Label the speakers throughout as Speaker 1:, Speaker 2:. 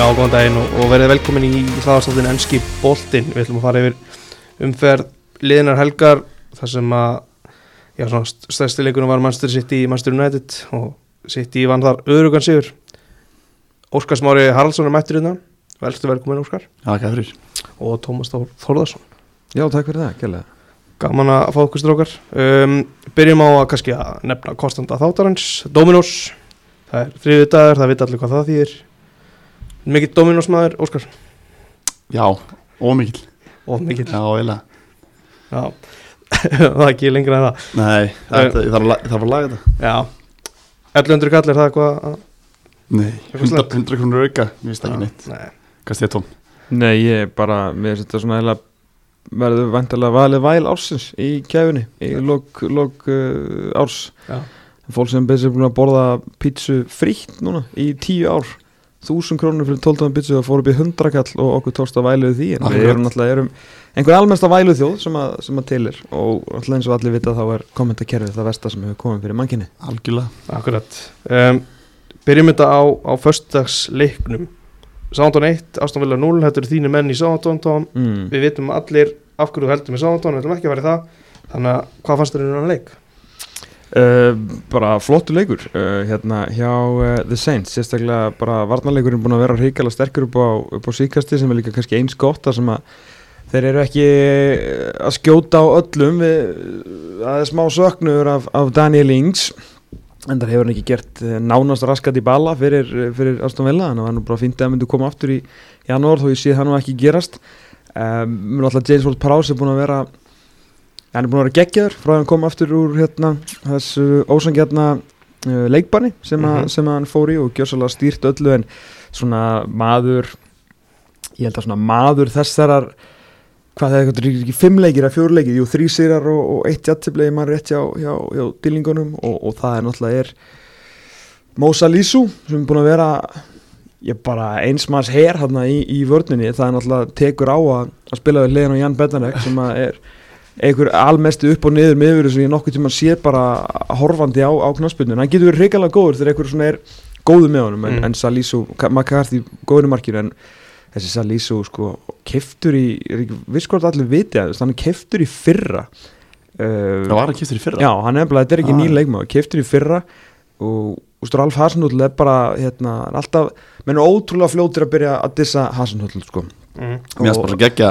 Speaker 1: Já, góðan daginn og, og verið velkomin í hlaðarstáttin Enski Boltinn. Við ætlum að fara yfir umferð liðinar helgar þar sem að já, svona st- stærsti leikunum var Manchester City í Manchester United og City vann þar öðrugan sigur. Óskar Smári Haraldsson er mættur innan. Velstu velkomin Óskar
Speaker 2: Takk að fyrir
Speaker 1: og Tómas Þór Þórðarsson.
Speaker 3: Já, takk fyrir það, gælega.
Speaker 1: Gaman að fá okkur strókar. Um, byrjum á að kannski að nefna konstanta þáttarans, Dominos. Það er þriðið dagar, það vita allir hvað það þýðir. Mikið Dominos maður, Óskar,
Speaker 2: Já, ómikil
Speaker 1: og mikið
Speaker 2: Já, eiginlega
Speaker 1: Já, það er ekki lengra en það
Speaker 2: Nei, þetta, ég þarf að, la- ég þarf að laga þetta
Speaker 1: Já 1100 kall er það eitthvað að-
Speaker 2: Nei,
Speaker 1: Eitthvað
Speaker 2: 100,
Speaker 1: slæmt?
Speaker 2: 100 krónur auka Mér finnst ekki neitt
Speaker 1: Nei,
Speaker 2: Hvað stíða tóm?
Speaker 3: Nei, ég er bara, mér finnst þetta svona eða verður vantilega valið væl ársins í kæfunni, í lok, lok uh, árs.
Speaker 1: Já.
Speaker 3: Fólk sem betur búin að borða pítsu frítt núna í tíu ár. Þúsund krónur fyrir 12 tónum pítsu það fór upp í 100 kall og okkur tókst að væluð því. En við
Speaker 2: Akkurat.
Speaker 3: erum náttúrulega erum einhver almennsta væluð þjóð sem að, sem að tilir og alltaf eins og allir vita þá er kommentakerfið það versta sem hefur komið fyrir mannkynni.
Speaker 2: Algjörlega
Speaker 1: akkurat um, Byrjum þetta á, á Föstagsleiknum Sándón 1, Aston Villa 0 Þetta eru þínu menn í Sándón Tom
Speaker 3: Mm.
Speaker 1: Við vitum allir af hverju þú heldur með Sándón Við ætlum ekki að vera í það Þannig að hvað fannst þér um hann leik?
Speaker 3: Uh, bara flottu leikur uh, hérna hjá uh, The Saints sérstaklega bara varnarleikurinn búin að vera hrikala sterkur upp á, upp á síkasti sem er líka kannski eins gott þar sem að þeir eru ekki uh, að skjóta á öllum við, það er smá söknur af, af Daniel Ings en þar hefur hann ekki gert uh, nánast raskat í bala fyrir, eh, fyrir Aston Villa þannig að hann var nú bara fínt að myndi koma aftur í janúar þó ég sé það nú ekki gerast um, mér er alltaf James Ward Prowse er búin að vera hann er búin að vera geggjaður frá að hann kom aftur úr hérna, þessu ósangjarna uh, leikbanni sem, að,
Speaker 1: Mhm.
Speaker 3: sem að hann fór í og gjössalega stýrt öllu en svona maður ég held að svona maður þessarar hvað það er eitthvað ekki fimm leikir að fjóru leikir, jú þrý sýrar og, og eitt jættiblegi maður rétt hjá, hjá, hjá dýlingunum og, og það er náttúrulega er Mósa Lísú sem er búin að vera ég bara eins manns her hérna í, í vörninni það er náttúrulega tekur á að, að spila við hliðin á Jan Betanæk sem að er einhver almestu upp og niður miður sem ég nokkuð tíma sé bara horfandi á, á knassbyrnun, hann getur verið reikalega góður þegar einhver svona er góður með honum en,
Speaker 1: Mm.
Speaker 3: en Salísu, McCarthy góður í markinu en þessi Salísu sko keftur í, ég er ekki viss hvort allir viti að hann er keftur í fyrra
Speaker 2: Það
Speaker 3: uh,
Speaker 2: var að kýftur í fyrra
Speaker 3: já, hann er nefnilega, þetta er ekki
Speaker 2: Ah.
Speaker 3: ah. nýr leikmaður keftur í fyrra og, og Ralf Hasenhull er bara hérna, hann er alltaf, menn er ótrúlega fljótur að byrja að dissa Hasenhull sko
Speaker 1: Mm.
Speaker 2: Mér finnst bara svo geggja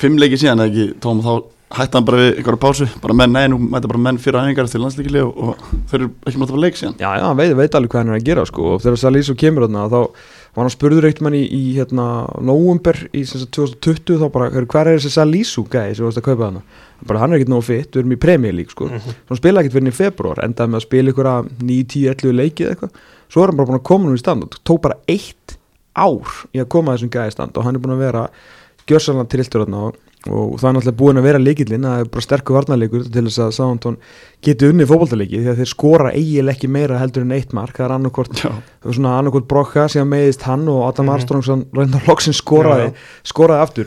Speaker 2: Fimm leiki síðan eða ekki Tóm þá hætti hann bara við einhverju pásu Bara menn, nei, nú mæta bara menn fyrir æfingar til landsleikili og, og þeir eru ekki mátt að fara leik síðan
Speaker 3: Já, já, hann veit, veit alveg hvað hann er að gera sko og þegar Salisu kemur þarna þá var hann spurður eitt mann í, í hérna november í sem sagt, 2020 þá bara "Hver- hver er þessi Salisu gæði sem þú varst að kaupa þarna Hann bara hann er ekkert nógu fit, við erum í Premier League sko
Speaker 1: Mhm.
Speaker 3: svo hann spila ekkert fyrir hann í februar endaði með að spila ykkur að 9, 10, 11 leikið eða eitthvað svo er hann bara búin að koma nú í stand og tók bara eitt ár í að koma þessum gæði í stand og hann er búin að vera gjörsalan trilltur þarna og, og það er náttúrulega búin að vera leikillin það er bara sterkur varnarleikur til þess að Sántón geti unnið fótboltaleiki því að þeir skora eiginlega ekki meira heldur en eitt mark það er annarkvort,
Speaker 2: Já,
Speaker 3: svona annarkvort brokka síðan meiðist hann og Adam
Speaker 1: Mhm.
Speaker 3: Armstrong reyndar loksin skoraði,
Speaker 1: Já,
Speaker 3: skoraði aftur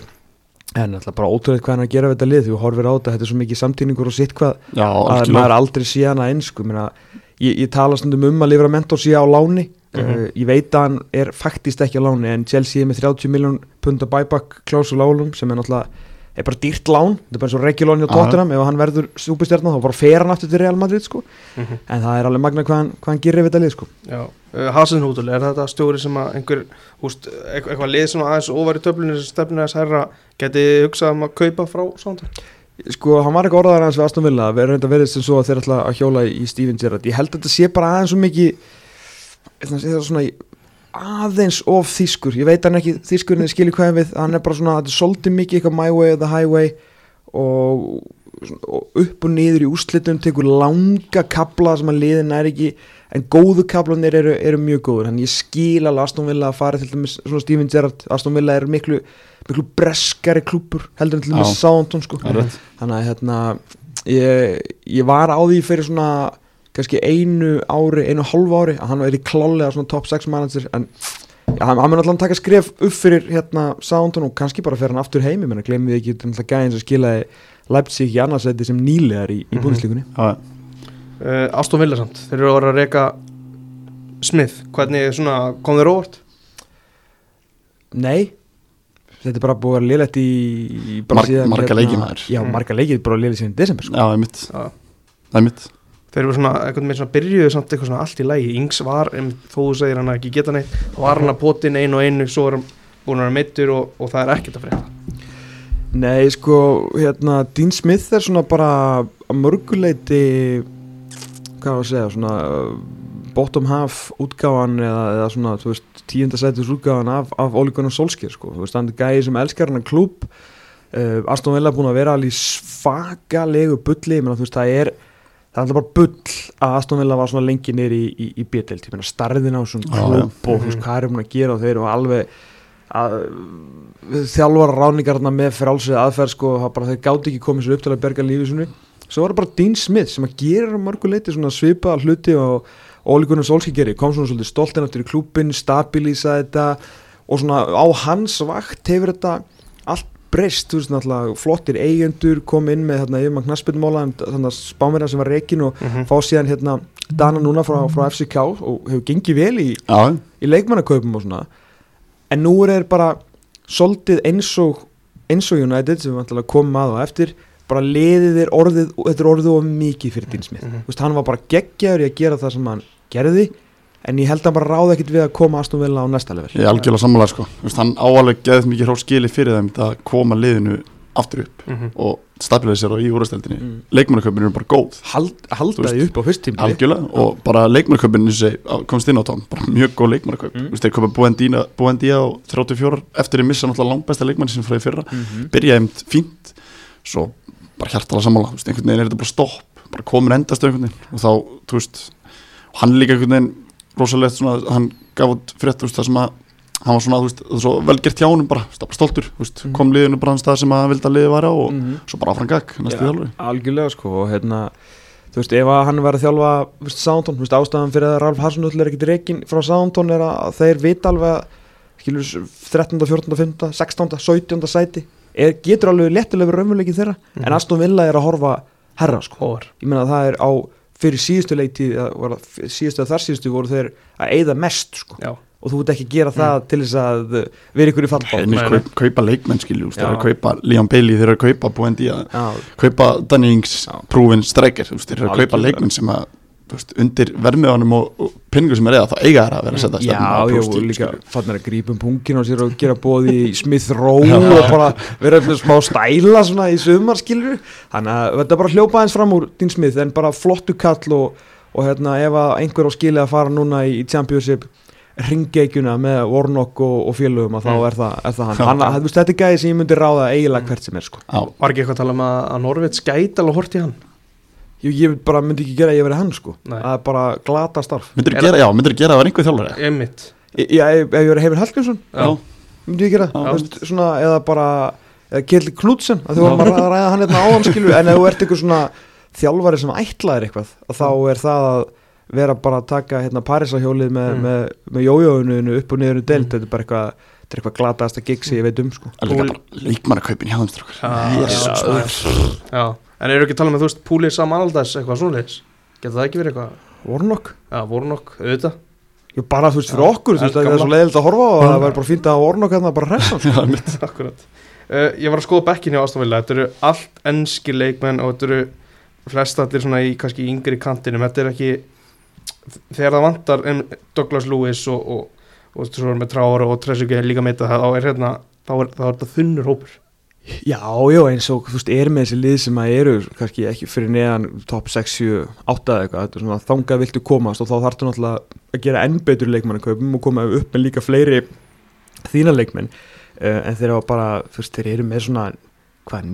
Speaker 3: en náttúrulega bara ótrúlega hvað hann er að gera við þetta lið því við horfir á þetta, þetta er svo mikið samtíningur og sitt hvað
Speaker 2: já
Speaker 3: að
Speaker 2: algjörlega
Speaker 3: maður aldrei sé hana eins sko, meina, ég, ég tala stundum um að lifra mentor sé á láni
Speaker 1: Mhm.
Speaker 3: uh, ég veit að hann er faktist ekki á láni en Chelsea er með 30 miljón punda buyback klásul álum sem er náttúrulega er bara dýrt lán, þetta er bara eins og regjulón hjá
Speaker 2: Aha.
Speaker 3: Tottenham, ef hann verður súpistjarnan þá bara fer hann aftur til Real Madrid sko
Speaker 1: Mhm.
Speaker 3: en það er alveg magna hvað hann, hvað hann gerir við þetta lið sko
Speaker 1: Já, uh, Hasenhútul, er þetta stjóri sem að einhver, húst, eitthvað lið sem aðeins óvar í töflunni sem stefnir þess herra geti hugsað um að kaupa frá Sándón?
Speaker 3: Sko, hann var ekki orðaðar aðeins við Aston Villa við erum reynda verið sem svo að þeir ætla að hjóla í Steven Gerrard ég held að þetta sé bara aðeins svo mikið þetta sé svona í- aðeins of þýskur, ég veit hann ekki þýskur en ég skilji hvað ég við, hann er bara svona þetta er svolítið mikið eitthvað my way or the highway og, svona- og upp og niður í úrslitum tekur langa kabla sem að liðin er ekki en góðu kablanir eru, eru mjög góður en ég skil alveg Aston Villa að fara til dæmis svona Steven Gerrard, Aston Villa er miklu miklu breskari klúpur heldur en til dæmis Southampton sko
Speaker 2: Það er rétt.
Speaker 3: þannig að hérna ég, ég var á því fyrir svona kannski einu ári, einu og hálfu ári að hann er í klálega svona top 6 manager en ja, hann, hann mun alltaf taka skref upp fyrir hérna Soundon og kannski bara fer hann aftur heimi, menn að glemum við ekki þannig að gæðin sem skilaði Leipzig í annarsæti sem nýlegar í, í
Speaker 1: Mhm.
Speaker 3: búinslíkunni
Speaker 2: Já, já.
Speaker 1: uh, Aston Villa samt, þeir eru að vera að reyka Smith, hvernig svona kom þér óvart?
Speaker 3: Nei Þetta er bara búið að vera liðlegt í í bara hérna,
Speaker 2: Marg- marga leiki, maður. Mhm.
Speaker 3: Já,
Speaker 1: Mm.
Speaker 3: marga leikið bara liðlegt síðan í desember sko.
Speaker 2: Já, einmitt,
Speaker 1: Já.
Speaker 2: það er mitt
Speaker 1: Þeir eru svona, einhvern veginn svona byrjuðu samt eitthvað svona allt í lægi Yngs var, em, þó þú segir hann að ekki geta neitt þá var hann að potin einu og einu svo er hann búin að vera meittur og, og það er ekkert að frétta
Speaker 3: Nei, sko, hérna Dean Smith er svona bara að mörguleiti hvað á að segja, svona uh, bottom half útgáfan eða, eða svona, þú veist, tíundasætis útgáfan af, af Olíkon og Solskir, sko þú veist, hann er gæði sem elskar hann að klúb uh, Aston Villa búin að vera alveg í svakalegu bulli, menn að þú veist, það er það er alltaf bara bull að Aston Villa var svona lengi niður í, í, í B-delt, ég meina starðin á svona
Speaker 2: Já,
Speaker 3: klúb
Speaker 2: já.
Speaker 3: og þú veist,
Speaker 1: Mhm.
Speaker 3: hvað er búin að gera og þeir eru alveg að þjálfara ráningarna með frálsið aðferð sko, það bara þeir gáti ekki komið sér upp til að berga lífið sinni svo var það bara Dean Smith sem að gera mörgu leiti svona svipa hluti og ólíkunum sólski gerir, kom svona svolítið stolt henn aftur í klúbin, stabilisa þetta og svona á hans vakt hefur þetta allt breyst þú veist náttúrulega flottir eigendur kom inn með þarna yfirmann knaspinmála þannig að spámerja sem var reikin og
Speaker 1: Mhm.
Speaker 3: fá síðan hérna Dana núna frá, frá FCK og hefur gengið vel í,
Speaker 2: Já,
Speaker 3: í leikmannakaupum og svona en nú er þeir bara soldið eins og eins og United sem við vantilega komum að og eftir bara liðið er orðið þetta er orðið of mikið fyrir Dean Smith
Speaker 1: Mhm.
Speaker 3: Þú veist, hann var bara geggjaður í að gera það sem hann gerði en ég held að hann bara ráði ekkit við að koma Aston Villa á næsta level
Speaker 2: ég er algjörlega sammála sko. Þú veist, hann áalega geðið mikið hrós skili fyrir þeim að koma liðinu aftur upp
Speaker 1: Mhm.
Speaker 2: og stabilisera í úrvasteldinni mm.
Speaker 3: mm.
Speaker 2: leikmannaköpun eru bara góð
Speaker 3: Hald,
Speaker 2: Þú
Speaker 3: halda
Speaker 2: veist,
Speaker 3: því upp á fyrst tímli
Speaker 2: algjörlega og bara leikmannaköpun komst inn á tóm, bara mjög góð leikmannaköp
Speaker 3: Mm.
Speaker 2: mm. þeir koma Buendía á 34 eftir að missa náttúrulega langbæsta leikmann sem fræði fyrra
Speaker 3: mm -hmm.
Speaker 2: byrjaði einmitt fínt svo bara hjartala sammála þú veist, einhvern veginn er þetta bara stopp bara komin endast einhvern veginn og þá, þú veist og hann líka einhvern veginn rosalegt svona, hann gaf út frétt þú veist, það sem að hann var svona, þú veist, það var svo velgert hjá honum bara, þú veist, það var bara stoltur, þú veist,
Speaker 3: Mhm.
Speaker 2: kom liðinu bara hans það sem að vildi að liði var á og
Speaker 3: mm -hmm.
Speaker 2: svo bara áfram gag, næstu
Speaker 3: Já,
Speaker 2: þjálfur
Speaker 3: algjörlega sko og hérna þú veist ef að hann var að þjálfa þú veist, Soundtón, þú veist ástæðan fyrir að Ralf Hasnull er ekkit reikin frá Soundtón er að þeir vita alveg að skilur 13, 14, 15, 16, 17 sæti er, getur alveg léttilega verið raunveruleikin þeirra
Speaker 1: Mhm.
Speaker 3: en Aston Villa er að horfa herra sko
Speaker 1: Hóðar
Speaker 3: ég meina það er á fyrir síðustu leiti síðustu að þar síðustu voru þeir að eyða mest sko
Speaker 1: Já,
Speaker 3: og þú ert ekki að gera það til þess að uh, vera ykkur í fallbátt
Speaker 1: Nei,
Speaker 2: henni
Speaker 1: nei.
Speaker 2: kaup, kaupa leikmenn skilju, þeir
Speaker 3: Já.
Speaker 2: eru að kaupa Leon Bailey, þeir eru að kaupa Buendía,
Speaker 3: Já,
Speaker 2: kaupa Danny Ings,
Speaker 3: Já.
Speaker 2: prúfin streikir, þú veist, þeir eru að kaupa
Speaker 3: Algjörlega.
Speaker 2: leikmenn sem að, þú veist, undir vermiðanum og, og pinningu sem er eða þá eiga þeir að vera að setja
Speaker 3: Mm, Já,
Speaker 2: stefnuna á
Speaker 3: já,
Speaker 2: prófstíl,
Speaker 3: og líka
Speaker 2: skilurðu.
Speaker 3: fannar að grípa um punkin og sér og gera bóði í Smith Rowe
Speaker 2: Já.
Speaker 3: og bara vera með smá stæla svona í sumar skilur þannig að þetta bara hljópa eins fram úr Dean Smith en bara flottu kall og, og hérna ef að einhver á skilið að fara núna í, í Championship ringgeikjuna með Warnock og, og félögum að þá
Speaker 1: Mm.
Speaker 3: er það, er það hann,
Speaker 2: Já.
Speaker 3: hann að, þú veist, þetta er gæði sem ég myndi ráða eiginlega hvert sem er sko
Speaker 2: Já,
Speaker 1: var ekki eitthvað að tala um að, að Norvits gæti alveg hort í hann
Speaker 3: ég, ég bara myndi ekki gera að ég verið hann sko
Speaker 1: Nei.
Speaker 3: það er bara glata starf
Speaker 2: myndir
Speaker 1: Er-
Speaker 2: gera, já, myndir gera að vera einhver þjálfari
Speaker 1: Einmitt
Speaker 3: ég, ég, ef ef ég verið Heimir Hallgrímsson
Speaker 1: Já,
Speaker 3: myndi ég gera
Speaker 2: Já.
Speaker 3: þú veist, svona, eða bara eða Kjell Knudsen að þú varum að ræða, ræða hann hérna áðan skilur en ef þú ert eitthvað svona þjálfari sem ætlaðir eitthvað að þá
Speaker 1: Mm.
Speaker 3: er það að vera bara að taka hérna Parísahjólið með,
Speaker 1: Mm.
Speaker 3: með, með jójóinu upp og niður um delt
Speaker 1: Mm.
Speaker 3: þetta er bara eitthvað þetta er eitthvað glataðasta gig sem ég veit um sko
Speaker 2: en líka bara leikmannaköpin hjá þeim sko. strókar
Speaker 1: Já,
Speaker 2: Jesus,
Speaker 1: já, já En eru ekki að tala um að þú veist Púlið samanaldas eitthvað svoleiðis Geta það ekki verið eitthvað
Speaker 3: Warnock
Speaker 1: Já, voru nokk, auðvitað
Speaker 3: Ég bara þú veist fyrir
Speaker 1: Já,
Speaker 3: okkur, þú veist að það er
Speaker 1: eldgamla.
Speaker 3: svo leiðilegt að horfa á og það væri bara fínt að Warnock hérna bara hressa
Speaker 2: Já, einmitt.
Speaker 1: Akkurat uh, Ég var að skoða bekkin hjá Ástofvilla Þetta eru allt ennski leikmenn og þetta eru flestallir svona í kannski yngri kantinum Þetta er ekki þegar það vantar um, Douglas Lewis og, og, og, og svo erum við Tráar og Tresugi líka meita það þá er hérna þá er, þá er þetta þunnur hópur
Speaker 3: Já, já, eins og þú veist, er með þessi lið sem að eru kannski ekki fyrir neðan top 6, 7, 8 eða eitthvað, þetta er svona þangað viltu komast og þá þarf þú náttúrulega að gera enn betur leikmannakaupum og koma upp með líka fleiri þína leikmenn uh, en þeir eru bara, þú veist, þeir eru með svona hvað,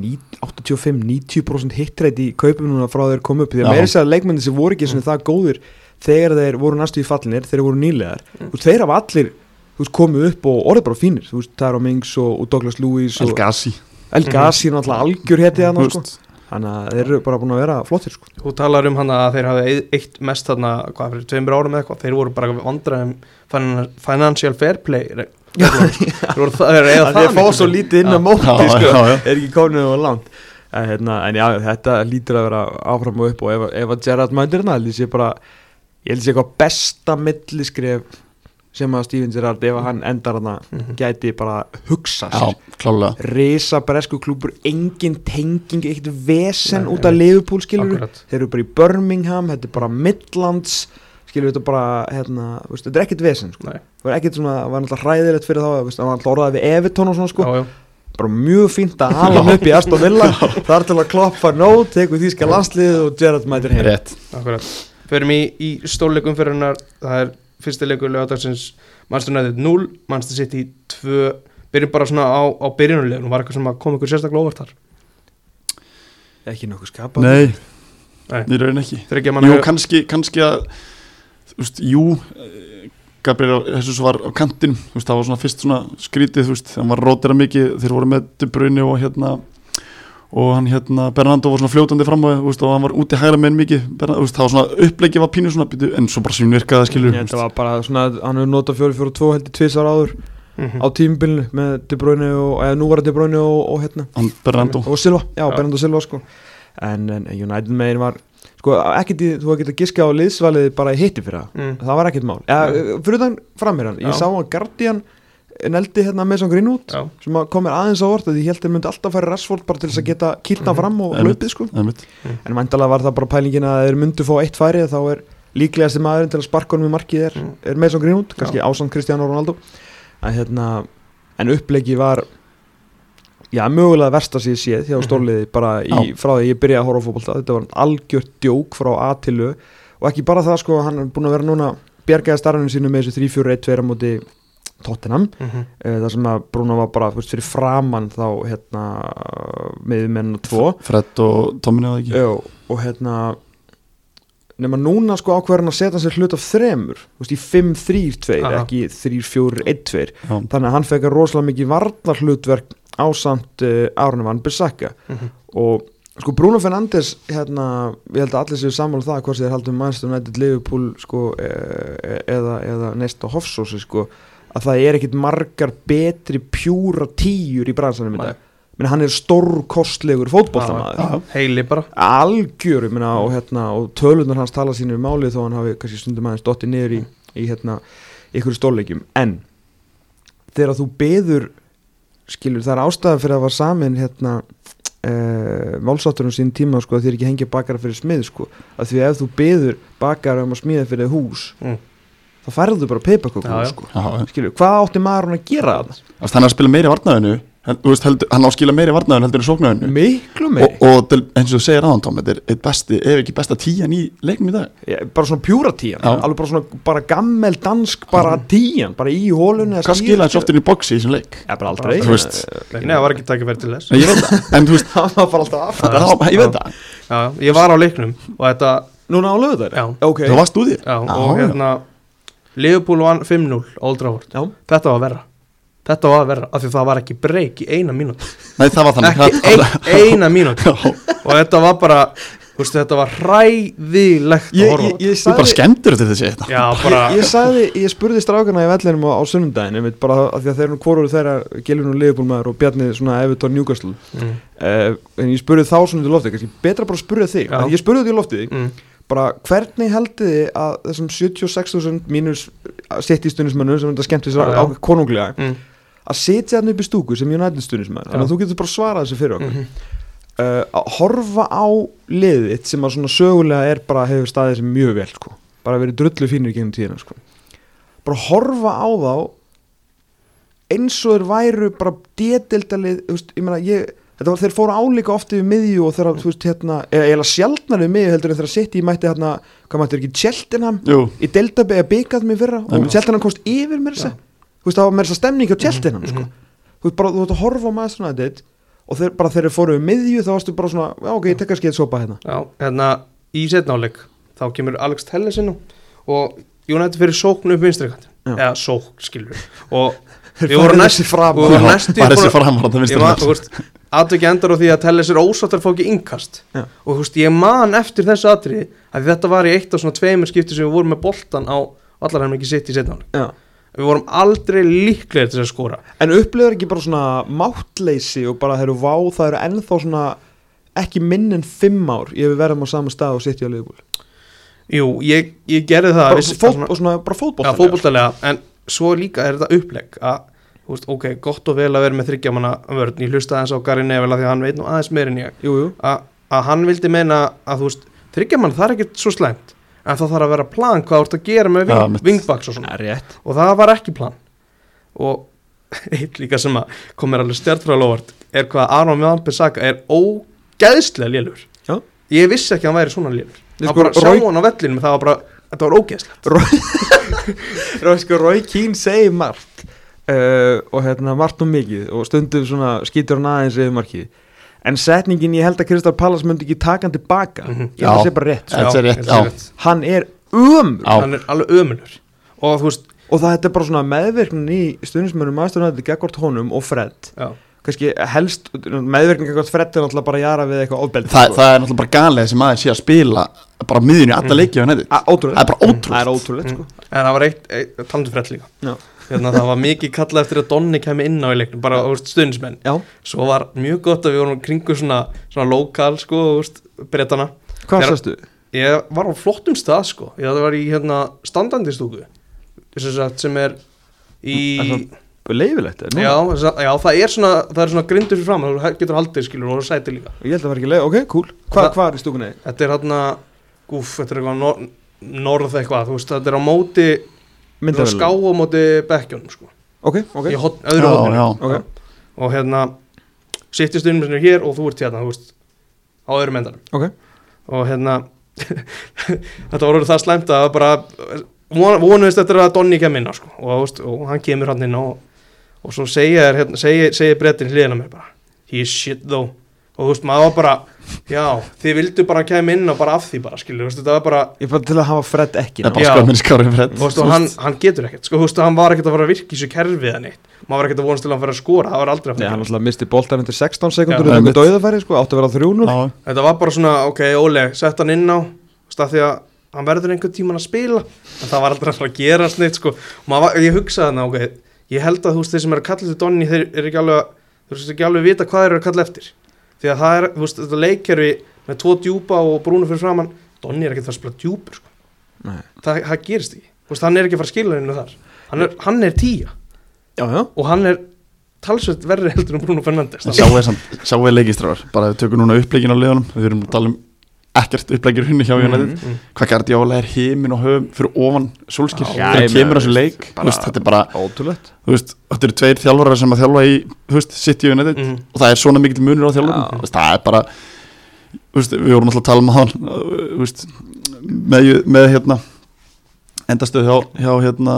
Speaker 3: 85-90% hittrætt í kaupum núna frá þeir komu upp því
Speaker 2: Já.
Speaker 3: að meira þess að leikmenni sem voru ekki svona það góðir þegar þeir voru næstu í fallinir, þeir voru nýlegar
Speaker 1: Mm.
Speaker 3: þú veist, þeir hafa allir þú veist, komið upp og orðið bara fínir, þú veist, Taro Mings og, og Douglas Lewis
Speaker 2: El
Speaker 3: og
Speaker 2: Gassi
Speaker 3: El Gassi er náttúrulega algjör hétti
Speaker 2: Mhm. Þú
Speaker 3: hann sko.
Speaker 2: veist,
Speaker 3: Þannig að þeir eru bara búin að vera flottir sko.
Speaker 1: Þú talar um hana að þeir hafi eitt mest þarna, hvað fyrir tveimur árum eða eitthvað þeir voru bara vandræðum finan- financial fair play re- þeir voru það, þeir eiga það
Speaker 3: Þeir fá
Speaker 1: mikið.
Speaker 3: svo lítið inn á
Speaker 1: Já.
Speaker 3: móti
Speaker 2: Já, já,
Speaker 3: sko.
Speaker 2: já.
Speaker 3: Er ekki komin og langt en, hérna, en já, þetta lítur að vera áfram og upp og ef, ef að Gerard mændir hérna held ég sé bara ég held ég sé eitthvað besta milliskref sem að Steven Gerrard ef að hann endar hana
Speaker 1: Mhm.
Speaker 3: gæti bara hugsa sér
Speaker 2: já, klálega
Speaker 3: risa bresku klúpur, engin tenging ekkert vesen
Speaker 1: Nei,
Speaker 3: út af
Speaker 1: einmitt.
Speaker 3: Liverpool skilur
Speaker 1: akkurat
Speaker 3: þeir eru bara í Birmingham, þetta er bara Midlands skilur þetta bara hérna, þú veist, þetta er ekkert vesen sko.
Speaker 1: Nei.
Speaker 3: það var ekkert svona, það var náttúrulega hræðilegt fyrir þá þú veist, það var náttúrulega orðaði við Everton og svona sko
Speaker 1: já, já.
Speaker 3: bara mjög fínt að hala hann upp í Aston Villa þar til að kloppa nót, tekur þýska landsliðið og Gerrard mætir heim
Speaker 2: rétt
Speaker 1: Akkurat. Förum í, í stórleikum fyrir hennar, það er fyrsti leikur lögadagsins Manchester United 0, Manchester City 2, byrjum bara svona á, á byrjunulegum, var eitthvað sem að koma ykkur sérstaklega óvart þar.
Speaker 3: ekki nokkuð skapað
Speaker 2: nei,
Speaker 1: Nei.
Speaker 2: ég raunin ekki
Speaker 1: Þryggja manna
Speaker 2: Jú, kannski, kannski að þú veist, jú eh, Gabriel Jesus var á kantinum þú veist, það var svona fyrst svona skrítið þú veist, hann var rótira mikið, þeir voru með Dubrunni og hérna og hann hérna, Bernardo var svona fljótandi fram og, veist, og hann var úti hægra með mikið Bernardo, þú veist, það var svona uppleikið var pínu svona býtu, en svo bara sem virkaði skilur
Speaker 3: þetta var bara svona, hann hefur notað 4-4-2 heldur tvisar áður
Speaker 1: Mm. Mhm.
Speaker 3: á tímubilinu með De Bruyne og, eða nú var De Bruyne og, og hérna
Speaker 2: hann Bernardo
Speaker 3: og Silva, já,
Speaker 1: Já.
Speaker 3: Bernardo Silva sko en, en United megin var sko, ekkit, í- þú hefði getið giska á liðsvalið bara í hitti fyrir það,
Speaker 1: Mm.
Speaker 3: það var ekkit mál eða, fyrir þann framhér hann,
Speaker 1: Já.
Speaker 3: ég sá að Guardian neldi hérna með svona grinn út
Speaker 1: Já,
Speaker 3: sem að komir aðeins á orð því ég held þeir myndi alltaf færi rassfólk bara til þess að geta kýrna
Speaker 1: Mhm.
Speaker 3: fram og
Speaker 2: Einmitt.
Speaker 3: hlaupið sko
Speaker 2: Það er mitt.
Speaker 3: en mæntalega var það bara pælingin að þeir myndu fá eitt færi þá er líklegasti maðurinn til að sparka honum í markið er,
Speaker 1: Mm.
Speaker 3: er með svona grinn út kannski ásand Kristján og Ronaldo en, hérna, en uppleggi var já, mögulega versta sem ég séð hjá
Speaker 1: Mhm.
Speaker 3: stórliði bara í,
Speaker 2: Já.
Speaker 3: frá því ég byrjaði að horfa á fótbolta þetta var algjört djók frá A til Ö og ekki bara það sko, hann er búin að vera núna bjargaði starfinu sínu með þessu 3-4-1-2 á móti Tottenham
Speaker 1: mhm,
Speaker 3: uh, þar sem að Bruno var bara þú veist, fyrir framann þá hérna, með menn og tvo
Speaker 2: Fred og Tommy eða ekki
Speaker 3: Jó, og hérna nema núna sko ákverðan að setja sér hlut af þremur þú veist, í 5-3-2
Speaker 1: Aha.
Speaker 3: ekki 3-4-1-2
Speaker 2: Já.
Speaker 3: þannig að hann fekk að rosalega mikið varnar hlutverk ásamt uh, Árni Van Bissaka
Speaker 1: mhm.
Speaker 3: og sko Bruno Fernandes hérna, ég held að allir séu sammála um það hvort sem þeir haldum mannstum nættið Liverpool sko, e e- eða, eða neist á Hofsósi sko, að það er ekkit margar betri pjúra tíur í bransanum í
Speaker 1: Nei.
Speaker 3: dag menn hann er stórkostlegur fótbollamaður
Speaker 2: Já.
Speaker 1: Heili bara
Speaker 3: algjöru minna, og, hérna, og tölunar hans tala sínir máli þó hann hafi kannski stundum aðeins dottið niður í, í hérna, ykkur stórleikjum en þegar þú beður skilur það er ástæðan fyrir að var samin hérna Uh, málsátturinn sín tíma sko að þér ekki hengja bakara fyrir smið sko að því ef þú beður bakara um að smíða fyrir hús
Speaker 1: Mm.
Speaker 3: þá færðu bara peipakökum
Speaker 1: Já, já.
Speaker 3: sko.
Speaker 2: Já, já.
Speaker 3: skilur, hvað átti maður að gera það?
Speaker 2: Þú veist, hann er að spila meiri í varnaðinu hann á að skila meiri í varnaðinu heldur en sóknaðinu
Speaker 1: Mm.
Speaker 3: miklu
Speaker 2: og,
Speaker 3: meiri
Speaker 2: og til, eins og þú segir aðan Tom þetta er eitt besti, ef ekki besta tíjan í leiknum í dag
Speaker 3: Já, bara svona pjúra tíjan
Speaker 2: Já.
Speaker 3: alveg bara svona bara gammel dansk bara tíjan, bara í hólunni eða
Speaker 2: hvað
Speaker 3: skýra-
Speaker 2: skilaði þessu oftir í boxi í þessum leik
Speaker 3: Já, bara aldrei
Speaker 2: Þú veist.
Speaker 1: Nei, það var ekki takkifæri til þess
Speaker 2: Nei, ég veit það, en þú veist
Speaker 3: Það var bara alltaf aðfæða
Speaker 2: það, ég veit það,
Speaker 1: Já, já, ég var á leiknum og þetta
Speaker 3: Núna á lögðar
Speaker 1: Já,
Speaker 3: Ok
Speaker 2: það varst úr því
Speaker 1: já
Speaker 2: Já,
Speaker 1: og
Speaker 2: já.
Speaker 1: hérna Liverpool vann 5-0 Old Trafford
Speaker 3: Já.
Speaker 1: Þetta var verra Þetta var verra af því það var ekki breyk í eina mínút
Speaker 2: nei það var þannig
Speaker 1: Ekki ein, eina mínút
Speaker 2: ein,
Speaker 1: og þetta var bara þú veist, þetta var hræðilegt
Speaker 3: Ég,
Speaker 1: að horfa
Speaker 3: ég, ég
Speaker 2: þú bara
Speaker 3: sagði
Speaker 2: skemmtur þetta þessi þetta
Speaker 1: já, bara,
Speaker 3: Ég sagði, ég spurði strákana í vellinum á, á sunnundaginn einmitt bara af því að þeir eru hvorur þeirra Gilvin og Leifbólmaður og Bjarni svona Evertón Newcastle
Speaker 1: mm,
Speaker 3: uh, en ég spurði þá svona til loftið kannski betra bara að spurði þig
Speaker 1: Já.
Speaker 3: af því ég spurði þetta í loftið
Speaker 1: mm,
Speaker 3: bara hvernig haldið þið að þessum 76.000 mínus settistunismönnum sem þetta skemmti sér
Speaker 1: Já.
Speaker 3: á konunglega
Speaker 1: mm,
Speaker 3: að sitja hann upp í stúku sem United stuðnismæður þannig að
Speaker 1: Já.
Speaker 3: þú getur bara svarað þessu
Speaker 1: mm.
Speaker 3: fyrir
Speaker 1: Mhm.
Speaker 3: okkur uh, að horfa á liðið þitt sem að svona sögulega er bara hefur staðið sem mjög vel sko. bara verið drullu fínir í gegnum tíðina sko. bara horfa á þá eins og þeir væru bara détildalið þú veist, ég meina, ég, þetta var þeir fóru álíka oft yfir miðju og þeirra, þú veist, hérna eða eða sjaldnar yfir miðju heldur en þeirra sitt í mætti hérna, hvað mætti þeir ekki, Cheltenham
Speaker 2: jú,
Speaker 3: í Delta Bay að byggað mér fyrra og
Speaker 2: Einmitt.
Speaker 3: Tjeltinam komst yfir mér þess að þú veist það var mér þess að stemning á Tjeltinam sko. þú veist bara þú veist að horfa á maður svona þetta og þeir, bara þeir eru fóruð miðju þá varstu bara svona já ok ég tek kannski eitt sopa hérna
Speaker 1: já, hérna í setnáleik þá kemur Alex Tellesinu og Jónætti fyrir sóknu upp vinstri kant
Speaker 3: Já.
Speaker 1: eða sókn, skilur við og
Speaker 3: Þeir
Speaker 1: við vorum
Speaker 3: færðu
Speaker 1: næst
Speaker 3: sig fram.
Speaker 1: við vorum næstu
Speaker 2: bara þessi framar það
Speaker 1: ég
Speaker 2: finnst
Speaker 1: man, þú veist, atveki endar á því að Telles er ósáttar að fá ekki innkast
Speaker 3: Já.
Speaker 1: og þú veist, ég man eftir þessu atriði að þetta var í eitt af svona tveimur skipti sem við vorum með boltan á allar hann ekki sitt í setnáleik
Speaker 3: já.
Speaker 1: við vorum aldrei líklegir til að skora
Speaker 3: en upplifur ekki bara svona máttleysi og bara þeir eru vá það eru ennþá svona ekki minn en fimm ár ég við verðum á sama stað og sitt í að liðbúl
Speaker 1: Jú, ég, ég gerði það
Speaker 3: bara,
Speaker 1: vissi-
Speaker 3: fót, og svona bara fótboll
Speaker 1: Já, fótboltalega, en svo líka er þetta uppleg að, þú veist, ok, gott og vel að vera með þryggjamanna vörn, ég hlusta aðeins á Gary Neville af því að hann veit nú aðeins meir en ég
Speaker 3: jú, jú,
Speaker 1: að, að hann vildi meina að þú veist, þryggjamanna það er ekkert svo slæmt en það þarf að vera plan hvað þú ert að gera með
Speaker 2: Ja,
Speaker 1: ving,
Speaker 2: mitt.
Speaker 1: vingbaks og svona
Speaker 3: það er rétt
Speaker 1: og það var ekki plan og eitt líka sem að komir alveg stjartfræðalóvart er hvað að Aron Vampi Saka er ógeðslega lélur
Speaker 3: Já.
Speaker 1: ég vissi ekki að hann væri svona lélur
Speaker 3: Ég
Speaker 1: að
Speaker 3: sko,
Speaker 1: bara sjá
Speaker 3: Roy-
Speaker 1: hann á vellinum það var bara, þetta var ógeðslega
Speaker 3: Rá, sko, Roy Keane segir margt uh, og hérna margt og mikið og stundum svona skýtur hann aðeins yfir markið en setningin ég held að Kristal Pallas myndi ekki taka hann tilbaka mm
Speaker 1: Mhm.
Speaker 3: ég held
Speaker 2: Já.
Speaker 3: að sé bara rétt
Speaker 2: Þetta er rétt,
Speaker 1: þetta
Speaker 2: já.
Speaker 3: hann er um
Speaker 2: Já.
Speaker 1: hann er alveg ömulur og þú veist,
Speaker 3: og það þetta er bara svona meðverknin í stundismönnum aðstofnætti gegvart honum og Fred
Speaker 1: já,
Speaker 3: kannski helst meðverknin gegvart Fred er náttúrulega bara að jara við eitthvað ofbeldi sko.
Speaker 2: það, það er náttúrulega bara galið sem aðeins sé að spila bara á miðjunni í alla
Speaker 1: Mm.
Speaker 2: leiki á netti
Speaker 3: Á- ótrúlegt.
Speaker 2: Það er bara ótrúlegt. Mm.
Speaker 3: það er ótrúlegt sko.
Speaker 1: en það var eitt, eitt talandum frett líka
Speaker 3: Já.
Speaker 1: Hérna, það var mikið kallað eftir að Donni kemi inn á í leiknum, bara þú veist, stundismenn
Speaker 3: já,
Speaker 1: svo var mjög gott að við vorum kringu svona, svona lokal, sko, þú veist, brettana
Speaker 3: hvað
Speaker 1: Þegar-
Speaker 3: sagstu?
Speaker 1: Ég var á flottum stað sko Ég þetta var í hérna standandi stúku sem, sagt, sem er í
Speaker 3: Mm, leifilegt er, nú?
Speaker 1: já, sem sagt- já, það er svona það er svona grindur fyrir fram þú getur haldið skilur og sæti líka
Speaker 3: ég held að það var ekki leið, ok, cool hvað
Speaker 1: Það-
Speaker 3: hva er í stúkunni?
Speaker 1: Þetta er hérna, gúf, þetta er eitthvað nor norð eitthvað, þú veist, þetta er á móti
Speaker 3: Myndavél.
Speaker 1: ská á móti bekkjónum sko
Speaker 3: ok, ok,
Speaker 1: í hot, öðru
Speaker 2: Já,
Speaker 1: hotninu
Speaker 2: já.
Speaker 3: Ok.
Speaker 1: og hérna sittist unum sem er hér og þú ert hérna, þú veist á öðrum endanum
Speaker 3: Ok.
Speaker 1: og hérna þetta var orðið það slæmt að bara von- vonuðist eftir að Donny kem inn á, sko. og, þú veist, og hann kemur hann inn á og, og svo segja, þér, hérna, segja, segja brettin hliðina mér bara he's shit though og þú veist maður var bara já þið vildu bara að kem inn og bara af því bara skilur þú veist þetta var bara
Speaker 3: Ég er bara til að hafa Fred ekki
Speaker 2: Það er bara
Speaker 1: Já.
Speaker 2: skáður minni skáður fyrir
Speaker 1: Þú veist, og hann, hann getur ekkert, sko, þú veist, hann var ekkert að fara að virka í þessu kerfið eða neitt, maður var ekkert að vonast til að hann fara að skora, það var aldrei að
Speaker 3: Nei,
Speaker 1: fara að gera.
Speaker 3: hann alltaf misti boltan eftir 16
Speaker 1: Já.
Speaker 3: sekundur og það er
Speaker 2: Einmitt.
Speaker 3: döðafæri sko, átti að vera 3-0
Speaker 2: Já,
Speaker 1: Þetta var bara svona, ok, Óle, sett hann inn á, þú veist, að því að hann verður einhvern tíman að spila, en það var aldrei að fara að gera hans neitt, sko, og maður, var- ég hugsaði þannig, ok, ég held að, þú veist, þeir sem eru að kalla þetta Donni, þeir eru ekki alveg, að- þú veist, ekki alveg vita hvað þeir eru að kalla eftir, því að það er, þú veist, þetta leikkerfi með tvo djúpa og brúnu fyrir framann, Donni er ekkert að fara að spila djúpur, sko,
Speaker 3: Nei.
Speaker 1: það, það gerist ekki, þú veist, hann er ekki að fara að skila hennu þar, hann er, hann er tíja.
Speaker 3: Já, já
Speaker 1: og hann er talsveit verri heldur en Bruno Fernandes
Speaker 2: En sjáu þér samt, sjáu þér leikistráður bara ef við tökum núna uppleikin á liðunum við erum að tala um ekkert uppleikir húnni hjá United
Speaker 3: Mhm.
Speaker 1: Mm.
Speaker 2: hvað Gardi Óla er heimin og höfum fyrir ofan solskir
Speaker 3: Já,
Speaker 2: þegar
Speaker 3: ég meina,
Speaker 2: kemur þessu
Speaker 3: veist,
Speaker 2: leik
Speaker 3: bara-
Speaker 2: þú veist, þetta er bara,
Speaker 3: Ótrúlegt
Speaker 2: þú veist, þetta eru tveir þjálfarar sem að þjálfa í, þú veist, City og United
Speaker 1: Mm.
Speaker 2: og það er svona mikil munur á þjálfarum
Speaker 3: Já.
Speaker 2: þú veist, það er bara, þú veist, við vorum alltaf að tala um hann þú veist, með, með hérna endastöð hjá, hjá hérna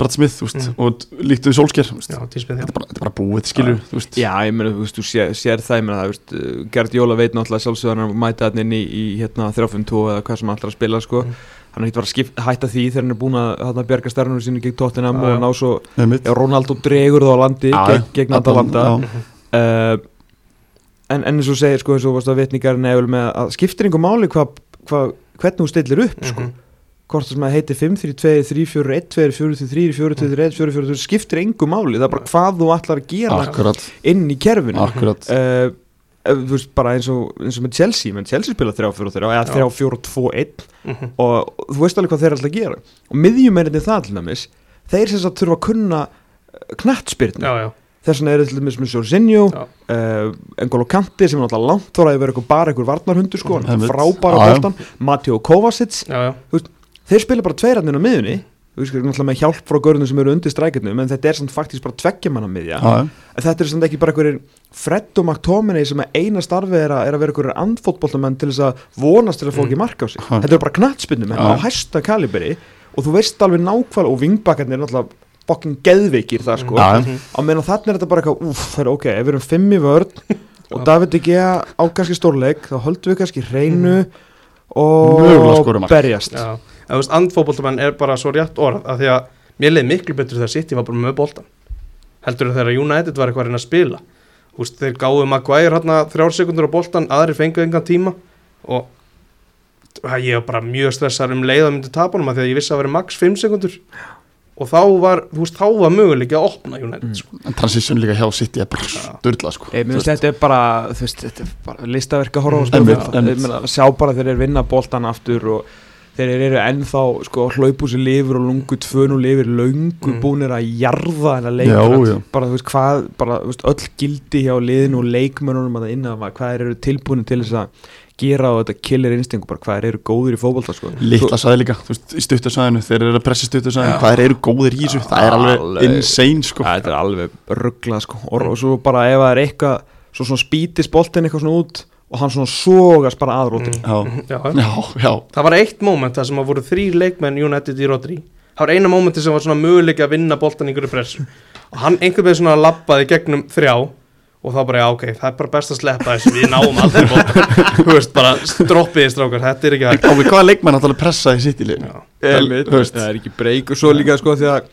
Speaker 2: Brad Smith, þú veist,
Speaker 3: Mm.
Speaker 1: Mhm.
Speaker 2: og líktu við solskir þú veist,
Speaker 1: Já,
Speaker 2: þetta
Speaker 1: tíspið,
Speaker 2: er bara, þetta er bara búið, skilur, þú veist
Speaker 3: Já, ég meina, þú veist, þú sér, sér það, ég meina það, þú veist Gerd Jóla veit náttúrulega sjálfsögðan að mæta hann inn í, í hérna 3-5-2 eða hvað sem hann ætlar að spila, sko
Speaker 1: Mm.
Speaker 3: Hann er ekkert bara að skip, hætta því þegar hann er búin að hérna, bjarga stærnum sínu gegn Tottenham
Speaker 1: Já, já.
Speaker 3: og ná svo
Speaker 2: einmitt.
Speaker 3: Já, Ronaldo dregur það á landi
Speaker 2: Já,
Speaker 3: gegn, gegn Atalanta
Speaker 2: Já.
Speaker 1: Mm,
Speaker 3: uh, en, en eins og segir sko eins og varst að vitningar nefnul með að skiptir einhver máli hva, hva, hvernig hún stillir upp
Speaker 1: Mhm. mm.
Speaker 3: sko. hvort það sem að heiti 5, 3, 2, 3, 4, 1, 2, 4, 3, 4, 2, 3, 4, 4, 2 skiptir einhver máli, það er bara hvað þú ætlar að gera
Speaker 2: Akkurat,
Speaker 3: inn í kerfinu uh,
Speaker 2: akkurat
Speaker 3: þú veist bara eins og, eins og með Chelsea, menn Chelsea spila 3, 4, 3 eða
Speaker 1: Já.
Speaker 3: 3, 4, 2, 1
Speaker 1: -hmm.
Speaker 3: og þú veist alveg hvað þeir ætla að gera og miðjumennirni það til næmis þeir sem sagt þurfa að kunna eh, knattspyrna
Speaker 1: Já, já,
Speaker 3: þess vegna er þetta með Jorginho
Speaker 1: Já.
Speaker 3: uh, Engolo Kanti sem er náttúrulega langt þóra að vera eitthvað bara eitthvað varnarhundur sko,
Speaker 2: Einmitt.
Speaker 3: frábæra
Speaker 2: Já, já.
Speaker 3: bóltan Matjó Kovacic,
Speaker 1: já, já
Speaker 3: þeir spila bara tveirarnir á miðunni, þú veist náttúrulega með hjálp frá görðunum sem eru undir strækjarnum, en þetta er samt faktískt bara tveggja manna
Speaker 2: Já,
Speaker 3: miðja,
Speaker 2: já.
Speaker 3: En þetta er samt ekki bara eitthvað Fred og McTominay sem að eina starfið er, að- er að vera eitthvað andfótbóltamenn til þess að vonast til að fá ekki mark á sig
Speaker 2: Ha.
Speaker 3: þetta eru bara knattspinnum
Speaker 2: Já.
Speaker 3: á hæsta kaliberi og þú veist alveg nákvæmlega og vingbakarnir er náttúrulega bokkin geðveikir það sko
Speaker 2: Já, já.
Speaker 1: Mhm.
Speaker 3: á meðan þarna er þetta bara eitthvað úf, það er ok, ef við erum fimm í vörn og David De Gea á kannski stórleik þá höldum við kannski hreinu
Speaker 2: Mhm. Mögulega
Speaker 3: og
Speaker 2: skorum mark.
Speaker 3: berjast
Speaker 1: Já, en þú veist, andfóboltamenn er bara svo rétt orð af því að mér leiði miklu betur þegar City var bara með boltan heldur þegar United var eitthvað að reyna að spila Þú veist, þeir gáðu Maguire hérna þrjár sekundur á boltan, aðri fengu engan tíma og það, ég var bara mjög stressar um leiða myndi tapa honum af því að ég vissi að vera max 5 sekundur og þá var, þú veist, þá var möguleik að opna United,
Speaker 3: Mm.
Speaker 1: sko
Speaker 2: En transition líka hjá City er bara
Speaker 1: Já.
Speaker 2: styrla sko
Speaker 3: Ég minnst
Speaker 2: Þú
Speaker 3: þetta er bara, þú veist, þetta er bara listaverk að horfa á sko.
Speaker 1: Mm.
Speaker 3: spila.
Speaker 2: Einmitt, einmitt.
Speaker 3: Ég meina, sjá bara þegar þeir vinna boltan aftur og þeir eru ennþá sko, hlaupúsi lifur og lungu tvönu lifir löngu
Speaker 1: Mm.
Speaker 3: búnir að jarða hennar
Speaker 2: Já, já.
Speaker 3: leikmenn bara þú veist hvað, bara þú veist, öll gildi hjá liðinu og leikmennunum að það innan hvað þeir eru tilbúinir til þess að gera á þetta killer instingu, bara hvað þeir eru góðir í fótbolta sko.
Speaker 2: Littla sæði líka, þú veist, í stuttasæðinu Þeir eru að pressa stuttasæðinu, hvað þeir eru góðir í þessu Það er alveg,
Speaker 3: Alveg.
Speaker 2: insane sko
Speaker 3: Ja, þetta er alveg ruggla sko. og, og svo bara ef það er eitthvað svo svona spítist boltinn eitthvað svona út og hann svona sógast bara aðrótin mm.
Speaker 1: Mm.
Speaker 2: Já,
Speaker 1: Já, já.
Speaker 2: já, já
Speaker 1: það var eitt moment það sem að voru þrý leikmenn United í Rodri það var eina momenti sem var svona möguleik að vinna boltan í einhverju pressu og hann einhvern veginn svona labbaði gegnum þrjá og þá bara já ok, það er bara best að sleppa þessu við náum aldrei boltan þú veist bara droppiði strákar, þetta er ekki
Speaker 2: Á við hvaða leikmenn átt alveg pressa í sitt í liðinu
Speaker 1: að
Speaker 2: Einmitt.
Speaker 3: Þú veist. það er ekki breyk og svo líka sko því að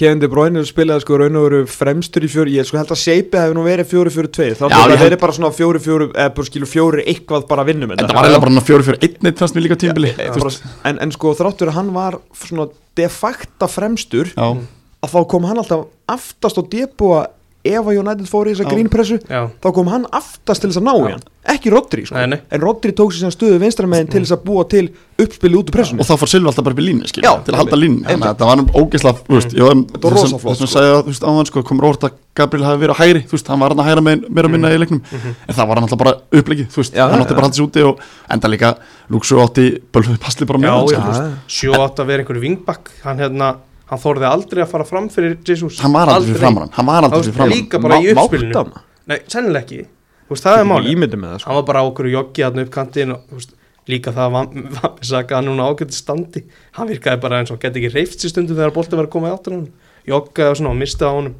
Speaker 3: Kevin De Bruyne spilaði sko raun og veru fremstur í fjóri ég sko held að Seipi hefði nú verið 4-4-2 þá
Speaker 2: Já,
Speaker 3: það
Speaker 2: ég held-
Speaker 3: verið bara svona 4-4 eða bara skilur 4 eitthvað bara um vinnum
Speaker 2: Þetta var eiginlega bara hann að fjóri fjóri einn eitt fannst mér líka tímbili
Speaker 3: Þú veist, en, en sko þráttur að hann var svona de facto fremstur
Speaker 2: Já,
Speaker 3: að þá kom hann alltaf aftast á debúa ef að United fór í þessa
Speaker 2: Já.
Speaker 3: grínpressu
Speaker 1: já,
Speaker 3: þá kom hann aftast til þess að ná í hann ekki Rodri sko,
Speaker 1: Nei, nei.
Speaker 3: en Rodri tók sér sem stöðu vinstramegin til þess að búa til uppspili út úr pressunni
Speaker 2: og þá fór Silva alltaf bara upp í línu skilur,
Speaker 3: Já, Mm.
Speaker 2: til að halda línu, þannig að þetta var nú ógeðslega þú veist, ég var
Speaker 3: Þetta var rosa flott,
Speaker 2: þess að
Speaker 3: sko.
Speaker 2: segja, þú veist, áðan sko, komur óvart að Gabriel hafi verið á hægri, þú veist, hann var hann að hægra með mér að minna
Speaker 3: Mm.
Speaker 2: í leiknum,
Speaker 3: Mhm.
Speaker 2: en það var hann alltaf bara upplegið, þú veist,
Speaker 3: Já,
Speaker 2: hann
Speaker 3: já,
Speaker 2: átti
Speaker 3: já.
Speaker 2: bara haldið sér úti og enda líka Luxu átti bölfuði pasli bara
Speaker 1: Já,
Speaker 2: með hann,
Speaker 1: já.
Speaker 2: skilur, þú veist.
Speaker 3: sko.
Speaker 1: sjó átt að vera einhverju vingbakk hann hérna, hann þorði aldrei að fara fram fyrir Jesus
Speaker 2: hann var aldrei fyrir framar hann, hann var aldrei
Speaker 1: Þú
Speaker 2: fyrir
Speaker 1: veist,
Speaker 2: framar hann
Speaker 1: líka bara í
Speaker 3: Má-
Speaker 1: uppspilinu.
Speaker 3: mátti hann?
Speaker 1: Nei, sennilega ekki, þú veist það er málið
Speaker 3: ímyndi með það sko.
Speaker 1: hann var bara á okkur joggi hann upp kantinn og þú veist, líka það var sagði hann núna ágætti standi hann virkaði bara eins og geti ekki reyft sér stundum þegar bolti var að koma í áttur hann joggaði og svona og mistið á honum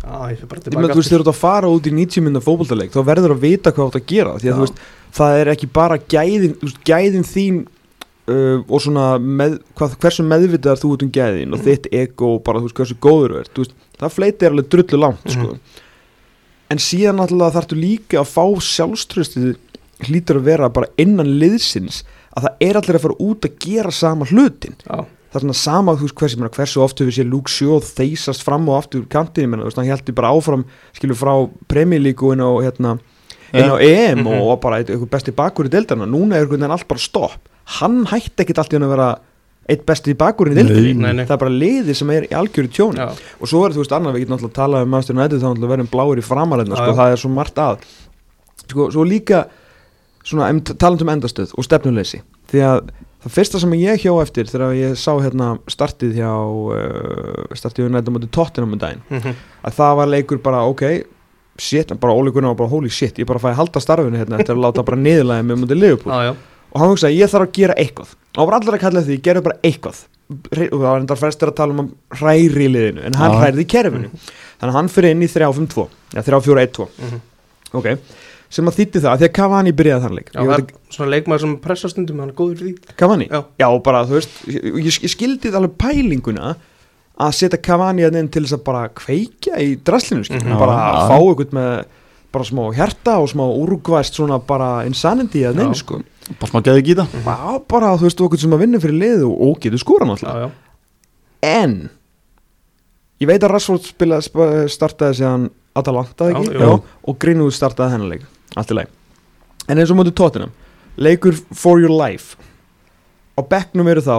Speaker 1: Æ, ég fer bara
Speaker 3: Ég með
Speaker 1: tilbaka
Speaker 3: þú veist
Speaker 1: aftur.
Speaker 3: þegar þú ert að fara út í 90 minna fótboltaleik þá verður að vita hvað þú ert að gera því að
Speaker 2: Já.
Speaker 3: þú veist það er ekki bara gæðin þú veist, gæðin þín uh, og svona með, hvað, hversu meðvitaðar þú ert um gæðin og þitt ego og bara þú veist hversu góður þú ert þú veist, það fleitir alveg drullu langt sko. en síðan náttúrulega þarftu líka að fá sjálfströstið hlýtur að vera bara innan liðsins að það er allir að fara út að gera sama hlutin
Speaker 1: Já,
Speaker 3: það er svona sama þú veist hversu, menna, hversu oft hefur séð Luke Shaw þeysast fram og aftur úr kantinu, menna, þú veist, hann heldur bara áfram skilur frá premjölíku inn á hérna, inn á EM
Speaker 1: Mhm.
Speaker 3: og bara eitthvað besti bakur í deildana, núna er einhvern veginn allt bara stopp, hann hætti ekkit allt í hann að vera eitt besti bakur í deildinni
Speaker 1: Nei, nei.
Speaker 3: það er bara liði sem er í algjöru tjóni
Speaker 1: já,
Speaker 3: og svo er þú veist annað, við getum alltaf að tala um Master United þá náttúrulega verðum bláir í framarinnar
Speaker 1: Já,
Speaker 3: sko,
Speaker 1: já.
Speaker 3: það er svo margt að sko, svo líka svona, em, talandi um endastöð og stefnuleysi því að það fyrsta sem ég hjá eftir þegar ég sá hérna startið hjá uh, startið United á móti Tottenham um daginn
Speaker 1: mhm,
Speaker 3: að það var leikur bara ok shit, bara Óli Gunnar var bara holy shit ég bara fæði að halda starfinu hérna eftir að láta bara niðurlæði með mútið Liverpool
Speaker 1: já, já,
Speaker 3: og hann hugsaði ég þarf að gera eitthvað og hann var allir að kalla því, gerðu bara eitthvað Hre- og það var endar færstir að tala um að hræri í liðinu, en hann
Speaker 2: Já.
Speaker 3: hræriði í kerfinu þannig að hann fyrir inn í 3-5-2 ja, 3-4-1-2,
Speaker 1: mhm.
Speaker 3: ok sem að þýtti það, af því að Cavani byrjaði þann leik
Speaker 1: já
Speaker 3: Ég
Speaker 1: það
Speaker 3: veit
Speaker 1: er svona leikmaður sem pressa stundum hann er góður í því
Speaker 3: að- Cavani,
Speaker 1: Já.
Speaker 3: já, bara þú veist ég, ég, ég skildi alveg pælinguna að setja Cavani að inn til þess að bara kveikja í draslinu, skil
Speaker 1: Mhm.
Speaker 3: bara
Speaker 2: Já.
Speaker 3: fá eitthvað með bara smá hjarta og smá úrugvæst svona bara insanity að neinn
Speaker 1: Já.
Speaker 3: sko
Speaker 2: bara smá geði gíta
Speaker 3: Já, bara þú veist okkur sem að vinna fyrir liðu og getur skóra
Speaker 1: já,
Speaker 3: náttúrulega
Speaker 1: já,
Speaker 3: En Ég veit að Rashford spila, sp- startaði síðan Atalanta
Speaker 1: Já,
Speaker 3: ekki
Speaker 1: jú.
Speaker 3: og Greenwood startaði hennar leik Allt í leik En eins og mótið tóttinum Leikur for your life Á bekknum eru þá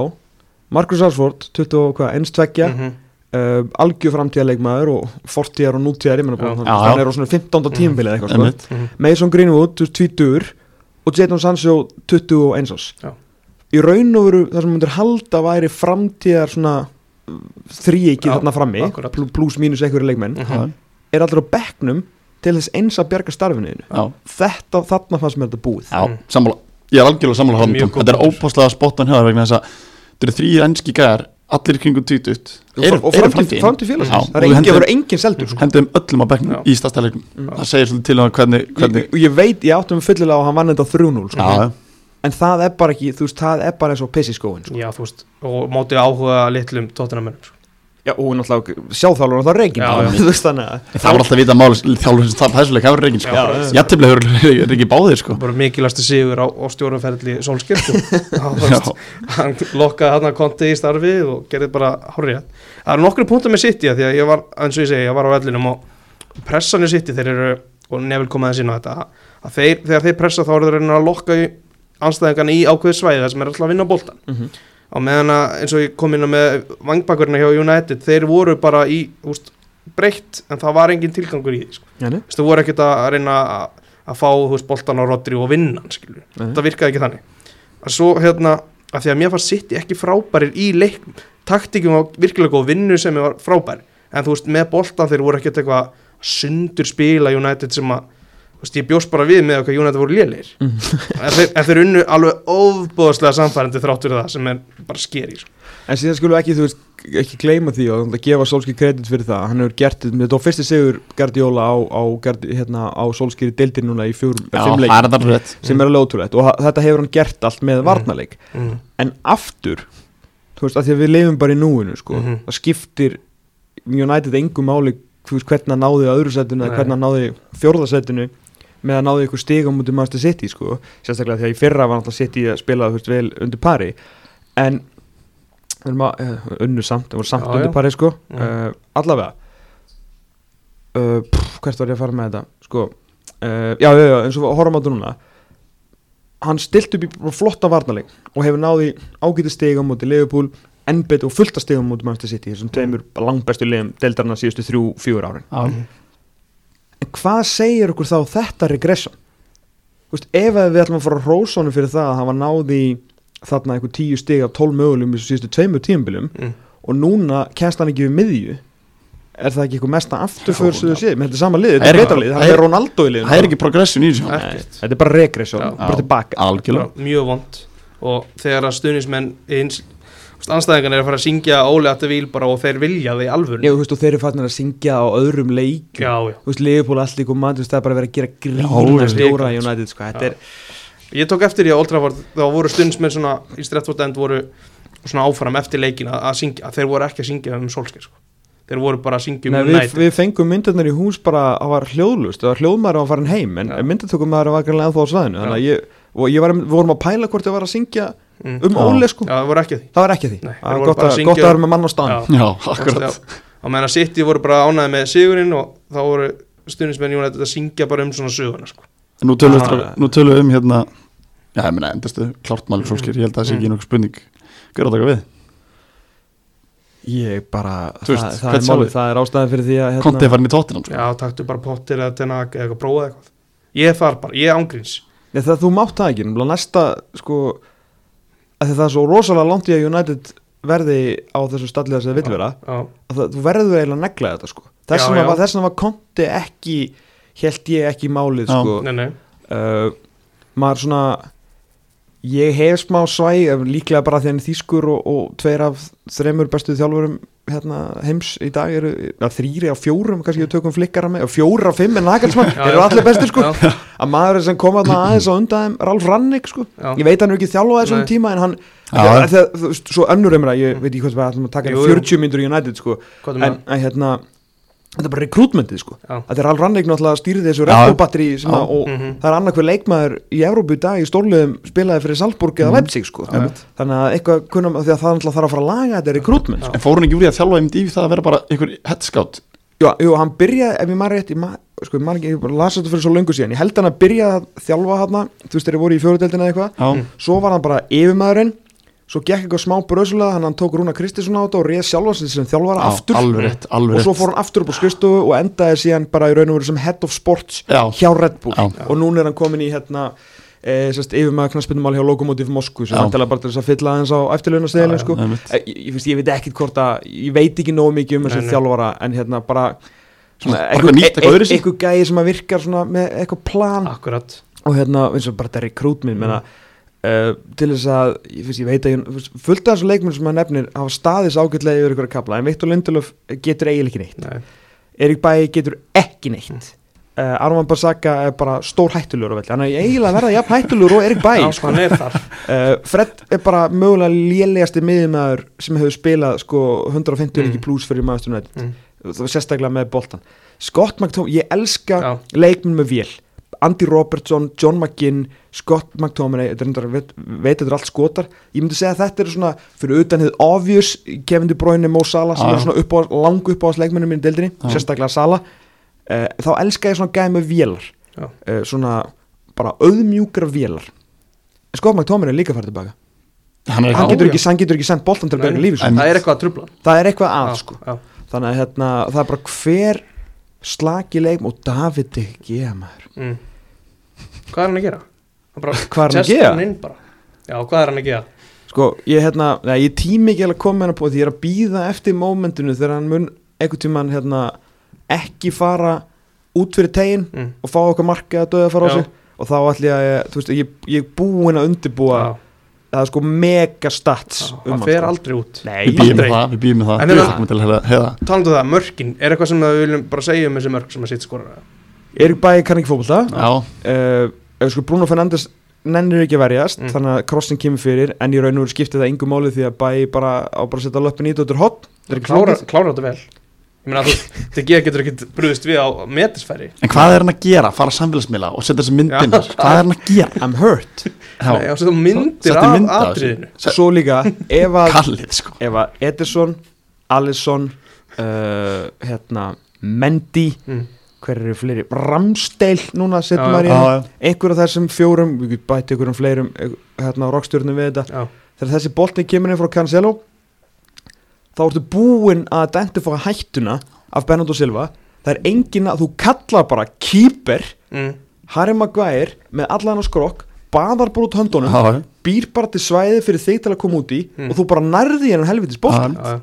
Speaker 3: Marcus Rashford, 20 og hvað, 1-2 mm
Speaker 1: mhm,
Speaker 3: uh, algjör framtíða leikmaður og fortíðar og nútíðar, ég menna
Speaker 1: Já.
Speaker 3: bara
Speaker 2: Já, já.
Speaker 3: hann er á svona 15. tímabilið eitthvað sko.
Speaker 2: Einmitt.
Speaker 1: Mhm.
Speaker 3: Mason Greenwood, þú veist, 20 og Jadon Sancho 21 árs
Speaker 1: Já.
Speaker 3: í raun og veru það sem myndir halda væri framtíðar svona þríeikið
Speaker 1: Já,
Speaker 3: þarna frammi
Speaker 1: akkurat.
Speaker 3: pl- plus mínus einhverju leikmenn
Speaker 1: mhm.
Speaker 3: er allir á bekknum til þess eins að bjarga starfinuðinu
Speaker 2: já,
Speaker 3: þetta, þarna fannst mér þetta búið
Speaker 2: já,
Speaker 1: Mm.
Speaker 2: sammála ég er algjörlega
Speaker 1: Mjög
Speaker 2: sammála hann
Speaker 1: góð
Speaker 2: þetta er
Speaker 1: punktur.
Speaker 2: ópáslega spottan hefðar vegna þess að þetta eru þrýr enski gæjar allir í kringum títut
Speaker 3: og, og framtíð, framtíð
Speaker 2: Já,
Speaker 3: félagsins
Speaker 2: og við
Speaker 3: það er engin,
Speaker 2: hendum-
Speaker 3: það verður engin seldur sko.
Speaker 2: hendum öllum á bekknum
Speaker 1: Já.
Speaker 2: í stafstæðleikum
Speaker 3: Mm.
Speaker 2: það segir svolítið til um hvernig, hvernig
Speaker 3: og ég veit, ég áttum fullilega og hann vann þetta 3-0 sko.
Speaker 2: já,
Speaker 3: en það er bara ekki, þú veist, það er bara eins og piss í skóin sko.
Speaker 1: já, þú veist og mótið áhuga litlum tóttunamennum sko.
Speaker 3: já, og náttúrulega sjáþálur og það reygin
Speaker 1: Já, já.
Speaker 3: þú veist þannig að
Speaker 2: það var alltaf vita máli þjálfur sem það þessuleik hafa reygin sko.
Speaker 1: Já,
Speaker 3: já.
Speaker 2: jættiflega hefur reygin báðir sko.
Speaker 1: bara mikilastu sigur á, sko. á stjóraferðli sólskirtu
Speaker 2: Já.
Speaker 1: hann lokkaði hann að konti í starfi og gerði bara hárið það eru nokkru punktum með City af því að ég var, eins og ég segi, ég var á vellinum og pressan í City, þeir eru og nefnil komaði sín á þetta að þeir, þegar þeir pressa þá eru þeir að reyna að lokka í anstæðingarna í ákveðu svæði þar sem er alltaf að vinna boltan
Speaker 3: Mhm.
Speaker 1: á meðan að eins og ég kom inn á með vangbakverðina hjá United, þeir voru bara í úst, breytt en það var engin tilgangur í því, sko.
Speaker 3: Já, nei,
Speaker 1: Þú veist, þú voru ekkert að reyna að, að fá þú veist, boltan á Rodri og vinna hann, skilur
Speaker 3: nei.
Speaker 1: þetta virkaði ekki þannig að svo hérna, að því að mér fannst City ekki frábærir í leiknum, taktikum var virkilega góð vinnu sem var frábær en þú veist, með boltan þeir voru ekkert eitthvað sundur spila United sem að þú veist, ég bjóst bara við með okkar United voru lélir
Speaker 3: Mhm.
Speaker 1: en, þeir, en þeir unnu alveg óbúðslega samfærandi þráttur það sem er bara skeri sko.
Speaker 3: En síðan skulum við ekki, þú veist, ekki gleyma því og að gefa Solskjaer kredit fyrir það Hann hefur gert, þetta var fyrsti sigur Gardiola á, á, Gardi- hérna, á Solskjaer deildir núna í fjórum,
Speaker 2: Já,
Speaker 3: fimm
Speaker 2: það
Speaker 3: leik
Speaker 2: er það rétt
Speaker 3: sem er alveg ótrúlegt og ha- þetta hefur hann gert allt með varnarleik
Speaker 1: mm.
Speaker 3: en aftur, þú veist, að því að við leifum bara í núinu, sko,
Speaker 1: Mhm.
Speaker 3: það skiptir United engu máli þú veist, hvernig hann náði öðru setinu eða
Speaker 1: Nei.
Speaker 3: hvernig hann náði fjórðasetinu með að náði ykkur stigum út um Master City, sko sérstaklega því að í fyrra var náttúrulega City að spila þú veist, vel undir pari en við erum að, eh, unnu samt, það voru samt
Speaker 1: Já,
Speaker 3: undir
Speaker 1: já.
Speaker 3: pari, sko
Speaker 1: Já.
Speaker 3: uh, allavega uh, pff, hvert var ég að fara með þetta, sko uh, já, já, já, eins og horfum á þetta núna hann stilt upp í bara flotta varnarleik og hefur náði ágæti stigum mútið Liverpool enn betur og fullta stigum mútið Manchester City þessum tveimur langbestu liðum deildarna síðustu þrjú, fjúur árin
Speaker 2: Já,
Speaker 3: En hvað segir okkur þá þetta regression? Þú Veist, ef að við ætlum að fara að rósa honum fyrir það að hafa náði þarna einhver tíu stig af tól mögulegum í þessu síðustu tveimur tíumbilum
Speaker 1: Mm.
Speaker 3: og núna kæst hann ekki við miðju er það ekki eitthvað mesta afturför sem þú séð með þetta er sama lið, þetta
Speaker 2: Það
Speaker 3: er
Speaker 2: er
Speaker 3: betra
Speaker 2: ekki-
Speaker 3: lið,
Speaker 2: það
Speaker 3: það er
Speaker 2: er-
Speaker 3: Ronaldo í liðinu
Speaker 2: það er ekki progression í þessu
Speaker 1: Nei.
Speaker 3: Nei, þetta er bara regression,
Speaker 1: Já.
Speaker 3: bara
Speaker 2: Já.
Speaker 3: tilbaka
Speaker 2: Algjörlega
Speaker 1: bara mjög vond og þegar að stuðnismenn eins, anstæðingan er að fara að syngja ólega þetta vil bara og þeir vilja það í alvöru
Speaker 3: Já, þú veist, og þeir eru fannir að syngja á öðrum leikjum
Speaker 1: já, já.
Speaker 3: Þú veist, Leifupól allt líka og mann, þú veist, það er bara verið að gera
Speaker 1: Já,
Speaker 3: grína stjóra
Speaker 1: já.
Speaker 3: United, sko, þetta
Speaker 1: Já.
Speaker 3: er
Speaker 1: Ég tók eftir í að Old Trafford þá voru stundsmenn svona í Stratford End voru svona áfram eftir leikin að, að syngja að þeir voru ekki að syngja um Solskjaer sko. þeir voru bara að syngja um
Speaker 3: Nei, við,
Speaker 1: United
Speaker 3: við fengum myndirnar í hús bara það var hljóðlust, það var hljóðmaður að farin heim en
Speaker 1: Já.
Speaker 3: ja. myndirtökum maður var greinlega ennþá á svæðinu þannig að ég, og ég var, við vorum að pæla hvort ég var að syngja
Speaker 1: mm.
Speaker 3: um
Speaker 2: Já.
Speaker 3: Óle sko,
Speaker 1: Já, það voru ekki að því
Speaker 3: það var ekki að því
Speaker 1: Nei, þeir
Speaker 3: það
Speaker 1: voru
Speaker 3: var gott
Speaker 1: bara
Speaker 3: að,
Speaker 1: að syngja- um-
Speaker 3: gott að vera með mann á staðan
Speaker 1: Já.
Speaker 2: Já, akkurat
Speaker 1: Já. Á meðan að City voru bara ánæði með sigurinn og þá voru stundsmenn United að syngja bara um svona söguna sko.
Speaker 2: En Nú tölum,
Speaker 3: Já.
Speaker 2: við, strá- nú tölum við um hérna Já, ég meina endastu klárt málum sólskir Ég held að það sé ekki nokkuð spurning Hver er að taka við?
Speaker 3: ég bara,
Speaker 2: Þú veist,
Speaker 3: það, það
Speaker 2: hvern
Speaker 3: er
Speaker 2: sjáum
Speaker 3: málið
Speaker 2: við?
Speaker 3: það er ástæðan fyrir því að hérna-
Speaker 2: Konti er farin í tóttinam sko.
Speaker 1: Já, taktu bara pottir eða tenag eða eitthvað, prófaði eitthvað Ég þar bara, ég ángríns
Speaker 3: Nei, það þú mátt það ekki, nefnilega næsta sko, að því það er svo rosalega langt í að United verði á þessu stallið sem það vil vera,
Speaker 1: Já,
Speaker 3: að það, þú verður eiginlega að negla þetta sko,
Speaker 1: Já,
Speaker 3: þess
Speaker 1: já.
Speaker 3: vegna var, þess vegna var Konti ekki, held ég ekki málið
Speaker 2: Já.
Speaker 3: sko,
Speaker 1: nei, nei
Speaker 3: uh, maður svona ég hef smá svæ eh, líklega bara því hann er þýskur og, og tveir af þremur bestu þjálfurum hérna, heims í dag eru ja, þrýri á fjórum, kannski við tökum flikkara með og fjóra af fimm en Nagelsmann
Speaker 1: Já,
Speaker 3: eru
Speaker 1: já.
Speaker 3: allir bestir sko
Speaker 1: Já.
Speaker 3: að maður sem kom að aðeins á undan þeim Ralf Rannik sko,
Speaker 1: Já.
Speaker 3: ég veit hann er ekki þjálfað
Speaker 1: Nei.
Speaker 3: þessum
Speaker 1: Mm.
Speaker 3: tíma en hann,
Speaker 2: Já.
Speaker 3: þegar, þegar, þú veist, svo önnur emra ég veit ekki hvað það var, ætlum að taka
Speaker 1: Jú,
Speaker 3: hann
Speaker 1: jú.
Speaker 3: 40 myndur í United sko,
Speaker 1: Hvað er
Speaker 3: en,
Speaker 1: með
Speaker 3: en hérna þetta er bara rekrútmentið sko
Speaker 1: Já.
Speaker 3: þetta er Ralf Rannik náttúrulega stýrið þessu
Speaker 2: Já.
Speaker 3: rekkóbatteri
Speaker 2: Já.
Speaker 3: og
Speaker 1: Mhm.
Speaker 3: það er annarkver leikmaður í Evrópu í dag í stórliðum spilaði fyrir Salzburg eða
Speaker 2: Mhm.
Speaker 3: Leipzig sko
Speaker 2: Já.
Speaker 3: þannig að eitthvað kunnum því að það náttúrulega þarf að fara að laga þetta er rekrútmenn sko.
Speaker 2: En fór hún ekki úr í að þjálfa einmitt í það að vera bara einhver headscout
Speaker 3: jú, jú, hann byrjaði, ef ég maður rétt ég ma- sko, ég, man ekki, ég bara las þetta fyrir svo löngu síðan ég held hann að byrja að þjálfa hann þú veist þeir voru í fjóruðeldina eða eitthvað
Speaker 2: Já,
Speaker 3: svo var hann bara yfirmaðurinn svo gekk eitthvað smá brösulega hann, hann tók Rúna Kristinsson á þetta og reið sjálfansinn sem þjálfara aftur
Speaker 2: alveg rétt, alveg
Speaker 3: og
Speaker 2: rétt
Speaker 3: svo fór hann aftur upp á skrifstofu og endaði síðan bara í raun og veru sem head of sports
Speaker 2: Já.
Speaker 3: hjá Red Bull
Speaker 2: Já.
Speaker 3: og núna er hann komin í hérna e, sérst, yfir með knarspinnumál hjá Lokomotiv Moskvu sem
Speaker 2: Já.
Speaker 3: hann tala bara til þess að fylla aðeins á
Speaker 1: Já,
Speaker 3: eftirlaunastegilin
Speaker 1: já,
Speaker 3: sko.
Speaker 2: einmitt.
Speaker 3: e, ég, ég, veist, ég veit ekkit hvort að ég veit ekki nógu mikið um
Speaker 1: Nei,
Speaker 3: þessi
Speaker 1: nei.
Speaker 3: þjálfara en hérna bara
Speaker 2: Svona, bara
Speaker 3: einhver-
Speaker 2: eitthvað nýtt, eitthvað
Speaker 3: e-
Speaker 2: öðruvísi. Ah.
Speaker 3: einhver gæi sem að virkar svona með eitthvað plan
Speaker 1: Akkurat
Speaker 3: og hérna eins og bara þetta rekrútminn mm. uh, til þess að ég, fyrst, ég veit að ég, fyrst, fullt af þessu leikmenn sem maður nefnir hafa staðis ágætlega yfir ykkur að kapla en Viktor Lindelöf getur eiginlega ekki neitt
Speaker 1: Nei.
Speaker 3: Erik Bæi getur ekki neitt uh, Arman Basaka er bara stór hættulur á velli, hann er eiginlega að verða jafn hættulur og Erik Bæi
Speaker 1: Já,
Speaker 3: sko.
Speaker 1: hann er þar
Speaker 3: uh, Fred er bara mögulega lélegasti miðjumæður sem hefur spilað sko 150
Speaker 1: Mm.
Speaker 3: mm. plus fyrir maður stundin
Speaker 1: Mm.
Speaker 3: það var sérstaklega með boltan Scott McTominay, ég elska
Speaker 1: Já.
Speaker 3: leikmenn með vél Andy Robertson, John McGinn Scott McTominay, þetta er reyndar- veit, veit þetta er allt skotar, ég myndi segja að þetta er svona fyrir utan hefð obvious Kevin De Bruyne, Mo Salah sem
Speaker 2: Já.
Speaker 3: er svona upp á, lang upp á þess leikmennum í deildinni,
Speaker 2: Já.
Speaker 3: sérstaklega Salah uh, þá elska ég Eh, svona gæði með vélar
Speaker 1: Já.
Speaker 3: uh, svona bara auðmjúkra vélar Scott McTominay er líka farið tilbaka
Speaker 2: hann
Speaker 1: Já,
Speaker 2: er
Speaker 3: hann
Speaker 2: ekki
Speaker 3: getur,
Speaker 1: já.
Speaker 3: ekki, hann getur ekki sendt boltan til að
Speaker 1: Nei,
Speaker 3: bjarga lífi
Speaker 2: en-
Speaker 3: sínu.
Speaker 1: það er eitthvað að trubla hann.
Speaker 3: það er eitthvað að
Speaker 1: Já,
Speaker 3: sko
Speaker 1: já.
Speaker 3: þannig að hérna, það er bara hver slagi leik og David ekki ég maður
Speaker 1: Mm. Hvað er hann að gera? Hann bara
Speaker 3: hvað er hann að
Speaker 1: testar
Speaker 3: gera?
Speaker 1: hann inn bara. Já, hvað er hann að gera?
Speaker 3: sko, ég, hérna, nei, ég tími ekki alveg að koma hérna på því ég er að býða eftir mómentinu þegar hann mun einhvern tímann hérna, ekki fara út fyrir tegin
Speaker 1: Mm.
Speaker 3: og fá okkar markið að döða fara á
Speaker 1: Já.
Speaker 3: sig og þá ætlum ég að, ég- þú veist, ég, ég er búinn að undirbúa
Speaker 1: Já,
Speaker 3: það er sko mega stats
Speaker 1: já,
Speaker 3: um
Speaker 1: hann fer
Speaker 3: sko.
Speaker 1: aldrei út.
Speaker 3: nei,
Speaker 2: við býðum
Speaker 1: aldrei.
Speaker 2: með það, við býðum með það
Speaker 1: En
Speaker 2: við
Speaker 1: hérna-
Speaker 2: þakkum til að heyra- heyra það.
Speaker 1: Talandu um það, mörkin, er eitthvað sem við viljum bara segja um þessi mörk sem að sitt skora?
Speaker 3: Erik Bæði kann ekki fókbalta
Speaker 2: já,
Speaker 3: uh, ef sko Bruno Fernandes nennir ekki að verjast
Speaker 1: Mm.
Speaker 3: þannig að krossin kemur fyrir en í raun og veru skipti það yngu máli því að bæ bara á bara að setja löppin í þetta út úr hot það er ekki
Speaker 1: Klára,
Speaker 3: flókið
Speaker 1: klára þetta vel. Ég meina, þú, DG getur ekkit brúðist við á metisfæri.
Speaker 2: en hvað er hann að gera fara samfélagsmiðla og setja þessi myndin
Speaker 1: Já.
Speaker 2: hvað er hann að gera
Speaker 3: I'm hurt
Speaker 2: Já.
Speaker 1: Nei, og svo myndir
Speaker 2: Settu
Speaker 1: af
Speaker 2: mynd af þessu.
Speaker 1: atriðinu.
Speaker 2: Se-
Speaker 3: svo líka ef að,
Speaker 2: kallið sko
Speaker 3: ef að Ederson Alisson uh, hérna Mendy
Speaker 1: Mm.
Speaker 3: hver eru fleiri Ramsteil núna
Speaker 1: Já,
Speaker 3: setjum
Speaker 1: já.
Speaker 3: maður í
Speaker 2: Já, já.
Speaker 3: einhver af þessum fjórum við getum bætt einhverjum fleirum eh, hérna á rockstjórnum við þetta
Speaker 1: Já,
Speaker 3: þegar þessi boltin kemur inn frá Cancelo þá ertu búinn að identifá hættuna af Bernardo Silva það er engin að þú kallar bara keeper
Speaker 1: mm.
Speaker 3: Harry Maguire með allan á skrokk baðar bara út höndunum,
Speaker 2: Já, já.
Speaker 3: býr bara til svæði fyrir þig til að koma út í
Speaker 1: Mm.
Speaker 3: og þú bara nærði hennan helvitis boltin
Speaker 1: já, já.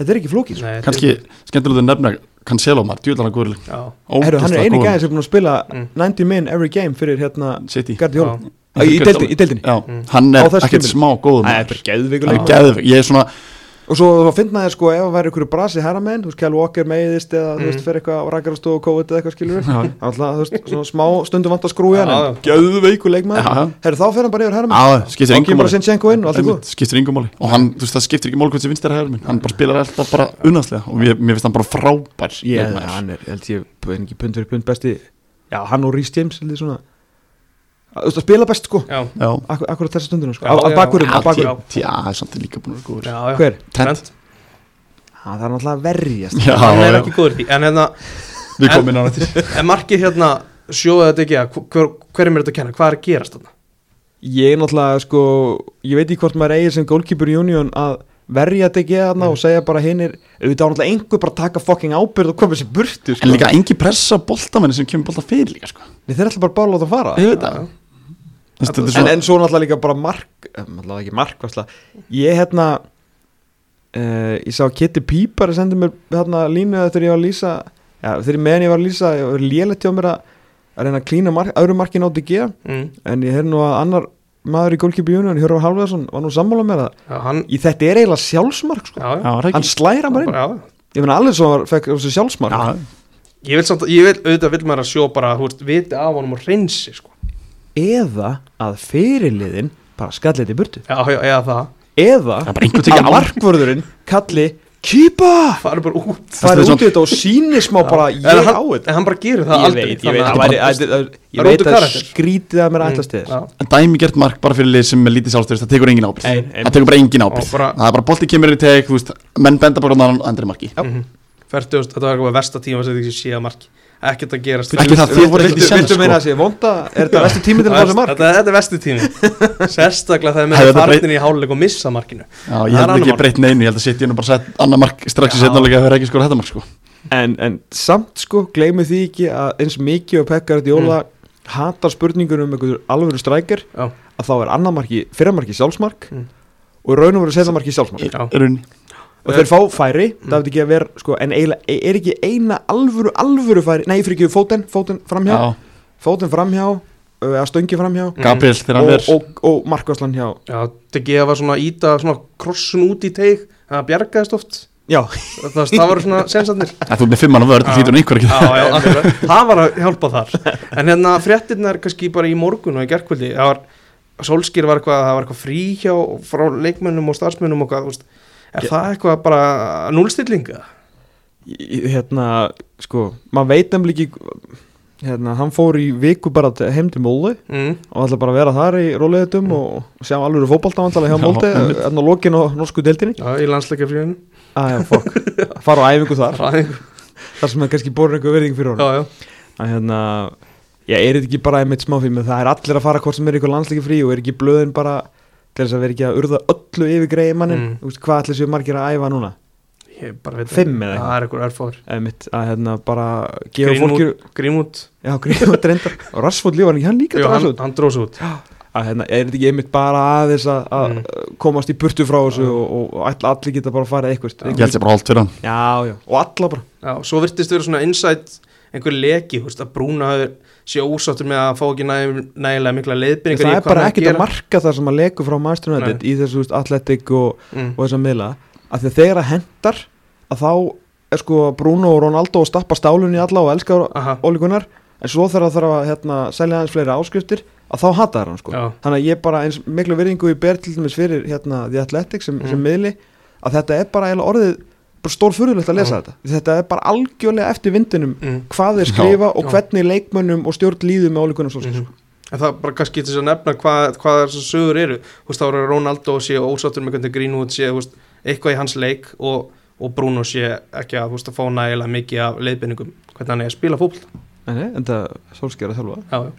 Speaker 3: þetta er ekki flókið, sko.
Speaker 1: Nei, þetta er-
Speaker 2: kannski skemmtilegt að nefna Cancelo maður, djúðlan að góður
Speaker 1: Já,
Speaker 3: herru hann er eini gæðin sem er búinn að spila
Speaker 1: Mm.
Speaker 3: 90 min every game fyrir hérna
Speaker 2: City
Speaker 3: Guardiola,
Speaker 1: já.
Speaker 3: Æ, í deildinni- í deildinni
Speaker 2: Já,
Speaker 1: Mm.
Speaker 2: hann
Speaker 3: Á
Speaker 2: er
Speaker 3: þessu
Speaker 2: ekkert
Speaker 3: tímabili.
Speaker 2: smá góð
Speaker 3: Æ,
Speaker 2: maður
Speaker 3: bara geðveikur
Speaker 2: hann er
Speaker 3: leikmaður.
Speaker 2: geðvig, ég er svona
Speaker 3: og svo þá finna þér sko ef það væri ykkur brasi herramenn, þú veist, Kjell Walker meiðist eða þú veist,
Speaker 1: Mm.
Speaker 3: fer eitthvað á rakarastofu og COVID eða eitthvað skilur
Speaker 2: Já.
Speaker 3: alltaf, þú veist, svona smá stundum vant að
Speaker 1: Já,
Speaker 3: skrúja hann,
Speaker 1: já.
Speaker 3: geðveikur leikmaður
Speaker 2: Já, já.
Speaker 3: herru, þá fer hann bara yfir herramenn
Speaker 2: á, skiptir
Speaker 3: hann
Speaker 2: engum
Speaker 3: kemur bara
Speaker 2: máli
Speaker 3: Sinchenko inn og allt er
Speaker 2: Einmitt,
Speaker 3: góð
Speaker 2: skiptir engum máli og hann, þú veist, það skiptir ekki máli hvernig sem vinst er að hefða minn hann bara spilar alltaf bara unnaslega og mér, mér finnst hann bara frábær leikmaður.
Speaker 3: er, held ég, en ekki pund fyrir pund besti já, hann og Rhys James, held ég svona þú veist, að spila best sko
Speaker 1: já,
Speaker 2: já,
Speaker 3: akkur, akkur þessa stundinu sko,
Speaker 1: Já,
Speaker 3: já, að
Speaker 1: já.
Speaker 3: bakurum,
Speaker 2: já,
Speaker 3: að bakurum
Speaker 2: tí- já, það er samt líka búin að vera góður
Speaker 1: já, já.
Speaker 3: hver?
Speaker 2: Trent,
Speaker 3: Hann þarf náttúrulega að verjast
Speaker 2: já,
Speaker 1: Hann er
Speaker 2: já,
Speaker 1: ekki góður í því, en hérna,
Speaker 2: við komum inn á nættir
Speaker 1: en markið hérna, sjóðu þetta ekki að, hver, hverjum er þetta að kenna, hvað er að gerast þarna?
Speaker 3: Ég er náttúrulega sko Ég veit ekki hvort maður eigið sem goalkeeper union að verja þetta ekki aðna og segja bara hinnir auðvitað á náttúrulega einhver bara að taka fucking ábyrð og koma sér burtu sko.
Speaker 2: en líka engi pressa boltamenni sem kemur bolta fyrir líka sko.
Speaker 3: Nei, Þeir ætla bara bara að láta fara
Speaker 2: ég veit það
Speaker 1: Já.
Speaker 2: Þú veist, þetta er
Speaker 3: en,
Speaker 2: svona-
Speaker 3: en svo náttúrulega líka bara mark eh, náttúrulega ekki mark varsla. Ég hérna uh, Ég sá Kitty Pípari sendi mér hérna línu þegar ég var að lýsa ja, þegar meðan ég var að lýsa ég var lélegt hjá mér að, að reyna að klína mark, öðru markin á DG
Speaker 1: Mm.
Speaker 3: en ég heyr nú að annar maður í goalkeeper union, Hjörvar Hálfðarsson var nú sammála með það
Speaker 1: Já, hann,
Speaker 3: í þetta er eiginlega sjálfsmark sko.
Speaker 1: já, já.
Speaker 2: Já, það er
Speaker 3: hann
Speaker 2: ekki-
Speaker 3: slæra bara inn
Speaker 1: Bara, já, já.
Speaker 3: ég meina allir svo fekk þessu sjálfsmark
Speaker 2: Já,
Speaker 1: Ég vil samt, ég vil, auðvitað vil maður að sjó bara, þú veist, viti af honum og reynsi, sko.
Speaker 3: eða að fyrirliðin bara skalli þetta í burtu
Speaker 1: Já, já, eða það.
Speaker 3: eða
Speaker 2: það er bara einhvern
Speaker 3: að
Speaker 2: tekið á
Speaker 3: markvörðurinn kalli kýpa
Speaker 1: Farið bara út.
Speaker 3: farið
Speaker 2: er
Speaker 3: út í þetta og síni smá bara ég
Speaker 1: En
Speaker 3: á
Speaker 1: hann,
Speaker 3: þetta
Speaker 1: En hann bara gerir það aldrei. þannig
Speaker 3: það
Speaker 1: að-
Speaker 3: væri- að- að- að-
Speaker 1: Það
Speaker 3: ég
Speaker 1: er
Speaker 3: veit
Speaker 1: óttu
Speaker 3: að
Speaker 1: karakter.
Speaker 3: skrítið að mér
Speaker 1: Mm,
Speaker 3: ætlast til
Speaker 1: já.
Speaker 3: þess
Speaker 2: En dæmigert mark bara fyrir lið sem er lítið sjálfstöðist það tekur engin ábyrgð
Speaker 3: Ein- ein-
Speaker 2: það tekur bara engin
Speaker 1: Og
Speaker 2: ábyrgð
Speaker 1: bara-
Speaker 2: það er bara bolti kemur í teg þú veist, menn benda bara á hann andri marki
Speaker 1: Mhm. Fertugust, þetta var eitthvað versta tíma sem þið ekki séð að marki. Ekkert að gerast.
Speaker 2: Ekki það, þið voru ekki
Speaker 3: viltu
Speaker 2: í sens
Speaker 3: viltu
Speaker 2: sko.
Speaker 3: meina að sé vonda er þetta vestu tími til að fá þessu mark
Speaker 1: Þetta, þetta er vesti tími Sérstaklega það er með
Speaker 2: Hefði
Speaker 1: að
Speaker 2: þetta
Speaker 1: farnir í háluleik og missa markinu
Speaker 2: Já,
Speaker 1: Það er
Speaker 2: ég held
Speaker 1: annað
Speaker 2: ekki
Speaker 1: mál.
Speaker 2: að breyta neinu, ég held að setja hennu bara sett annar mark strax í
Speaker 1: Já.
Speaker 2: setnáleika að það er ekki skora þetta mark sko
Speaker 3: en, en samt sko, gleymi því ekki að eins mikið og Pekkarat Jóla hatar spurningur um einhverjum alvöru strækir
Speaker 1: Já.
Speaker 3: að þá er annamarki, fyrramarki sjálfsmark
Speaker 1: Mm.
Speaker 3: og raunum verið setjamarki sjálfsmark
Speaker 1: Já.
Speaker 2: Í rauninni.
Speaker 3: og þeir fá færi, það hefði ekki að vera sko, en eiginlega er ekki eina alvöru alvöru færi, nei fyrir ekki fóten, fóten
Speaker 2: Já,
Speaker 3: framhjá fóten framhjá, ö, eða stöngi framhjá og,
Speaker 2: Gabriel þegar hann
Speaker 3: og,
Speaker 2: verð
Speaker 3: og, og markvarslan hjá
Speaker 1: Já, Degi var svona að íta svona krossun út í teig það bjargaðist oft
Speaker 3: já,
Speaker 1: það, það var svona sensanir
Speaker 2: Þú ert með fimm mann að
Speaker 1: Já.
Speaker 2: vörð, þú þýtur hann einhver ekki
Speaker 1: Já, já, akkurat. það var að hjálpa þar en hérna fréttirnar kannski bara í morgun og í gerkvöldi það var, Solskýr var eitthvað það var eitthvað frí hjá frá leikmönnum og starfsmönnum og hvað, þú veist er það eitthvað bara núlstillinga?
Speaker 3: Í- hérna, sko maður veit nefnilega ekki hérna, hann fór í viku bara til- heim til Móli
Speaker 1: Mm.
Speaker 3: og ætla bara að vera þar í róleðutum og sjá alveg fótbolta vantalega hjá
Speaker 2: Já,
Speaker 3: Molde
Speaker 2: einmitt.
Speaker 3: en á lokin og norsku deildinni
Speaker 1: Já, í landsleikafríðinu
Speaker 3: að já, fokk, fara á æfingu þar
Speaker 1: Já,
Speaker 3: þar sem það kannski borur einhver verðing fyrir honum
Speaker 1: já,
Speaker 3: að hérna, Já, er þetta ekki bara einmitt smáfími það er allir að fara hvort sem er ykkur landsleiki frí og er ekki blöðin bara til þess að vera ekki að urða öllu yfir greiði mannin
Speaker 1: Mm.
Speaker 3: Þú veist, hvað allir séu margir að æfa núna
Speaker 1: Ég bara veit
Speaker 3: Fimm
Speaker 1: ekki.
Speaker 3: eða eitthvað?
Speaker 1: Það er einhver örfóður
Speaker 3: einmitt að hérna bara gefa fólki
Speaker 1: Greenwood, Greenwood
Speaker 3: já, greiði og dreynda og Rassfóld lífa hann ekki, hann líka
Speaker 1: Jú,
Speaker 3: drast
Speaker 1: hann,
Speaker 3: út
Speaker 1: hann drós út
Speaker 3: að hérna, er þetta ekki einmitt bara aðeins að, að
Speaker 1: Mm.
Speaker 3: komast í burtu frá þessu og, og, og all- allir geta bara að fara eitthvað
Speaker 2: Ég held sér bara hálft fyrir hann
Speaker 3: já, já, og alla bara
Speaker 1: Já, svo virtist vera svona insight einhver leki, þú veist, að Brúna hafi- sé ósáttur með að fá ekki næ, nægilega mikla leiðbyrningar
Speaker 3: það er bara ekkert að marka það sem að leku frá Master United í þessu þú veist, atletik og,
Speaker 1: mm.
Speaker 3: og þess að miðla að því að þegar að hendar að þá er sko Bruno og Ronaldo að stappa stálun í alla og elska
Speaker 1: Aha,
Speaker 3: ólíkunar en svo þegar það þarf að hérna, selja aðeins fleiri áskriftir að þá hata hann sko
Speaker 1: já,
Speaker 3: þannig að ég bara eins miklu virðingu ég ber til dæmis fyrir hérna The Athletic sem,
Speaker 1: Mm.
Speaker 3: sem miðli að þetta er bara eiginlega orðið bara stór að lesa
Speaker 1: Já.
Speaker 3: þetta þetta er bara algjörlega eftir vindinum
Speaker 1: mm.
Speaker 3: hvað þeir skrifa og
Speaker 1: Já.
Speaker 3: hvernig leikmönnum og stjórn líður með sko. ólíkunar svolsins
Speaker 1: Mhm. En það er bara kannski til þess að nefna hvað, hvað þessar sögur eru Þú veist, þá eru Ronaldo sé ósáttur með hvernig Greenwood sé þú veist, eitthvað í hans leik og, og Bruno sé ekki að, þú veist, að fá nægilega mikið af leiðbyrningum hvernig hann er að spila fótboll
Speaker 3: Nei, nei, en það sólskjara þjálfa
Speaker 1: já, já.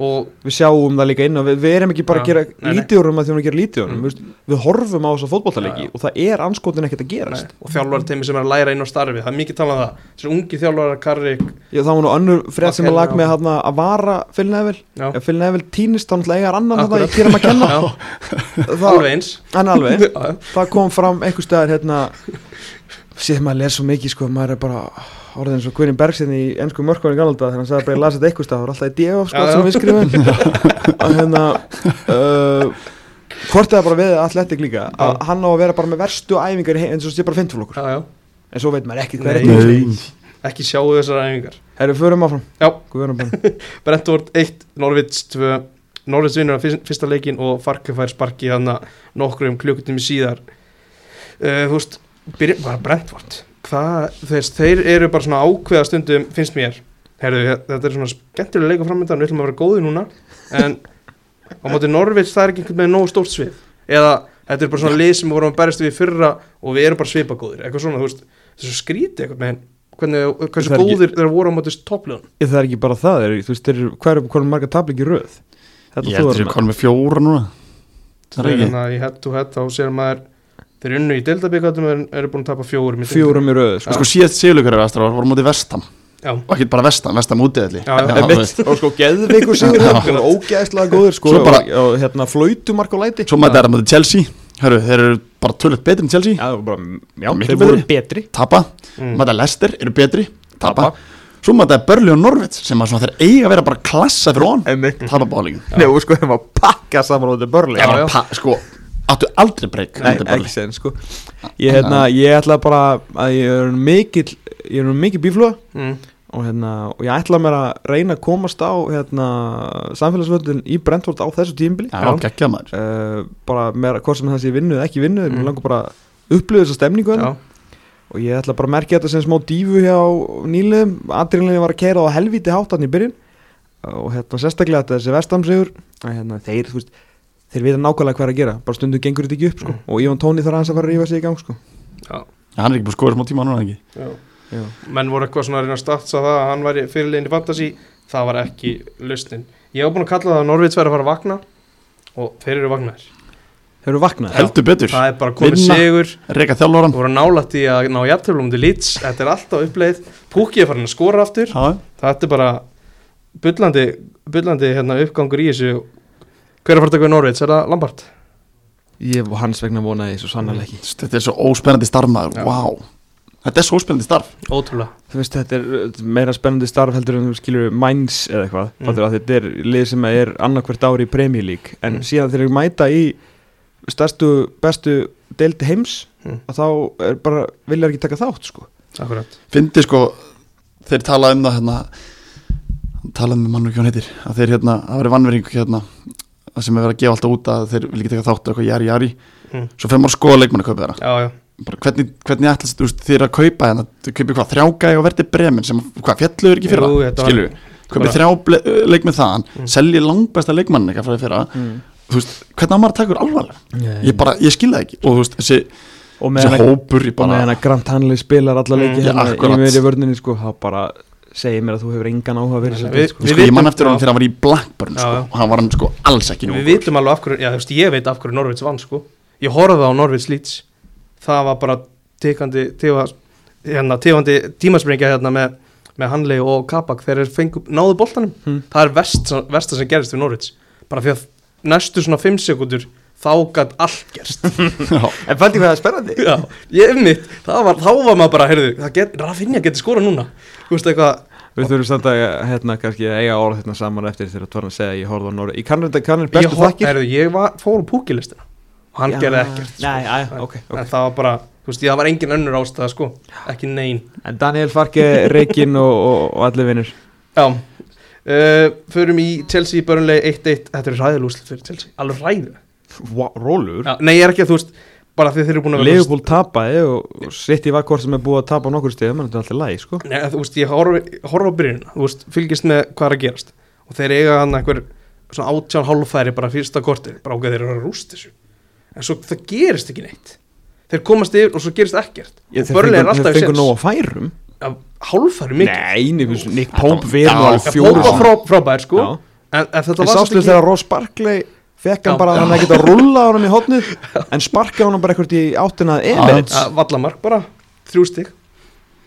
Speaker 1: og
Speaker 3: við sjáum það líka inn og við, við erum ekki bara að
Speaker 1: Já,
Speaker 3: gera
Speaker 1: nei, nei.
Speaker 3: lítið úr um að því að gera lítið úr um
Speaker 1: Mm.
Speaker 3: mm. við horfum á þessa fótbollaleiki
Speaker 1: Já, já.
Speaker 3: og það er anskotin ekkert að
Speaker 1: Nei,
Speaker 3: gerast
Speaker 1: og þjálfarteimi sem er að læra inn á starfi það er mikið talað um það, þessi ungi þjálfarar Karrik,
Speaker 3: Já, það var nú önnur frétt sem að lag með hana, að vara Phil Neville,
Speaker 1: já,
Speaker 3: ef Phil Neville týnist þá náttúrulega eigar annan það
Speaker 1: Akkurat.
Speaker 3: ég gerum að kenna
Speaker 1: já,
Speaker 3: það,
Speaker 1: alveg eins
Speaker 3: en alveg,
Speaker 1: Já,
Speaker 3: það kom fram einhvers staðar hérna séð maður les svo mikið sko, maður er bara orðin eins og Quirin Bergstein í ennsku mörkvæðin galda þegar hann sagði bara ég las þetta einhvers staðar, það var alltaf í DF sko,
Speaker 1: Já, já.
Speaker 3: sem við skrifum og hérna uh, hvort það bara við atletik líka að
Speaker 1: Já.
Speaker 3: hann á að vera bara með verstu æfingar í heim, eins og sé bara fint fyrir okkur
Speaker 1: já, já,
Speaker 3: en svo veit maður ekkert
Speaker 1: Nei.
Speaker 3: hvað er
Speaker 1: Nei.
Speaker 3: ekki
Speaker 1: ekki sjáu þessar æfingar
Speaker 3: herru, förum áfram
Speaker 1: Já.
Speaker 3: Guðjón og Björn.
Speaker 1: Brentford 1, Norvits 2 Norvits vinnur að fyrsta leikin og Farke fær sparki þannig nokkrum klukkutími síðar uh, þú veist, byrjum bara Brentford hvað, þess, þeir eru bara svona ákveða stundum, finnst mér Herðu, þetta er svona skemmtilega leika framöndan við ætlum að vera góði núna en á móti Norvits það er ekki einhvern veginn nógu stórt svið eða þetta er bara svona lið sem við vorum að berjast við í fyrra og við erum bara svipagóðir eitthvað svona, þú veist, þessu skríti eitthvað með hvernig, hversu
Speaker 3: Það er ekki-
Speaker 1: góðir þeir voru á móti topplun
Speaker 3: Ég, það er ekki bara það, er, þú veist, þeir eru hvað eru konum marga tablik í röð þetta
Speaker 2: Ég
Speaker 3: þú
Speaker 2: held
Speaker 3: erum
Speaker 2: sér konum með fjóra núna Það er ekki
Speaker 1: þannig að hérna í head to head þá sér maður þeir unnu í deildabyggandum en eru búin að tapa fjórum í deildinni.
Speaker 3: fjórum í röð sko.
Speaker 2: Og sko síðast sigurleikar er aðstara var mútið vestam
Speaker 1: já,
Speaker 2: Og ekki bara vestam, vestam útið allir
Speaker 1: Já, já.
Speaker 3: Einmitt. og sko geðveikur sigur
Speaker 2: Já.
Speaker 3: og ógeðslega góður sko
Speaker 2: Svo bara-
Speaker 3: og, og hérna flautumark og læti
Speaker 2: Svo mætti það er mútið Chelsea Hörru, þeir eru bara tölvöld betri en Chelsea
Speaker 3: já, það var bara, já
Speaker 2: Miklu
Speaker 3: þeir voru
Speaker 2: betri.
Speaker 3: betri
Speaker 2: Tapa
Speaker 1: mm.
Speaker 2: Mætti að Leicester eru betri Tapa Svo mætti að Börli og Norvits Sem að svona þeir eiga að vera bara klassa fyrir hon
Speaker 3: einmitt
Speaker 2: Tapa bálingin
Speaker 3: Nei, og sko þeim að pakka saman á þetta börli
Speaker 1: Já, já.
Speaker 2: Sko, áttu aldrei breyk
Speaker 3: Nei, ekki sen sko ég, hérna, ég ætla bara að ég er mikill ég er mikill bífluga
Speaker 1: Mm.
Speaker 3: og, hérna, og ég ætla mér að reyna að komast á hérna, samfélagsvöldin í Brentford á þessu tímbili
Speaker 2: Já, geggjað maður
Speaker 3: uh, bara með hvort sem það sé vinnu eða ekki vinnu mm. mér langar bara að upplifa þessa stemningu hérna.
Speaker 1: já,
Speaker 3: og ég ætla bara að merkja þetta sem smá dífu hjá nýliðum, aðdrelinni var að keira á helvíti hátan í byrjun og hérna sérstaklega þetta þessi vestamsegur að hérna þeir, þú veist, þeir vita nákvæmlega hvað er að gera bara stundu gengur þetta ekki upp sko
Speaker 1: Mm.
Speaker 3: og Ívan Tóni þarf aðeins að fara að rífa sig í gang sko
Speaker 1: já,
Speaker 2: Já, hann er ekki bara skoður smá tíma núna ekki
Speaker 1: já.
Speaker 3: Já.
Speaker 1: menn voru eitthvað svona að reyna að statsa það að hann væri fyrirlegin í fantasy það var ekki lausnin ég var búin að kalla það að Norvits væri að fara að vakna og þeir eru vaknaðir
Speaker 3: Þeir eru vaknað
Speaker 2: Heldur betur,
Speaker 1: það er bara komið
Speaker 2: Vinna.
Speaker 1: sigur
Speaker 2: reyka þjálfóran
Speaker 1: og voru nálægt í að ná jafntöflum til lits þetta er alltaf uppleið Pukki er farin að skora aftur
Speaker 2: Já,
Speaker 1: þetta er bara bullandi, bullandi hérna, uppgangur í þessu hver er að fara að taka við Norvits, er það Lampart?
Speaker 3: Ég og hans vegna vonaði svo sannarlega ekki
Speaker 2: Þetta er svo óspennandi starf maður,
Speaker 1: Já.
Speaker 2: wow Þetta er svo óspennandi starf
Speaker 1: Ótrúlega
Speaker 3: Þú veist þetta er uh, meira spennandi starf heldur en þú skilur mæns eða eitthvað
Speaker 1: Mm.
Speaker 3: mm. Þetta er lið sem er annarkvært ári í Premier League en
Speaker 1: Mm.
Speaker 3: síðan þegar þeir mæta í stærstu, bestu deildi heims
Speaker 1: Mm.
Speaker 3: að þá er bara, vilja þeir ekki taka þátt sko
Speaker 1: Akkurat
Speaker 2: Fyndi sko, þeir tala um það hérna Tala um mann og ekki hann heitir Að þeir hérna, það verið vannvering hérna að Sem er verið að gefa alltaf út að þeir vil ekki taka þátt og Eitthvað jari jari
Speaker 1: Mm.
Speaker 2: Svo fyrir maður að skoða leikmann að kaupa þeirra
Speaker 1: Já, já,
Speaker 2: Bara hvernig, hvernig ætlast þú veist, þeir að kaupa hérna Þau kaupi hvað, þrjágæði og verði bremin Sem hvað, fjalluður ekki fyrir
Speaker 1: Jú,
Speaker 2: það
Speaker 1: þetta var-
Speaker 2: Skilur við, kaupi
Speaker 1: bara-
Speaker 2: þrjá leikmið þaðan
Speaker 1: Mm.
Speaker 2: Selji langbesta leikmann eitthvað fyrir þeirra
Speaker 3: mm.
Speaker 2: Þú veist, hvernig á maður að taka úr alvarlega
Speaker 1: Mm.
Speaker 2: ég bara, ég skil það ekki og þú veist, þessi,
Speaker 3: og
Speaker 2: þessi
Speaker 3: meðan að,
Speaker 2: hópur ég
Speaker 3: og
Speaker 2: bara,
Speaker 3: meðan að Grant Hanley spilar alla
Speaker 1: Mm.
Speaker 3: leiki
Speaker 2: Já,
Speaker 3: hérna í
Speaker 2: akkurat.
Speaker 3: meiri vörninni sko þá bara segir mér að þú hefur engan áhuga verið
Speaker 1: Nei,
Speaker 3: sér
Speaker 1: við-
Speaker 3: sko.
Speaker 2: Sko, ég
Speaker 1: vitum-
Speaker 2: mann eftir honum
Speaker 1: já.
Speaker 2: þegar hann var í Blackburn
Speaker 1: Já,
Speaker 2: sko,
Speaker 1: já.
Speaker 2: og hann var hann sko alls
Speaker 1: Við
Speaker 2: ekki nógu góður.
Speaker 1: vitum alveg af hverju, já þú veist, ég veit af hverju Norvits vann sko Ég horfði á Norvits lýts Það var bara tekandi, tefa, hérna, tefandi tímasprengja hérna með, með Hanley og Kabak þegar þeir fengu, náðu boltanum
Speaker 3: Hmm.
Speaker 1: Það er verst, versta sem gerist við Norvits Bara því að næstu svona 5 sekundur þá gætt allt gerst
Speaker 2: Já,
Speaker 3: En fælt ég hvað það er spennandi
Speaker 1: Já, ég mitt, það var, þá var maður bara, heyrðu, það get, Rafinha getur skora núna Þú veist eitthvað,
Speaker 3: Við þurfum samt að hérna kannski að eiga orð hérna saman eftir þegar þú var að segja að ég horfði á Norri Ég kannur þetta kannur
Speaker 1: ég,
Speaker 3: bestu
Speaker 1: hor-
Speaker 3: þakkir
Speaker 1: heyrðu, ég var, fór á púkilistina og hann gerði ekkert sko.
Speaker 3: Nei, að, ok, ok
Speaker 1: en það var bara, þú veist, það var engin önnur ástæða sko, ekki nein
Speaker 3: En Daniel Farke, Reykjinn og, og, og allir vinnur
Speaker 1: já, uh, förum í Chelsea börnlega 1-1, þetta er ræðilúslit fyrir Chelsea, alveg ræðu
Speaker 3: Rólur?
Speaker 1: já, nei, ég er ekki að þú veist, bara því þeir eru búin að vera
Speaker 3: Leifupúl tapaði og og City var hvort sem er búið að tapa á nokkur stegum en þetta er alltaf læg, sko
Speaker 1: nei, þú veist, ég horfa horf á byrjunina, þú veist, fylgist með hvað er að gerast og þeir eiga hann einhver svona átján hálfæri bara fyrsta kortir bara ákveð þeir eru að rúst þessu en svo það gerist ekki neitt þeir komast yfir og svo gerist ekkert og börnlega er alltaf í
Speaker 3: Þeir fengur
Speaker 1: séns
Speaker 3: nóg að færum
Speaker 1: hálfæri mikið
Speaker 3: Nei, nefnir, Nick
Speaker 2: Þetta
Speaker 3: Pope
Speaker 2: var-
Speaker 3: verið
Speaker 2: Já,
Speaker 3: alveg
Speaker 2: Pope
Speaker 3: fjóru
Speaker 1: Hópa
Speaker 2: var
Speaker 1: frá, frábær sko
Speaker 3: Já.
Speaker 1: en, en þetta
Speaker 3: En
Speaker 1: var
Speaker 3: sástu þegar Ross Barkley fekk hann
Speaker 1: Já.
Speaker 3: bara að hann ekkert að rulla á hann í hotnið en sparka hann bara ekkert í áttina að Emirates
Speaker 1: að vallamark bara Þrjú stig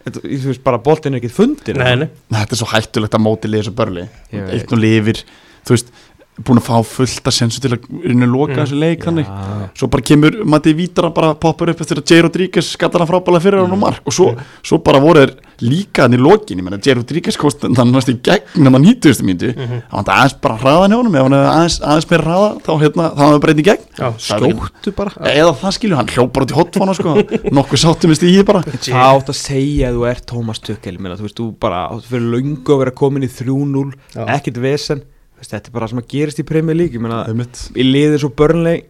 Speaker 3: Þetta- Þú veist bara boltin er ekkert fundin
Speaker 1: Nei, nei
Speaker 2: þetta er svo hættulegt að móti liða þessu börli
Speaker 3: Ég veit.
Speaker 2: eitt og lifir, þú veist búin að fá fullt að sensu til að reyna að loka
Speaker 1: Mm.
Speaker 2: þessu leik þannig
Speaker 3: Já.
Speaker 2: svo bara kemur Matti Vítara bara poppar upp eftir að J. Rodríguez skattar hann frábælega
Speaker 1: Mm.
Speaker 2: fyrir hann og mark og svo, svo bara voru þeir líka hann í lokin ég menna J. Rodríguez kost hann næst í gegn hann hýttuðustu míntu
Speaker 1: Mhm.
Speaker 2: það var aðeins bara hraðan hjá honum ef hann hefði aðeins, aðeins meira hraða þá hérna þá hefði bara einn í gegn
Speaker 1: Já,
Speaker 2: Það er-
Speaker 3: Skjóttu bara
Speaker 2: eða það skilju hann hljópar út í hotfána sko nokkuð sáttum í stíði bara
Speaker 3: Það átt að segja að þú ert Thomas Tuchel minna, þú veist, þú bara átt fyrir löngu að vera komin í 3-0,
Speaker 1: Já.
Speaker 3: ekkert vesen Þú veist, þetta er bara sem að gerist í Premier League ég meina,
Speaker 2: Einmitt.
Speaker 3: í liðið svo börnleg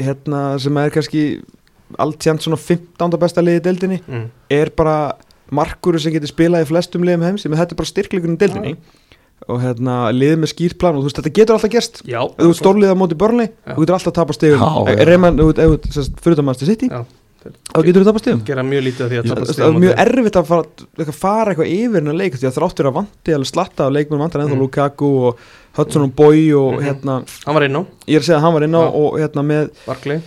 Speaker 3: hérna sem er kannski allt tjent svona 15. besta liðið í deildinni,
Speaker 1: Mm.
Speaker 3: er bara markur sem getur spilað í flestum liðum heims sem þetta er bara styrkleikunum í deildinni og hérna liðið með skýrt plan og þú veist, þetta getur alltaf gerst
Speaker 1: Já
Speaker 3: Ef þú ert stórliðið á móti börnleg,
Speaker 1: Já.
Speaker 3: þú getur alltaf að tapa stegum
Speaker 2: Já, já.
Speaker 3: reyman, þú veist, ef þú ert, sem sagt, fyrir það mannstu sitt í,
Speaker 1: Já.
Speaker 3: þá getur þú tapa stegum
Speaker 1: Gera mjög lítið af því að
Speaker 2: Já,
Speaker 1: tapa
Speaker 3: það
Speaker 1: stigum
Speaker 3: er
Speaker 1: á
Speaker 3: mjög
Speaker 1: móti.
Speaker 3: erfitt að fara, eitthvað, fara eitthvað yfir en að leika því að þráttur að vanti alveg slatta af leikmennum vantar ennþá
Speaker 1: Mm.
Speaker 3: Lukaku og Hudson og Boy og
Speaker 1: Mhm.
Speaker 3: hérna,
Speaker 1: Hann var inn á
Speaker 3: ég er að segja að hann var inn á
Speaker 1: Já.
Speaker 3: og hérna með,
Speaker 1: Barkley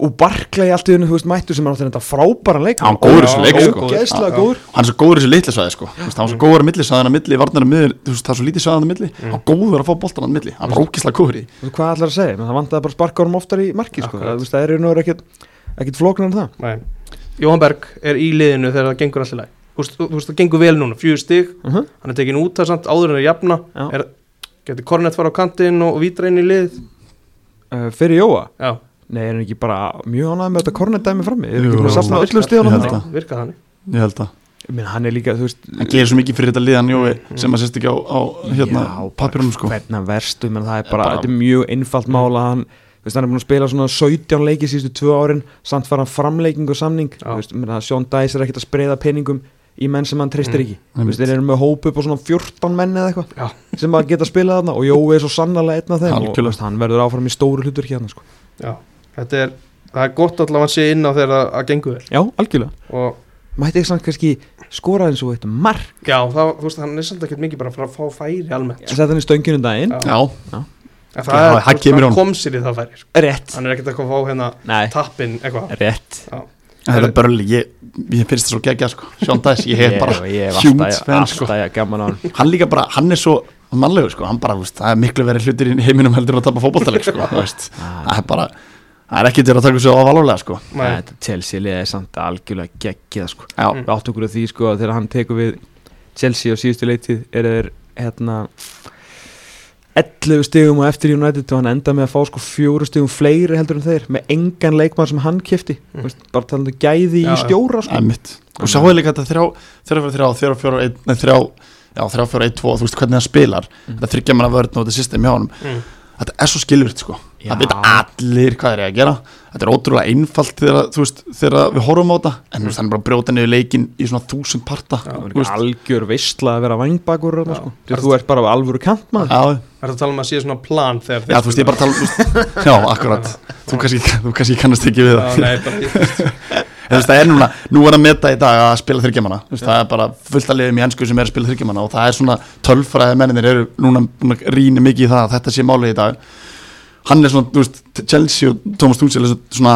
Speaker 3: og Barkley allt í hennu, þú veist, mættu sem er áttið þetta frábæran leik
Speaker 2: Já, hann góður í
Speaker 1: Já,
Speaker 2: þessu leik sko
Speaker 3: Ógeðslega
Speaker 1: Já, já.
Speaker 3: góður
Speaker 2: hann er svo góður í þessu litla svæði sko Þú veist, hann er svo góður að milli svæðan að milli varnar að miður þú veist það er svo lítið svæðan að milli hann er góður að fá boltan að milli hann er rókislega góður í
Speaker 3: Þú veist, Hvað ætlar að segja, Menn það vantaði bara sparkarum oftar í marki sko.
Speaker 1: Akkurat.
Speaker 3: það, þú veist, það er í hennu ekkit, ekkit flóknar en það
Speaker 1: Nei Jóhann Berg er í liðinu þegar það gengur allir læg Þú veist, þú þú veist, það gengur vel núna Fjögur stig
Speaker 3: uh -huh.
Speaker 1: Hann er tekin út það samt Áður en er jafna
Speaker 3: Já.
Speaker 1: er, Getur Kornett fara á kantinn og, og vítra inn í lið
Speaker 3: uh, Fyrir Jóa,
Speaker 1: Já
Speaker 3: nei, er hann ekki bara mjög ánægð með þetta kornetdæmi frammi Er hann
Speaker 2: Jú.
Speaker 3: ekki búin að safna
Speaker 2: á
Speaker 3: öllu stíðan
Speaker 2: held
Speaker 1: Já,
Speaker 2: þetta.
Speaker 1: Virkað hann
Speaker 2: ég held að
Speaker 3: Hann er líka, þú veist,
Speaker 2: hann gerir svo mikið fyrir þetta liðan Jói sem að sérst ekki á, á hérna
Speaker 3: Já, bara
Speaker 2: papirunum sko
Speaker 3: hvernig hann verstu menn það er bara,
Speaker 2: Bara-
Speaker 3: þetta er mjög einfalt mála hann, þú veist, hann er búin að spila svona 17 leiki síðustu tvö árin, samt var hann framleiking og samning,
Speaker 1: Já.
Speaker 3: þú veist, menna, Sean Dice er ekkert að spreða peningum í menn sem hann treystir
Speaker 1: Mm.
Speaker 3: ekki, þú
Speaker 2: Einmitt.
Speaker 3: veist, þeir eru með hóp upp á svona 14 menn eða
Speaker 1: Já.
Speaker 3: eitthvað sem að geta spilað þarna og Jói er svo sannlega einn af þeim og þú
Speaker 2: Algjörlega.
Speaker 3: veist, hann verður áfram í stóru hlutur hérna sko.
Speaker 1: Já Þetta er Það er gott allavega að sé inn á þegar það það gengur vel
Speaker 3: já, algjörlega,
Speaker 1: Og
Speaker 3: mætti ekki samt kannski skora eins og eitt mark,
Speaker 1: Já, það, þú veist, hann er samt ekkert mikið bara að fara að fá færi almennt
Speaker 3: sett hann í stönginu daginn,
Speaker 1: Já.
Speaker 2: já
Speaker 1: En
Speaker 2: Já,
Speaker 1: það,
Speaker 2: það
Speaker 1: er, þú
Speaker 2: kemur
Speaker 1: veist, hann
Speaker 2: honum.
Speaker 1: kom sér í það færi sko.
Speaker 3: rétt
Speaker 1: Hann er ekkert eitthvað að fá hérna
Speaker 3: nei,
Speaker 1: tappin eitthvað
Speaker 3: rétt
Speaker 2: En þetta er börli ég ég finnst það svo geggja sko Sean Dice ég hef bara
Speaker 3: ég hef
Speaker 2: huge
Speaker 3: alltaf,
Speaker 2: fan,
Speaker 3: alltaf
Speaker 2: sko.
Speaker 3: ja, gaman á hann
Speaker 2: hann líka bara hann er svo mannlegur sko hann bara þú veist, það er miklu verið hlutir í heiminum heldur en að tapa fótballtaleik sko þú veist.
Speaker 3: Ah.
Speaker 2: það er bara það er ekki til að taka sér á valulega sko
Speaker 1: Nei,
Speaker 3: Nei, Þetta Chelsea liðið er samt algjörlega geggjað sko.
Speaker 2: já
Speaker 1: Mm.
Speaker 3: Við áttum okkur að því sko að þegar hann tekur við Chelsea á síðustu leitið er þeir hérna 11 stigum á eftir United og hann enda með að fá sko fjóru stigum fleiri heldur en þeir með engan leikmann sem hann kefti
Speaker 1: Mm.
Speaker 3: mm. bara talandi um gæði
Speaker 1: Já,
Speaker 3: í
Speaker 1: já.
Speaker 3: stjóra sko.
Speaker 2: Emmitt Og sjáðu líka þetta þrjá, þrjá fyrir þrjá, þrjá fyrir einn, nei þrjá, já þrjá fyrir einn, tvo, þú veist hvernig það spilar
Speaker 3: Mm.
Speaker 2: Þetta þryggja manna vörðn og þetta system hjá honum
Speaker 1: mm,
Speaker 2: Þetta er svo skilvirt sko
Speaker 3: Já.
Speaker 2: Það vita allir hvað þeir eru að gera Þetta er ótrúlega einfalt þegar, þú veist, þegar við horfum á þetta En þú veist, hann er bara að brjóta niður leikinn í svona þúsund parta
Speaker 1: Já.
Speaker 3: Það var
Speaker 2: Þú
Speaker 3: líka
Speaker 2: veist,
Speaker 3: algjör veistla að vera vangbakur
Speaker 1: Já.
Speaker 3: þarna, sko. Þú- þú ert bara alvöru kantmann
Speaker 2: Já,
Speaker 1: Er það að tala um að sé svona plan þegar
Speaker 2: já, þú veist, ég er bara að tala um, þú veist, já, akkurat Þú kannski, þú kannski kannast ekki við
Speaker 1: Já,
Speaker 2: það
Speaker 1: nei, bara, ég,
Speaker 2: Þetta veist, það er núna, nú er að meta í dag að spila þryggjamanna það er bara fullt að liðum í ennsku sem er að spila þryggjamanna og það er svona tölfræði menninir eru núna búin að rýna mikið í það að þetta sé málið í dag hann er svona, þú veist, Chelsea og Thomas Tuchel er svona,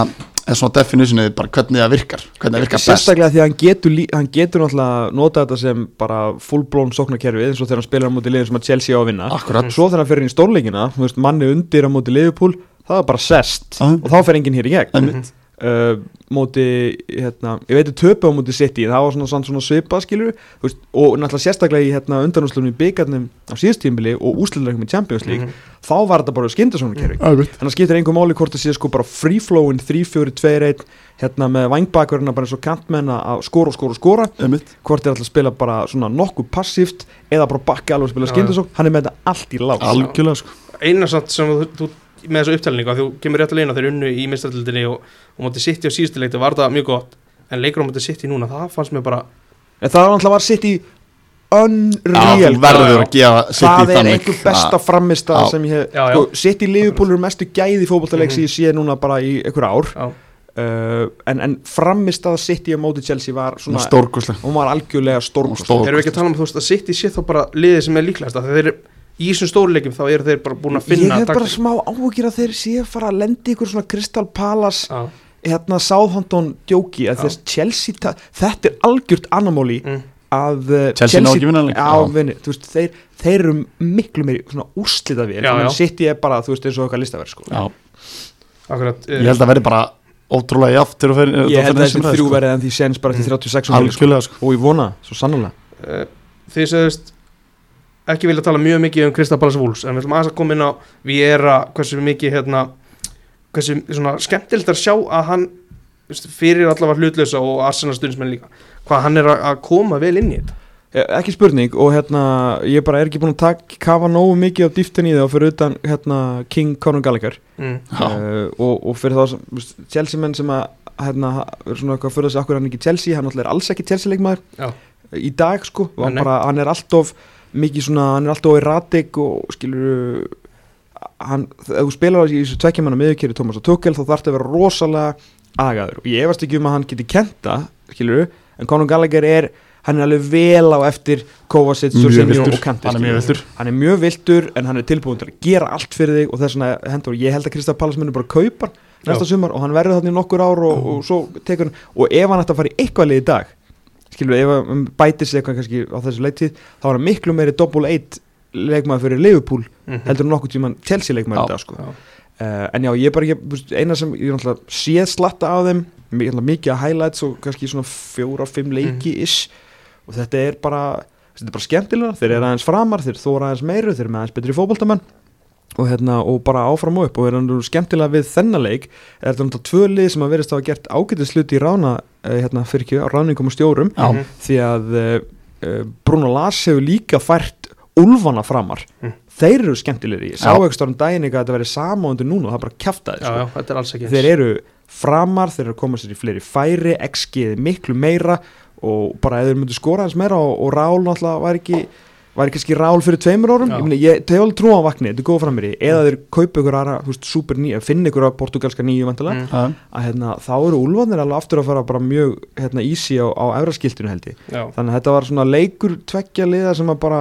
Speaker 2: er svona definitionið bara hvernig það virkar, hvernig það virkar best
Speaker 3: Sérstaklega því að hann getur, lí- hann getur náttúrulega nota þetta sem bara fullblón sóknarkerfi eins og þegar hann spilar á móti liðin sem að Chelsea á að vinna
Speaker 2: Akkurat,
Speaker 3: Svo þegar hann fer inn í stórleikina, þú veist, manni undir á móti Liverpool, það er bara sest
Speaker 2: Aha.
Speaker 3: og þá fer enginn hér í gegn
Speaker 2: einmitt
Speaker 3: uh, móti, hérna, ég veit að töpu á móti City, það var svona, svona, svona svipa skilur veist, og náttúrulega sérstaklega í hérna, undanúslunum í byggarnum á síðustíðinbili og úsliðleikum í Champions League
Speaker 2: Mhm.
Speaker 1: Mhm.
Speaker 3: þá var þetta bara skyndasóknarkerfi
Speaker 2: Alveg.
Speaker 3: þannig að skiptir einhver máli hvort það sé sko bara free flowin 3-4-2-1 hérna með vangbakurina bara eins og kantmenna að skora og skora og skora
Speaker 2: Einmitt.
Speaker 3: hvort er alltaf að spila bara svona nokkuð passíft eða bara bakka alveg að spila
Speaker 1: Já,
Speaker 3: skindasókn hann er með þetta allt í lás
Speaker 2: algjörlega sko
Speaker 1: eina samt sem þú, þú með þessu upptalningu að þú kemur rétt að leina þeir unnu í mistaldildinni og, og móti sitt í á síðustu leikti var það mjög gott en leikur á móti sitt í núna, það fannst mér bara
Speaker 3: en það er alltaf var sitt í
Speaker 2: Já, þú
Speaker 3: unreal
Speaker 2: verður að gefa
Speaker 3: það
Speaker 2: City
Speaker 3: er
Speaker 2: þannig.
Speaker 3: einhver besta framista
Speaker 2: Já.
Speaker 3: sem ég hef
Speaker 1: Já, já.
Speaker 3: sko, sitt í liðupólur mestu gæði fótboltaleik sem ég sé núna bara í einhver ár
Speaker 1: já,
Speaker 3: uh, en, en framistað sitt í á móti Chelsea var
Speaker 2: svona
Speaker 3: svona,
Speaker 2: stórkoslega
Speaker 3: hún var algjörlega stórkost
Speaker 2: Stór-
Speaker 1: erum við ekki að tala um þú veist að sitt í sé þá bara liðið sem er líklegast að þeir í þessum stórleikum þá eru þeir bara búin að
Speaker 3: ég
Speaker 1: finna
Speaker 3: hef bara
Speaker 1: taktík.
Speaker 3: smá áhugir að þeir séu að fara að lendi ykkur svona Crystal Palace
Speaker 1: Já.
Speaker 3: hérna Southampton djóki að
Speaker 1: Já.
Speaker 3: þess Chelsea, ta- þetta er algjört anamóli
Speaker 1: Mm.
Speaker 3: að uh,
Speaker 2: Chelsea ná ekki að vinna leik.
Speaker 3: á,
Speaker 2: Já.
Speaker 3: vinni, þú veist, þeir, þeir eru miklu meiri svona úrslita við
Speaker 1: Já, já.
Speaker 3: sitt ég bara, þú veist, eins og okkar listaverð sko.
Speaker 2: Já,
Speaker 1: Akkurat, eh,
Speaker 2: ég held að verði bara ótrúlega jaft til að fer
Speaker 3: ég held að
Speaker 2: þessum
Speaker 3: þessi
Speaker 2: ræð,
Speaker 3: þrjú
Speaker 2: sko.
Speaker 3: verið en því sens bara til 36 mánuði, sko.
Speaker 2: algjörlega sko
Speaker 3: og ég vona, það, svo sannlega
Speaker 1: uh, þið segðist ekki vilja tala mjög mikið um Kristapalas Wolves en við ætlum aðeins að koma inn á Viera hversu mikið hérna hversu svona skemmtilt að sjá að hann þú veist, fyrir allavega hlutlösa og Arsenal stundsmenn líka hvað hann er að- að koma vel inn í þetta
Speaker 3: Eh, ekki spurning og hérna ég bara er ekki búin að taka, kafa nógu mikið á dýftin í það og fyrir utan hérna King Conor Gallagher
Speaker 1: mm.
Speaker 2: Já,
Speaker 3: uh, og, og fyrir þá sem, þú veist, Chelsea menn sem að hérna, ha- eru svona eitthvað að fyrir þessi akkur er hann ekki Chelsea, hann náttúrulega er alls ekki Chelsea leikmaður
Speaker 1: Já.
Speaker 3: í dag sko, og hann,
Speaker 1: Nei, nei.
Speaker 3: bara, hann er alltof mikið svona, hann er alltof erratik og skilur hann, ef þú spilar í þessu tvekkjumanna miðurkeri Thomas og Tukkel þá þarf það að vera rosalega agaður og ég efast ekki um að hann geti kenta skilur, en Conor Gallagher er hann er alveg vel á eftir Kovacic,
Speaker 2: Mjög
Speaker 3: Jorginho
Speaker 2: villtur.
Speaker 3: og Kanti
Speaker 2: Hann er mjög
Speaker 3: skilurðu
Speaker 2: viltur
Speaker 3: hann er mjög viltur en hann er tilbúin til að gera allt fyrir þig og þess vegna hendur ég held að Kristaf Pallas munir bara kaupa hann næsta sumar og hann verður þannig nokkur ár og, og svo tekur hann og ef hann ætti að fara í eitthvað lið í dag skilur við, ef hann bætir sig eitthvað kannski á þessu leittíð þá er hann miklu meiri double eight leikmaður fyrir Liverpool
Speaker 1: Mm
Speaker 3: heldur en nokkuð tímann Chelsea leikmaður
Speaker 2: Já,
Speaker 3: í dag sko.
Speaker 1: já.
Speaker 3: uh, en já, ég er bara ekki þú veist, eina sem ég er náttúrulega séð slatta á þeim mi- náttúrulega mikið að highlights og kannski svona fjóra, fimm leiki ish og þetta er bara þetta er bara skemmtilega, þeir eru aðeins framar þeir þóra aðeins meiru, þeir eru með aðeins betri fótboltamenn og, hérna, og bara áfram og upp og er hann skemmtilega við þennan leik er þetta náttúrulega tvö lið sem að verðist hafa gert ágætis hluti í rána eh, hérna, fyrir ekki á ráningum og stjórum
Speaker 2: Já,
Speaker 1: Mhm.
Speaker 3: því að uh, Bruno Lars hefur líka fært Ulfana framar
Speaker 1: Mm.
Speaker 3: þeir eru skemmtilegri, ég sá
Speaker 2: Já.
Speaker 3: ekki stórum daginn eitthvað að þetta verið samáundu núna og það er bara kjaftaði
Speaker 1: já, já, þetta er alls ekki
Speaker 3: þeir eru framar, þeir eru að koma sér í fleiri færi XG er miklu meira og bara ef þeir myndu skora hans meira og, og Rál náttúrulega var ekki var kannski rál fyrir tveimur árum
Speaker 1: Já.
Speaker 3: ég, meni, ég þau alveg trú á vakni, þetta er góð framir í eða þeir kaupa ykkur aðra, þú veist, super nýja finna ykkur aðra portugalska nýju vantilega
Speaker 1: mm.
Speaker 2: já,
Speaker 3: að hérna, þá eru úlfarnir alveg aftur að fara bara mjög hérna, easy á, á efraskiltinu held ég
Speaker 1: já,
Speaker 3: þannig að þetta var svona leikur tveggja liða sem að bara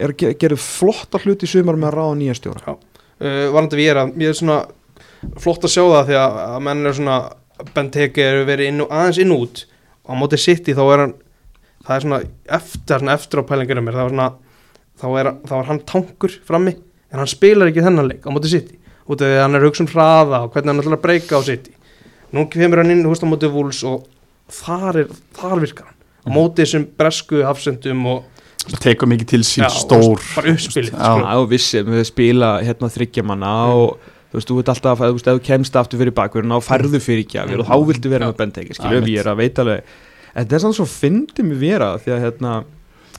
Speaker 3: er að ge- gera flotta hluti í sumar með að ráða nýja stjóra
Speaker 1: uh, varandi Viera, ég er svona flott að sjá það því að, að menn eru svona Benteke eru verið inn, og- aðeins inn og út og á móti sitt í þá er hann það er svona eftir, svona eftir á pælingunum mér, það var svona þá er, þá er hann tankur frammi en hann spilar ekki þennan leik á móti City út af því að hann er að hugsa um hraða og hvernig hann ætlar að breyka á City nú kemur hann inn húst á móti Wolves og þar, er, þar virkar hann á móti þessum bresku hafsendum og
Speaker 2: tekur mikið til sín,
Speaker 1: Já,
Speaker 2: stór
Speaker 1: bara uppspilið,
Speaker 2: Já,
Speaker 1: sko.
Speaker 3: og vissi, við spila hérna þryggjamanna og þú veist, þú veit alltaf, þú veist, ef þú kemst aftur fyrir bakverðin og færðu fyrir gjafir og þá viltu vera með
Speaker 2: Mm.
Speaker 3: bendegi,
Speaker 2: Já,
Speaker 3: skiljum, ég er að veit alveg en þetta er sann svo fyndið mér vera því að hérna,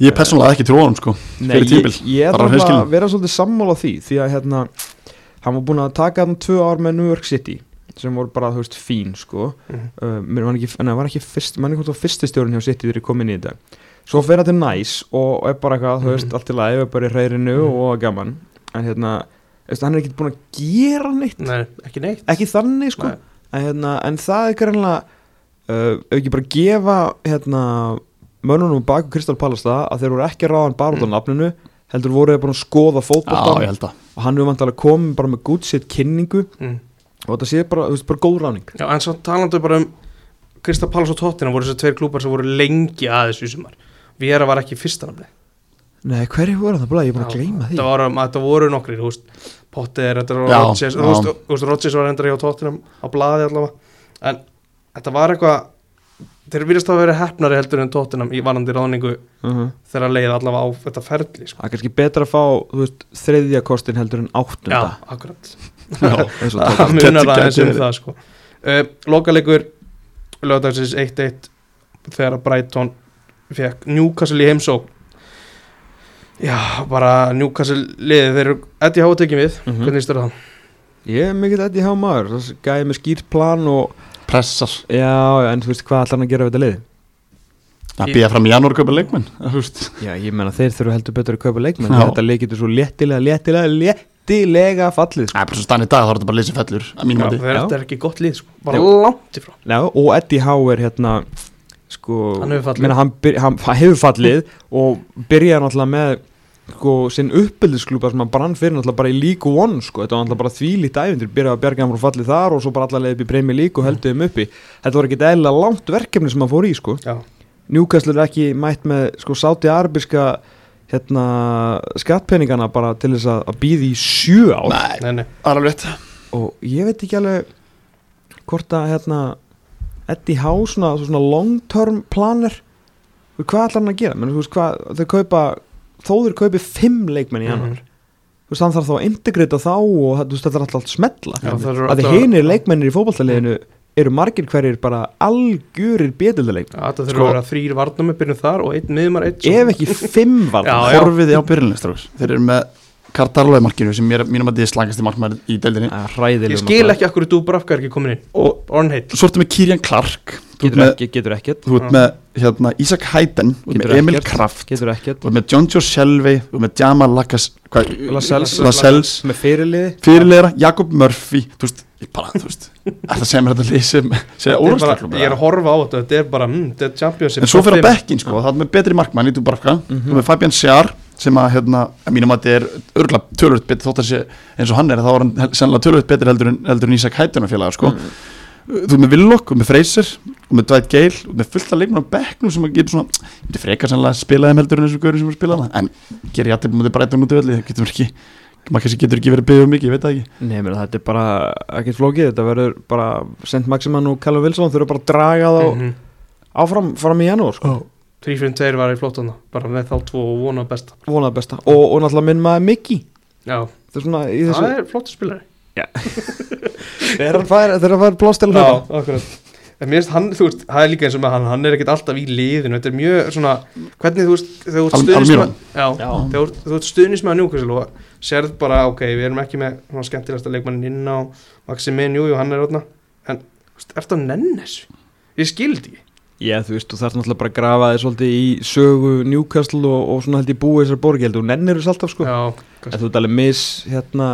Speaker 2: ég er persónulega ekki trúanum sko
Speaker 3: nei,
Speaker 2: Fyrir
Speaker 3: ég,
Speaker 2: tímabil,
Speaker 3: ég er
Speaker 2: bara
Speaker 3: bara
Speaker 2: hreinskilin.
Speaker 3: að vera svolítið sammála því því að hérna, hann var búin að taka þann tvö ár með New York City sem voru bara, þú veist, fín, sko
Speaker 1: Mhm.
Speaker 3: uh, mér var ekki, neða, var ekki fyrst mann ekki hvort það fyrsti stjórn hjá City þegar ég kom inn í þetta svo fer þetta næs og er bara eitthvað, þú veist, allt í lagi, er bara í reyrinu og gaman, en hérna veist, hann er ekki búin að gera neitt
Speaker 1: Nei, ekki neitt
Speaker 3: ekki þannig, sko
Speaker 1: Nei.
Speaker 3: en, hérna, en það er greinlega uh, ef ekki bara gefa hérna, mönnunum baku Kristal Palace það að þeir voru ekki að ráðan bara út af nafninu heldur voru þeir bara að skoða
Speaker 2: Já, ég
Speaker 3: fótboltan
Speaker 2: held að
Speaker 3: og hann hefur vantilega komið bara með good shit kynningu
Speaker 1: mm.
Speaker 3: og þetta sé bara, þú veist, bara góð ráning
Speaker 1: Já, en svo talandu bara um Krista Pallas og Tottenham voru þessi tveir klúpar sem voru lengi að þessu í sumar Viera var ekki í fyrsta namni
Speaker 3: Nei, hverju voru það bara, ég er bara að gleyma því
Speaker 1: þetta, var, þetta voru nokkri, þú veist Potter, þetta var
Speaker 2: Já,
Speaker 1: Rodgers
Speaker 2: já.
Speaker 1: Þú veist, þú veist, Rodgers var hendur hjá Tottenham á blaði allavega en þetta var eitthvað þeir virðast að vera hefnari heldur en Tottenham í varandi ráningu
Speaker 3: uh
Speaker 1: þegar leið allavega á þetta ferli sko.
Speaker 3: Það er kannski betra að fá, þú veist, þriðja kostin heldur en
Speaker 1: Já,
Speaker 3: áttunda
Speaker 1: akkurat
Speaker 3: eins og
Speaker 1: það
Speaker 3: tók
Speaker 1: munar
Speaker 2: hérna. Gæti-
Speaker 1: aðeins um
Speaker 2: gæti
Speaker 1: það sko. uh, Lokalegur lögdagsins 1-1 þegar að Brighton fekk Newcastle í heimsók Já, bara Newcastle liðið, þeir eru Eddie Háa tekið við,
Speaker 3: Mhm.
Speaker 1: hvernig stöður það?
Speaker 3: Ég er mikill Eddie Há maður, þessi gæði með skýrt plan og
Speaker 2: Pressar
Speaker 3: já, já, en þú veist hvað ætlar hann að gera við þetta liði?
Speaker 2: Það býða fram í janúar að kaupa leikmenn þú veist.
Speaker 3: Já, ég menna þeir þurfa heldur betur að kaupa leikmenn
Speaker 2: Já.
Speaker 3: þetta leik getur svo léttilega, léttilega, léttilega fallið sko.
Speaker 2: Það er bara svo stann í dag þá er þetta bara lýsið fellur að mínu
Speaker 1: Já,
Speaker 2: mati
Speaker 1: þeir
Speaker 3: Já.
Speaker 1: þetta er ekki gott lið, sko. bara
Speaker 3: Jú.
Speaker 1: langt í frá
Speaker 3: Já, og Eddie Há er hérna sko,
Speaker 1: Hann hefur fallið.
Speaker 3: meina, hann, byr, hann hann hefur fallið og byrjaði náttúrulega með sko, sinn uppbyldisklúpa sem hann brann fyrir náttúrulega bara í League One sko, þetta var náttúrulega bara þvílít ævindir, byrjaði að bjarga hann frá fallið þar og svo bara allavega upp í Premier League og heldur þeim uppi þetta var ekki eðlilega langt verkefni sem hann fór í sko.
Speaker 1: Já,
Speaker 3: Newcastle er ekki mætt með sko sáti-arbiska hérna, skattpeningana bara til þess að, að býði í sjö ár
Speaker 2: Nei,
Speaker 1: nei, nei,
Speaker 2: það er alveg rétt
Speaker 3: og ég veit ekki alveg hvort að hérna Eddie Howe svona, svona long term planner þú veist, hvað ætlar hann að gera Men, veist, hvað, þau kaupa, þóður kaupi fimm leikmenn í janúar
Speaker 1: Mhm.
Speaker 3: þú veist, hann þarf þá að integrita þá og það- þú veist, þetta er alltaf allt smetla
Speaker 1: Já, það eru
Speaker 3: að
Speaker 1: alltaf-
Speaker 3: því hinir leikmennir í fótballtaliðinu eru margir hverjir bara algjörir betildaleik
Speaker 1: Já, þetta þurfa
Speaker 2: Sko-
Speaker 1: að vera þrýr varnum uppbyrjum þar og einn miðumar, einn svo
Speaker 3: ef ekki fimm var
Speaker 1: Já, já.
Speaker 2: Horfiði á byrjunlistráks Þeir eru með Cardarlo í markinu sem mér, mínum að þið slangast í markmæður í deildinni
Speaker 1: Ég
Speaker 3: Ég
Speaker 1: skil ekki akkur Dúbrafka er ekki komin inn
Speaker 2: Og
Speaker 1: Ornheit,
Speaker 2: svo ertu með Kirian Clark Þú ert
Speaker 3: Getur
Speaker 2: með,
Speaker 3: ekki, getur ekkert
Speaker 2: þú ert með hérna, Isaac Hayden Þú ert
Speaker 3: Getur
Speaker 2: með Emil
Speaker 3: ekkert.
Speaker 2: Kraft
Speaker 3: Getur ekkert
Speaker 2: Þú ert með John Joe Shelby Þú ert með Jamal Lakas
Speaker 3: Lascelles.
Speaker 2: Lascelles
Speaker 3: Með fyrirliði
Speaker 2: Fyrirleira Jakob Murphy Þú veist, ég bara, þú veist Þetta sem er þetta lið sem sem er
Speaker 1: Þetta er bara-
Speaker 2: órastaklum
Speaker 1: ég er að horfa á þetta, þetta er bara, mm, þetta er championship
Speaker 2: En svo fyrir að
Speaker 1: toppin.
Speaker 2: bekkin sko, það er með betri markmann í Dúbarka mm
Speaker 3: Mhm.
Speaker 2: -hmm. með Fabian Sjar sem að hérna, að mínum að þetta er örgulega tölvöld betri þótt að sé eins og hann er þá er hann hel- sennilega tölvöld betri heldur en, heldur en Ísak Hættunar félaga
Speaker 1: Mm.
Speaker 2: sko Þú ert með Villok og með Freyser og með Dwight Gale og með fullt að leikmenn á bekknum sem að getur svona, ég myndi frekar sennilega að spila þeim heldur en þessum gaurum sem er að spila hana en gerir ég aðtipum að þetta breyta hún út í velli, það getur ekki maður kannski getur ekki verið að byggja um mikið, ég veit það ekki
Speaker 3: Nei, meni, þetta er bara ekkert flókið Þetta verður bara Sent Maximan og Callum Wilson Þurfa bara að draga þá
Speaker 1: Mhm.
Speaker 3: áfram Fram í janúar sko.
Speaker 1: 3-5-2 var í flótana bara með þá tvo og vona besta
Speaker 3: Vonað besta og, og náttúrulega minn maður Mickey
Speaker 1: já,
Speaker 3: Það er svona í
Speaker 1: það
Speaker 3: þessu
Speaker 1: er flóttu spilari
Speaker 3: Þeir eru að fara- þeir eru að fara blástil
Speaker 1: já, akkurat en mér finnst hann, þú veist, það er líka eins og með hann hann er ekkert alltaf í liðinu, þetta er mjög svona hvernig þú veist, þegar þú
Speaker 2: Al-
Speaker 1: stuðnismæð
Speaker 2: Almiron.
Speaker 1: já, þegar þú ert- þú ert stuðnismæð njúkvæslu og sérð bara, ok, við erum ekki með svona skemmtilegasta leikmannin inn á Maximin, jú, jú, hann er rótna en, þú veist, eftir að nenni þessu ég skildi ekki,
Speaker 3: Já, þú veist, þú þarf náttúrulega bara að grafa þér svolítið í sögu Newcastle og, og svona held ég búið þessar borgi held ég, og nennir þess alltaf sko
Speaker 1: já,
Speaker 3: En þú ert alveg miss hérna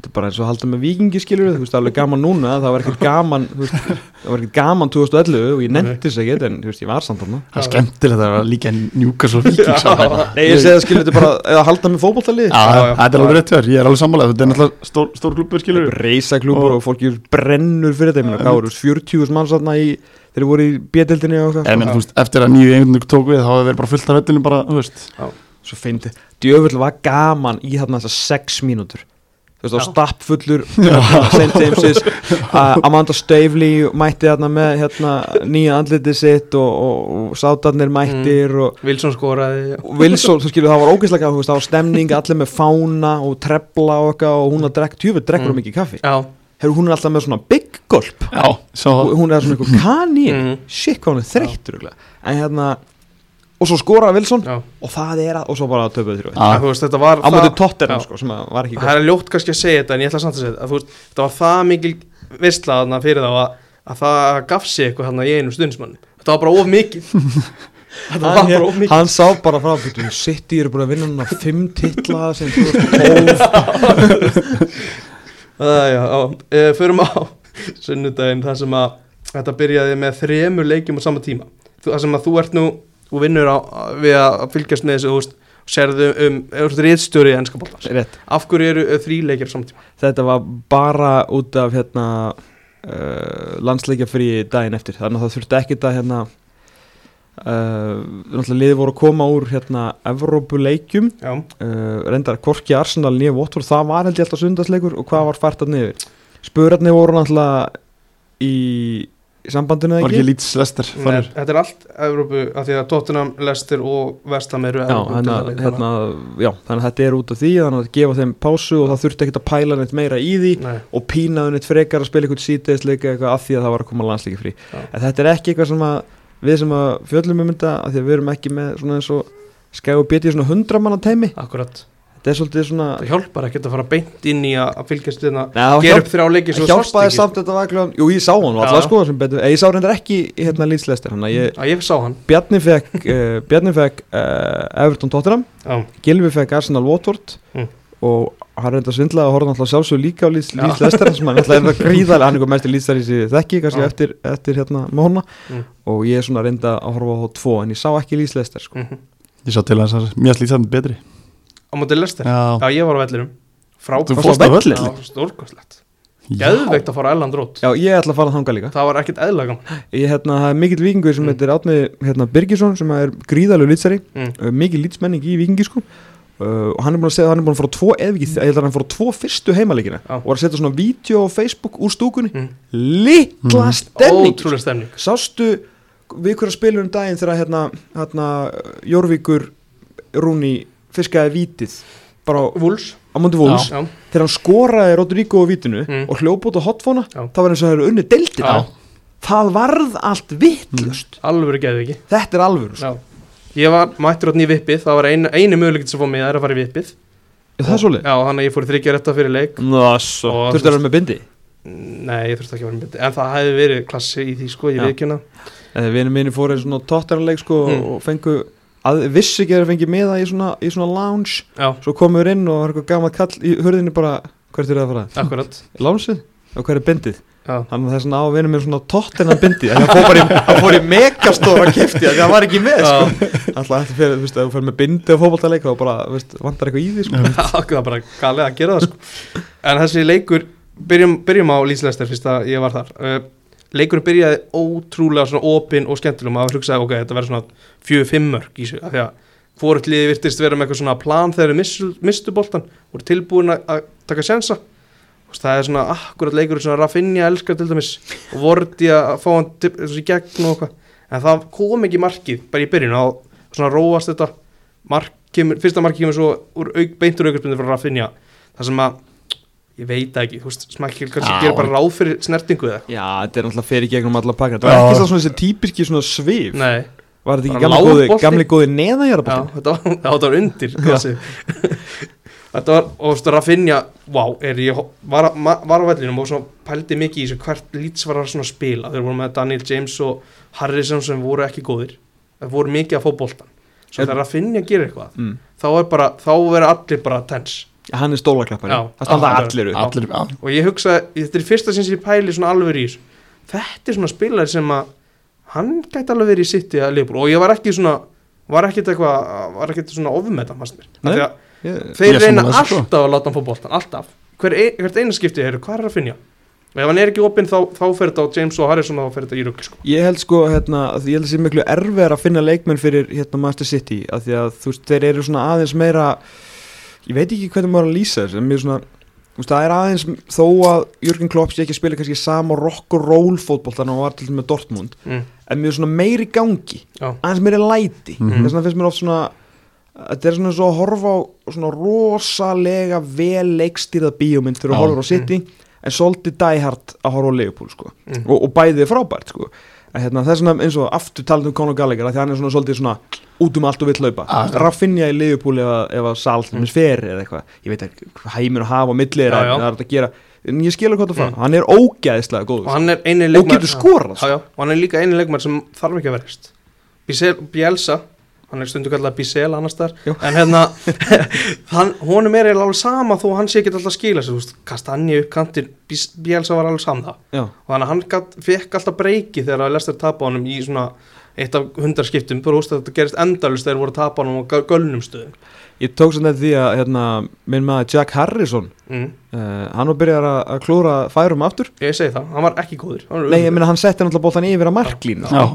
Speaker 3: Þetta er bara eins og að halda með vikingi skilur Þú veist, það er alveg gaman núna Það var ekkert gaman þú veist, Það var ekkert gaman 2011 og ég nefndi þess ekkert En þú veist, ég var samt þarna
Speaker 2: Það er skemmtilegt að vera líka njúkast og vikings á hana
Speaker 3: Nei, ég segi það skilur þetta bara Eða halda með fótboltalið
Speaker 2: Já,
Speaker 1: Já, já.
Speaker 2: þetta er alveg rétt hjá þér, ég er alveg sammálega Þetta er náttúrulega stór, stór klubur, skilur
Speaker 3: Reisa klúpur og fólki brennur fyrir þetta Ég meina, hvað voru 40 þúsund manns þarna í Þeir voru í bjöldildinni og
Speaker 2: En
Speaker 3: eitthvað
Speaker 2: menn, þú veist, eftir að nýju einhvern tók við þá hefur verið bara fullt af vettinu bara, þú veist
Speaker 3: Svo feindi Djöfull var gaman í þarna þessar 6 mínútur Þú veist, á
Speaker 1: Já.
Speaker 3: stappfullur St. James's uh, Amanda Stavely mætti þarna með hérna, nýja andliti sitt og, og, og sátarnir mættir
Speaker 1: Mm.
Speaker 3: og
Speaker 1: Wilson skoraði já.
Speaker 3: og Wilson, þú skilur, það var ógeðslega gaman, þú veist, það var stemning, allir með fána og trefla og eitthvað og hún að drekka, tjöfull
Speaker 1: Mm.
Speaker 3: drekkur hún mikið kaffi
Speaker 1: já,
Speaker 3: Heru, hún er alltaf með svona big gulp
Speaker 2: Já, svo
Speaker 3: og hún er svona eitthvað kanín
Speaker 1: Mm.
Speaker 3: shit hvað hún er þreytt en hérna, og svo skoraði Wilson
Speaker 1: já.
Speaker 3: og það er að, og svo bara töpuð þrjóð
Speaker 1: En
Speaker 2: Já,
Speaker 1: þú veist, þetta var
Speaker 3: á móti
Speaker 1: það-
Speaker 3: Tottenham
Speaker 1: Já.
Speaker 3: sko, sem að var ekki
Speaker 1: það
Speaker 3: gott
Speaker 1: er ljótt kannski að segja þetta en ég ætla samt að segja þetta að þú veist, þetta var það mikil vistlaðna fyrir þá að, að það gaf sig eitthvað hann í einu stundsmann þetta var bara of mikil þetta var
Speaker 3: hann,
Speaker 1: bara of mikil
Speaker 3: hann sá bara frá fyrir City eru búin að vinna hann á fimm titla sem 2012
Speaker 1: Æ, já, já, e, förum á sunnudaginn það sem að þetta byrjaði með þremur leikjum á sama tíma þú, það sem að þú ert nú og vinnur á, við að fylgjast með þessu þú veist, sérðu um, um reyðstjóri í ennska bóltans
Speaker 3: rétt
Speaker 1: af hverju eru uh, þrí leikir á sama tíma
Speaker 3: þetta var bara út af hérna uh, landsleikjafrí daginn eftir þannig að það þurfti ekkit að hérna Uh, náttúrulega liði voru að koma úr hérna Evrópuleikjum
Speaker 1: já,
Speaker 3: uh, reyndar Korki Arsenal nýja Votvort það var held ég alltaf sundarsleikur og hvað var fært að niður spurarni voru náttúrulega í, í sambandinu eða
Speaker 2: var ekki lítið slester
Speaker 1: Nei, þetta er allt Evrópu, af því að Tottenham, Leicester og Vestham eru
Speaker 3: Já,
Speaker 1: Evrópu
Speaker 3: þannig að,
Speaker 1: deildarleik,
Speaker 3: hérna, já, þannig að þetta er út af því þannig að gefa þeim pásu og það þurfti ekkert að pæla neitt meira í því
Speaker 1: þannig að- Nei,
Speaker 3: og pínaðu neitt frekar að spila eitthvað síðdeisleika eitthvað af því að það var að koma landsleiki frí
Speaker 1: Já.
Speaker 3: en þetta er ekki eitthvað sem að við sem að fjöllum um þetta af því að við erum ekki með svona eins og skæðu betið svona hundramanna teimi
Speaker 1: akkurat
Speaker 3: þetta er svolítið svona
Speaker 1: það hjálpar ekki að fara beint inn í að að fylgjast við það
Speaker 3: Nei, það
Speaker 1: gera
Speaker 3: hjálp,
Speaker 1: upp þrjá leiki svo sko.
Speaker 3: það hjálpaði samt þetta var ekki jú ég sá hann og
Speaker 1: Já.
Speaker 3: alltaf sko sem betur eh, ég sá reyndar ekki í hérna lýtslæstir hann að ég
Speaker 1: að ég sá hann
Speaker 3: Bjarni fekk, uh, Bjarni fekk uh, Everton Tottenham
Speaker 1: já,
Speaker 3: Gilvi fekk Arsenal Watford
Speaker 1: Mm.
Speaker 3: og hann reynda að svindla og horfði alltaf sjálfsög líka á Leeds
Speaker 1: Já.
Speaker 3: Leeds Leicester sem hann alltaf er að gríðalega hann er eitthvað mestir Leeds þar í sig þekki kannski
Speaker 1: Já.
Speaker 3: eftir, eftir hérna móna
Speaker 1: Mm.
Speaker 3: og ég er svona reynda að horfa á þá tvo en ég sá ekki Leeds Leicester sko.
Speaker 1: mhm.
Speaker 2: ég sá til hans að mér slítið hann betri
Speaker 1: á móti Leicester
Speaker 2: já,
Speaker 1: Já, ég var á vellinum Frábært
Speaker 2: Þú
Speaker 1: Það var
Speaker 2: fórst á
Speaker 1: völl-
Speaker 2: völlinn?
Speaker 1: Já, stórkostlegt
Speaker 2: já.
Speaker 1: Gæðveikt að fara Elland Rót
Speaker 3: Já, ég ætla að fara þangað líka
Speaker 1: Það var ekkert eðla gaman
Speaker 3: ég, hérna, Það er mikill vikingur sem
Speaker 1: Mm.
Speaker 3: heitir Átni hérna, Birgisson sem er gríðalegu lýtsari
Speaker 1: Mm.
Speaker 3: uh, mikil lýtsmenning í vikingi sko Uh, og hann er búin að segja að hann er búin að fara á tvo eða ekki, ég held að hann fara á tvo fyrstu heimaleikina
Speaker 1: Já.
Speaker 3: og var að setja svona vídeo á Facebook úr stúkunni
Speaker 1: Mm.
Speaker 3: litla
Speaker 1: Mhm.
Speaker 2: Mm.
Speaker 3: stemning sko.
Speaker 1: Ótrúlega stemning
Speaker 3: Sástu við hverja spilum um daginn þegar hérna, hérna Jórvíkur Rúni fiskaði vítið bara á-
Speaker 1: Wools
Speaker 3: á móti vúls
Speaker 1: Já,
Speaker 3: þegar hann skoraði Rodrigo á vítinu
Speaker 1: Mm.
Speaker 3: og hljóp út á hotfóna
Speaker 1: Já.
Speaker 3: það var eins og það eru unni deildin
Speaker 1: Já.
Speaker 3: það varð allt vittlust
Speaker 1: alveg gæðveiki
Speaker 3: þetta er alvöru
Speaker 1: Já
Speaker 3: sko.
Speaker 1: Ég var mættur átni í vippið Það var einu, einu möguleikin sem fór mig Það er að fara í vippið
Speaker 3: er það svolítið?
Speaker 1: Já, þannig að ég fór þryggja rétta fyrir leik
Speaker 3: Nasso.
Speaker 1: Og-
Speaker 3: þurftu að vera með bindi
Speaker 1: Nei, ég þurfti ekki að vera með En það hefði verið klassi í því sko Ég
Speaker 3: Já.
Speaker 1: veit ekki hana
Speaker 3: eða vinnu minni fór einn svona tóttarleik sko,
Speaker 1: Mm.
Speaker 3: og fengu að, vissi ekki að þeir fengi meða í svona, í svona lounge
Speaker 1: Já,
Speaker 3: svo komum við inn og var eitthvað gamað kall í hurðinni bara hvert er það að fara
Speaker 1: akkurat
Speaker 3: Lánsið? Og hver er bindið?
Speaker 1: Já
Speaker 3: Þannig að það er svona á að vinna mér svona tóttina bindið Þannig að hann fór bara í, hann fór í megastóra kefti Þannig að það var ekki með sko.
Speaker 1: Já,
Speaker 3: Alltaf þetta fyrir, þú veist, ef þú fyrir með bindið á fótballtaleika og bara, þú veist, vantar eitthvað í því sko.
Speaker 1: það er bara galið að gera það sko. En þessi leikur Byrjum, byrjum á Líslester fyrst að ég var þar uh, Leikurinn byrjaði ótrúlega svona opinn og skemmtilegum að hugsaði ok, þetta verður svona fjöðu-fimm mörg í sig af því að fóruð liði virtist vera með eitthvað svona plan þegar þeir mistu boltan voru tilbúin að- að taka sensa og það er svona akkurat leikurinn svona Rafinha elskar til dæmis og vorti að fá hann til, í gegn og eitthvað en það kom ekki markið bara í byrjun og svona róast þetta mark kemur, fyrsta markið kemur svo úr auk, beintur aukarspunni frá Rafinha það sem að, ég veit það ekki þú veist, smakkil kannski
Speaker 3: Já.
Speaker 1: gerir bara ráð fyrir snertingu eða
Speaker 3: Já, þetta er alltaf fyrir gegnum alla pakka Þetta var
Speaker 2: Já.
Speaker 3: ekki sá svona þessi típiski svona svif
Speaker 1: nei,
Speaker 3: Var þetta ekki
Speaker 1: Bara
Speaker 3: gamli góði,
Speaker 1: lágbolti.
Speaker 3: gamli góði neðanjara
Speaker 1: já,
Speaker 3: bolti?
Speaker 1: þetta, var, já, þetta var undir klassi. þetta var, og þú veist, Rafinha wow, er ég, ho- var, að- ma- var á vellinum og svona pældi mikið í þessu hvert lýts var að svona spila, þeir voru með Daniel James og Harrison sem voru ekki góðir það voru mikið að fá boltan svo
Speaker 3: Er-
Speaker 1: þegar Rafinha gerir eitthvað
Speaker 3: Mm.
Speaker 1: þá er bara, þá verður allir bara tens
Speaker 3: Hann er stólaklappari,
Speaker 1: Já.
Speaker 3: það standa
Speaker 1: Já,
Speaker 3: allir upp
Speaker 2: allir já.
Speaker 1: og ég hugsa, þetta er fyrsta sinns ég pæli svona alveg í þessu þetta er svona spilari sem að hann gæti alveg verið í sitt í að liðbúr og ég var ekki svona var ekkert eitthvað, var ekkert svona ofumetta fannst mér,
Speaker 3: Nei.
Speaker 1: af því að
Speaker 3: Ég-
Speaker 1: þeir
Speaker 2: Ég er
Speaker 1: reyna
Speaker 2: sammála þessu, sko.
Speaker 1: alltaf að láta hann fá boltan, alltaf Hver, ein- hvert eina skipti er, hvað er að finja og ef hann er ekki opinn þá, þá fer þetta á James og Harrison þá fer þetta í ruggi sko
Speaker 3: Ég held sko, hérna, að ég held að sé miklu erfiðar að finna leikmenn fyrir hérna Master City af því að þú veist, þeir eru svona aðeins meira ég veit ekki hvernig maður á að lýsa þessu en mér er svona, þú veist, það er aðeins þó að Jörgen Klopp sé ekki að spila kannski sama rock and roll fótboll þannig að hann var til dæmis með Dortmund
Speaker 1: mm.
Speaker 3: en mér er svona meiri gangi,
Speaker 1: Já.
Speaker 3: aðeins meiri læti
Speaker 2: Mhm.
Speaker 3: þess vegna finnst mér oft svona þetta er svona svo að horfa á svona rosalega vel leikstýrða bíómynd
Speaker 2: Já.
Speaker 3: þegar þú horfur á City en svolítið dæhart að horfa á Leopold sko.
Speaker 1: Mm.
Speaker 3: og, og bæðið er frábært sko. en hérna, það er svona eins og aftur talað um Conor Gallagher af því að hann er svona svolítið svona út um allt og vill laupa
Speaker 2: Ah.
Speaker 3: Raffinja í Leopold ef, að- ef að Sal mm. fer eða eitthvað, ég veit ekki hvað heimur að hafa á milli er
Speaker 1: Já,
Speaker 3: að
Speaker 1: já.
Speaker 3: það er hægt að gera en ég skilur hvað það fara,
Speaker 1: Mm.
Speaker 3: hann er ógæðislega góð
Speaker 1: og
Speaker 3: og,
Speaker 1: hann er eini
Speaker 3: og
Speaker 1: leikmaður
Speaker 3: getur skorað sko.
Speaker 1: já, já, og hann er líka eini leikmaður sem þarf ekki að verðist Bielsa hann er stundu kallað Bissell annars þar
Speaker 3: Jú.
Speaker 1: en hérna, hann, honum er eiginlega alveg sama þó hann sé ekki alltaf að skila sér þú veist, Kastanje upp kantinn, Bielsa var alveg sama það
Speaker 3: já,
Speaker 1: og þannig að hann gat, fekk alltaf breyki þegar að Lester tapa honum í svona eitt af hundarskiptum, bara úst að þetta gerist endalust þegar voru að tapa honum á gö- gölnum stöðum
Speaker 3: ég tók sem þetta því að hérna, minn maður Jack Harrison
Speaker 1: mm.
Speaker 3: uh, hann var byrjar að að klúra færum aftur
Speaker 1: ég segi það, hann var ekki góður Hann var
Speaker 3: nei, ég
Speaker 1: ömurlegur.
Speaker 3: meina hann setti náttúrulega bóttan yfir að marklínu
Speaker 2: Já,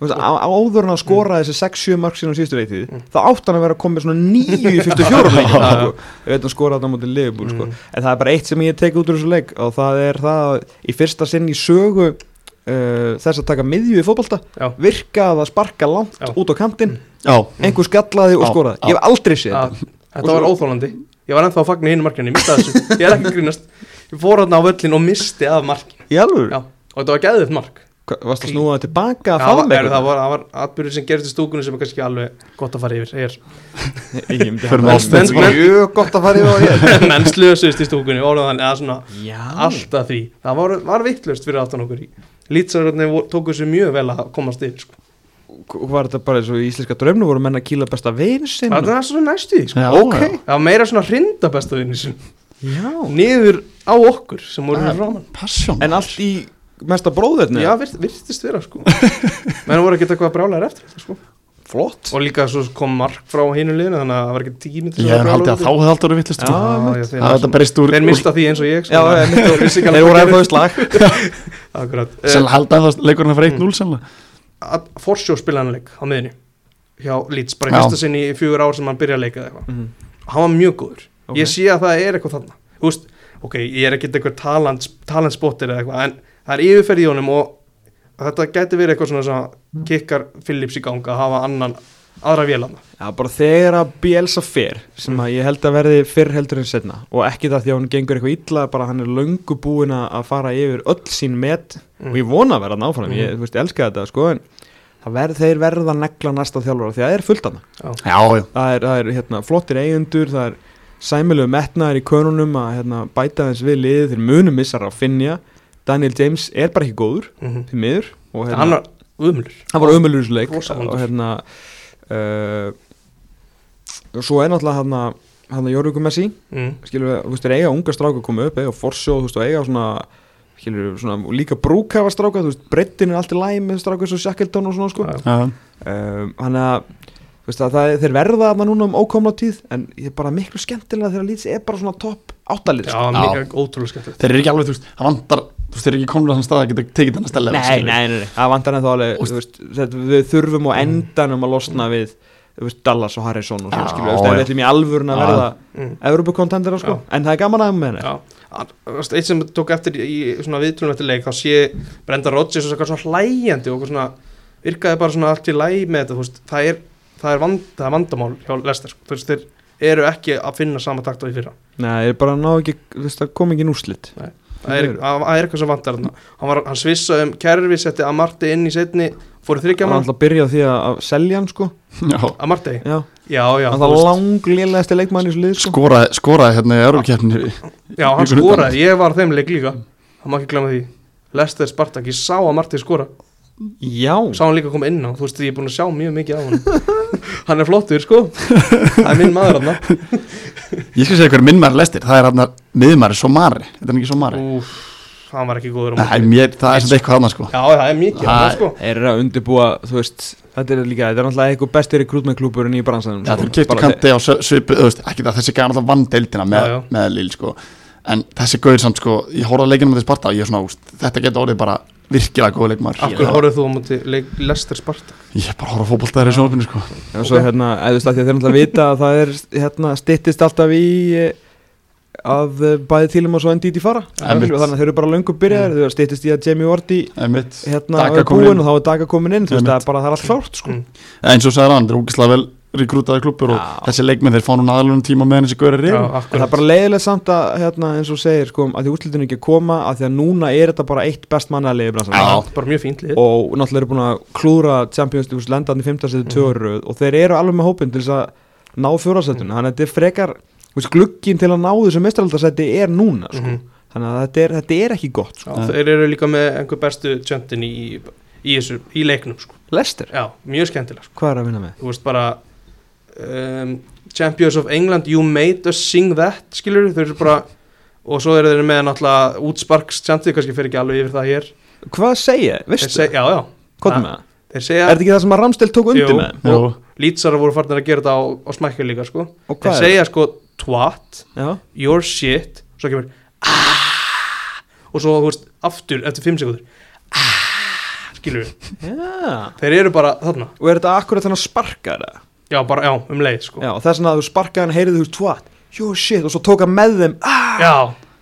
Speaker 3: Þú veist, á- áður en að skora þessi 6-7 mark sínum síðustu leitið
Speaker 1: Mm.
Speaker 3: þá átt hann að vera að koma með svona 9 í fyrstu fjórum leik
Speaker 2: Já.
Speaker 3: sko. ég veit að skora þarna á móti Liverpool
Speaker 1: Mm.
Speaker 3: sko. en það er bara eitt sem ég tek út úr þessu leik og það er það að í fyrsta sinn í sögu uh, þess að taka miðju í fótbolta
Speaker 1: Já.
Speaker 3: virkað að sparka langt
Speaker 1: Já. Mm.
Speaker 3: út á kantinn
Speaker 2: já,
Speaker 3: einhver skallaði og
Speaker 2: Já,
Speaker 3: skoraði
Speaker 2: já.
Speaker 3: ég hef aldrei séð þetta
Speaker 1: að, þetta var óþólandi ég var ennþá að fagna hinn markinu, ég mistaði þessu ég er ekki að grínast, ég fór hann á völlin og misti af markin,
Speaker 3: í alveg,
Speaker 1: já, og þetta var gæðið mark
Speaker 3: varst að snúa tilbaka að
Speaker 1: það
Speaker 3: fá
Speaker 1: var,
Speaker 3: með
Speaker 1: er, það var, það var atbyrður sem gerist í stúkunni sem er kannski alveg gott að fara yfir ég
Speaker 2: Förum
Speaker 1: á stund, sko.
Speaker 3: mjög gott að fara yfir á
Speaker 1: er menn slösust í stúkunni, orðan, eða svona
Speaker 3: ég já,
Speaker 1: alltaf því, það var, var vittlust fyrir aftan okkur í lýtsararni tóku sér mjög vel að komast yfir sko.
Speaker 3: var þetta bara eins og í íslenska draumnu voru menn að kýla besta vinsinn
Speaker 1: það var svona næstu því sko.
Speaker 2: já,
Speaker 3: ok.
Speaker 2: já.
Speaker 1: það var meira svona hrinda besta vinni sem
Speaker 3: já
Speaker 1: niður á okkur sem voru
Speaker 2: Það-
Speaker 1: fyrir framann
Speaker 2: Passion
Speaker 3: En allt í mesta bróðirni
Speaker 1: já, virt, virtist vera sko menn voru ekki eitthvað brálaðar eftir þetta, sko.
Speaker 3: flott
Speaker 1: og líka svo kom mark frá hinu liðinu þannig að það var ekki tími
Speaker 2: Ég hef haldið að þá hefði alltaf verið vittlust
Speaker 3: Já.
Speaker 2: Það
Speaker 1: já,
Speaker 2: er þetta
Speaker 1: þeir,
Speaker 2: berist úr
Speaker 1: þeir mista því eins og ég sko.
Speaker 3: Já, já, mitt og-
Speaker 1: vissi ekki
Speaker 3: Þeir
Speaker 1: alveg
Speaker 3: voru
Speaker 1: hvað
Speaker 3: ennþá í
Speaker 1: gerðist.
Speaker 3: slag
Speaker 1: sko. Akkurat. Eh,
Speaker 2: Sennilega held að það leikurinn að fara 1-0 sennilega
Speaker 1: að Forsjó spilanleik á miðinni hjá Leeds, bara í
Speaker 2: Já.
Speaker 1: fyrsta sinn í fjögur ár sem hann byrja að leika eða eitthvað
Speaker 3: Mhm.
Speaker 1: hann var mjög góður,
Speaker 3: Ok.
Speaker 1: ég sé að það er eitthvað þarna þú veist, ok, ég er ekkert eitthvað talent, talentspotter eða eitthvað en það er yfirferð í honum og þetta gæti verið eitthvað svona sem kikkar Phillips í ganga að hafa annan aðra vélanna
Speaker 3: Já, bara þegar að Bielsa fer sem að ég held að verði fyrr heldur en setna og ekki það því að hún gengur eitthvað illa bara hann er löngu búinn að- að fara yfir öll sín met
Speaker 1: Mm.
Speaker 3: og ég vona að vera náfram mm. ég,
Speaker 1: Mhm.
Speaker 3: þú veist, ég elska þetta sko en það verð, þeir verða að negla næsta þjálfara því að það er fullt annað
Speaker 2: Já, já,
Speaker 3: það er, það er hérna, flottir eigendur það er sæmilegu metnaðar í körunum að hérna, bæta þess við liðið þeir munum missar að finja Daniel James er bara ekki góður því miður og
Speaker 1: Mhm. hann var umlur
Speaker 3: hann var umöluður leik
Speaker 1: Rosa
Speaker 3: og
Speaker 1: vondur.
Speaker 3: hérna uh, og svo er náttúrulega hann hann að Jórvíkum Messi
Speaker 1: mm.
Speaker 3: skilur við, þú veist, er eiga unga stráka að koma upp eiga forsjóð, þú veist, og eiga svona skilur við, svona, og líka brúkafa stráka þú veist, breyttin er allt í læg með stráka eins og Shackleton og svona, sko
Speaker 1: Já.
Speaker 2: já
Speaker 3: um, hann að þú veist, að það, þeir verða að núna um ókomna tíð en ég er bara miklu skemmtilega þegar lýts er bara svona topp áttalið,
Speaker 1: já,
Speaker 3: sko
Speaker 1: hann
Speaker 2: Já.
Speaker 1: er ótrúlega skemmtilegt
Speaker 2: Þeir eru ekki alveg, þú veist, það vantar Þú veist, þeir eru ekki komin að þann stað að geta tekið þannig stella
Speaker 3: nei, nei, það vantar ennþá alveg, þú veist, þetta- við þurfum á endanum að losna við, þú veist, Dallas og Harrison og svona,
Speaker 2: Já,
Speaker 3: skilur, við, þú veist,
Speaker 2: já.
Speaker 3: við ætlum í alvörun að
Speaker 2: Já.
Speaker 3: verða
Speaker 1: mm.
Speaker 3: Evropakontendera, sko, en það er gaman að með henni,
Speaker 1: Já, hann- þú veist, eitt sem tók eftir í í svona viðtrunum eftir leik þá sé Brenda Rodgers og eitthvað svona hlægjandi og eitthvað svona, virkaði bara svona allt í læg með þetta, þú veist, það er, það er, vand, það er vandamál hjá Lester, sko. þú veist, þeir eru ekki að finna sama takt á því fyrra
Speaker 3: nei, ég er bara að ná ekki, þú veist, það kom ekki núslit,
Speaker 1: það er,
Speaker 3: Þeir eru.
Speaker 1: það það er eitthvað sem vantar þarna. hann, var, hann svissaði um kerfi, setti að Marti inn í setni, fóru
Speaker 3: það
Speaker 1: þryggja
Speaker 3: var
Speaker 1: mann
Speaker 3: alltaf að byrja á því að að selja hann, sko,
Speaker 2: Já,
Speaker 1: að Marti,
Speaker 3: já,
Speaker 1: já, já
Speaker 3: hann
Speaker 1: þú
Speaker 3: það
Speaker 1: veist.
Speaker 3: langlilegasti leikmann í þessu lið, sko,
Speaker 2: skoraði, skoraði hérna í Eurókeppni
Speaker 1: já, hann
Speaker 2: Vikunni
Speaker 1: skoraði, ég var á þeim leik líka það má ekki glemma því Lester Spartak, ég sá að Marti skora
Speaker 3: já,
Speaker 1: sá hann líka koma inn á, þú veist, ég er búin að sjá mjög mikið á hann hann er flottur, sko það er minn maður hann
Speaker 2: Ég skal segja hverju minn maður lestir, það er hérna miðmaður Somari, þetta er hann ekki Somari
Speaker 1: Úf, hann var ekki góður á
Speaker 2: Nei,
Speaker 1: móti.
Speaker 2: mér, það er sem eitthvað hann sko
Speaker 1: já, það er mikið á hann, sko
Speaker 3: er að undirbúa, þú veist, þetta er líka, þetta er náttúrulega eitthvað besti rekrútmenn klúburinn í bransanum, sko.
Speaker 2: Já, þeir kiptu kanti á sö- svipu, þú veist, ekki það, þessi gæði alltaf vann deildina með,
Speaker 1: Já, já.
Speaker 2: með Lill, sko En þessi gauður samt, sko, ég horfði að leikinu með Sparta og ég er svona, úst, þetta getur orðið bara virkilega góð leikmaður
Speaker 1: af hverju horfðu þú á móti leik- Lester Sparta
Speaker 2: Ég er bara að horfa fótboltaðir í sjónarfinu, sko
Speaker 3: Já, svo
Speaker 1: Ok.
Speaker 3: hérna, eða þú veist að þér náttúrulega vita að það er, hérna, styttist alltaf í eh, að eh, bæði tílum og svo NDT fara
Speaker 2: Einmitt.
Speaker 3: Skilur, þannig að þau eru bara löngu byrjaðir, þú veist, styttist í að Jamie Vardy
Speaker 2: Einmitt,
Speaker 3: hérna
Speaker 2: Daga
Speaker 3: er
Speaker 2: kominn
Speaker 3: búinn
Speaker 2: inn.
Speaker 3: og þá er Daga komin inn, þú veist,
Speaker 2: Einmitt.
Speaker 3: það er bara, það er allt klárt, sko
Speaker 2: eins og sagði hann, þeir eru úkislega vel rekrútaði klubur og
Speaker 3: Já.
Speaker 2: þessi leikmenn þeir fá núna aðlunum tíma meðan þessi gauður er
Speaker 1: já,
Speaker 2: reyðum
Speaker 3: En það er
Speaker 1: akkurat
Speaker 3: bara leiðilegt samt að, hérna, eins og þú segir, sko, að því útlítinu ekki að koma, að því að núna er þetta bara eitt best mannalið í bransanum
Speaker 2: Já.
Speaker 1: bara mjög fínt lið
Speaker 3: og náttúrulega eru búin að klúra Champions League lendaðan í 15 setju tvö ára mm. og þeir eru alveg með hópin til þess að ná fjórasettun, þannig að þetta er frekar þú veist, glugginn til að ná þessu mestraldasetti er núna, sko.
Speaker 1: Mhm.
Speaker 3: þannig að þetta er, þetta er ekki gott, sko.
Speaker 1: Já, þeir eru líka með einhver bestu tjöndin í, í í, þessu, í leiknum sko.
Speaker 3: Lester,
Speaker 1: Já, mjög skemmtilega sko.
Speaker 3: hvað er að vinna með?
Speaker 1: Þú veist bara um, Champions of England, you made us sing that skilur, þau eru bara og svo eru þeir með náttúrulega útsparkstjandi kannski fyrir ekki alveg yfir það hér
Speaker 3: Hvað segja,
Speaker 1: Þeir
Speaker 3: veistu,
Speaker 1: seg, Já, já,
Speaker 3: hvað er með það?
Speaker 1: þeir
Speaker 3: Er
Speaker 1: segja
Speaker 3: þetta ekki það sem að Ramstel tók undir
Speaker 1: Jú.
Speaker 3: með? þeim?
Speaker 1: Jú. lýtsara voru farnir að gera þetta á, á smækju líka sko
Speaker 3: Og
Speaker 1: Þeir
Speaker 3: hvað er
Speaker 1: segja sko twat,
Speaker 3: Já,
Speaker 1: your shit svo kemur "Ah", og svo þú veist aftur eftir 5 sekúndur "Ah", skilur við,
Speaker 3: já
Speaker 1: þeir eru bara þarna,
Speaker 3: Og er þetta akkurat þannig að sparka þetta?
Speaker 1: já bara, já, um leið sko
Speaker 3: Já, og það er svona að þú sparkaði hann, heyrið þú tvat Your shit, og svo tók hann með þeim ah,
Speaker 1: já,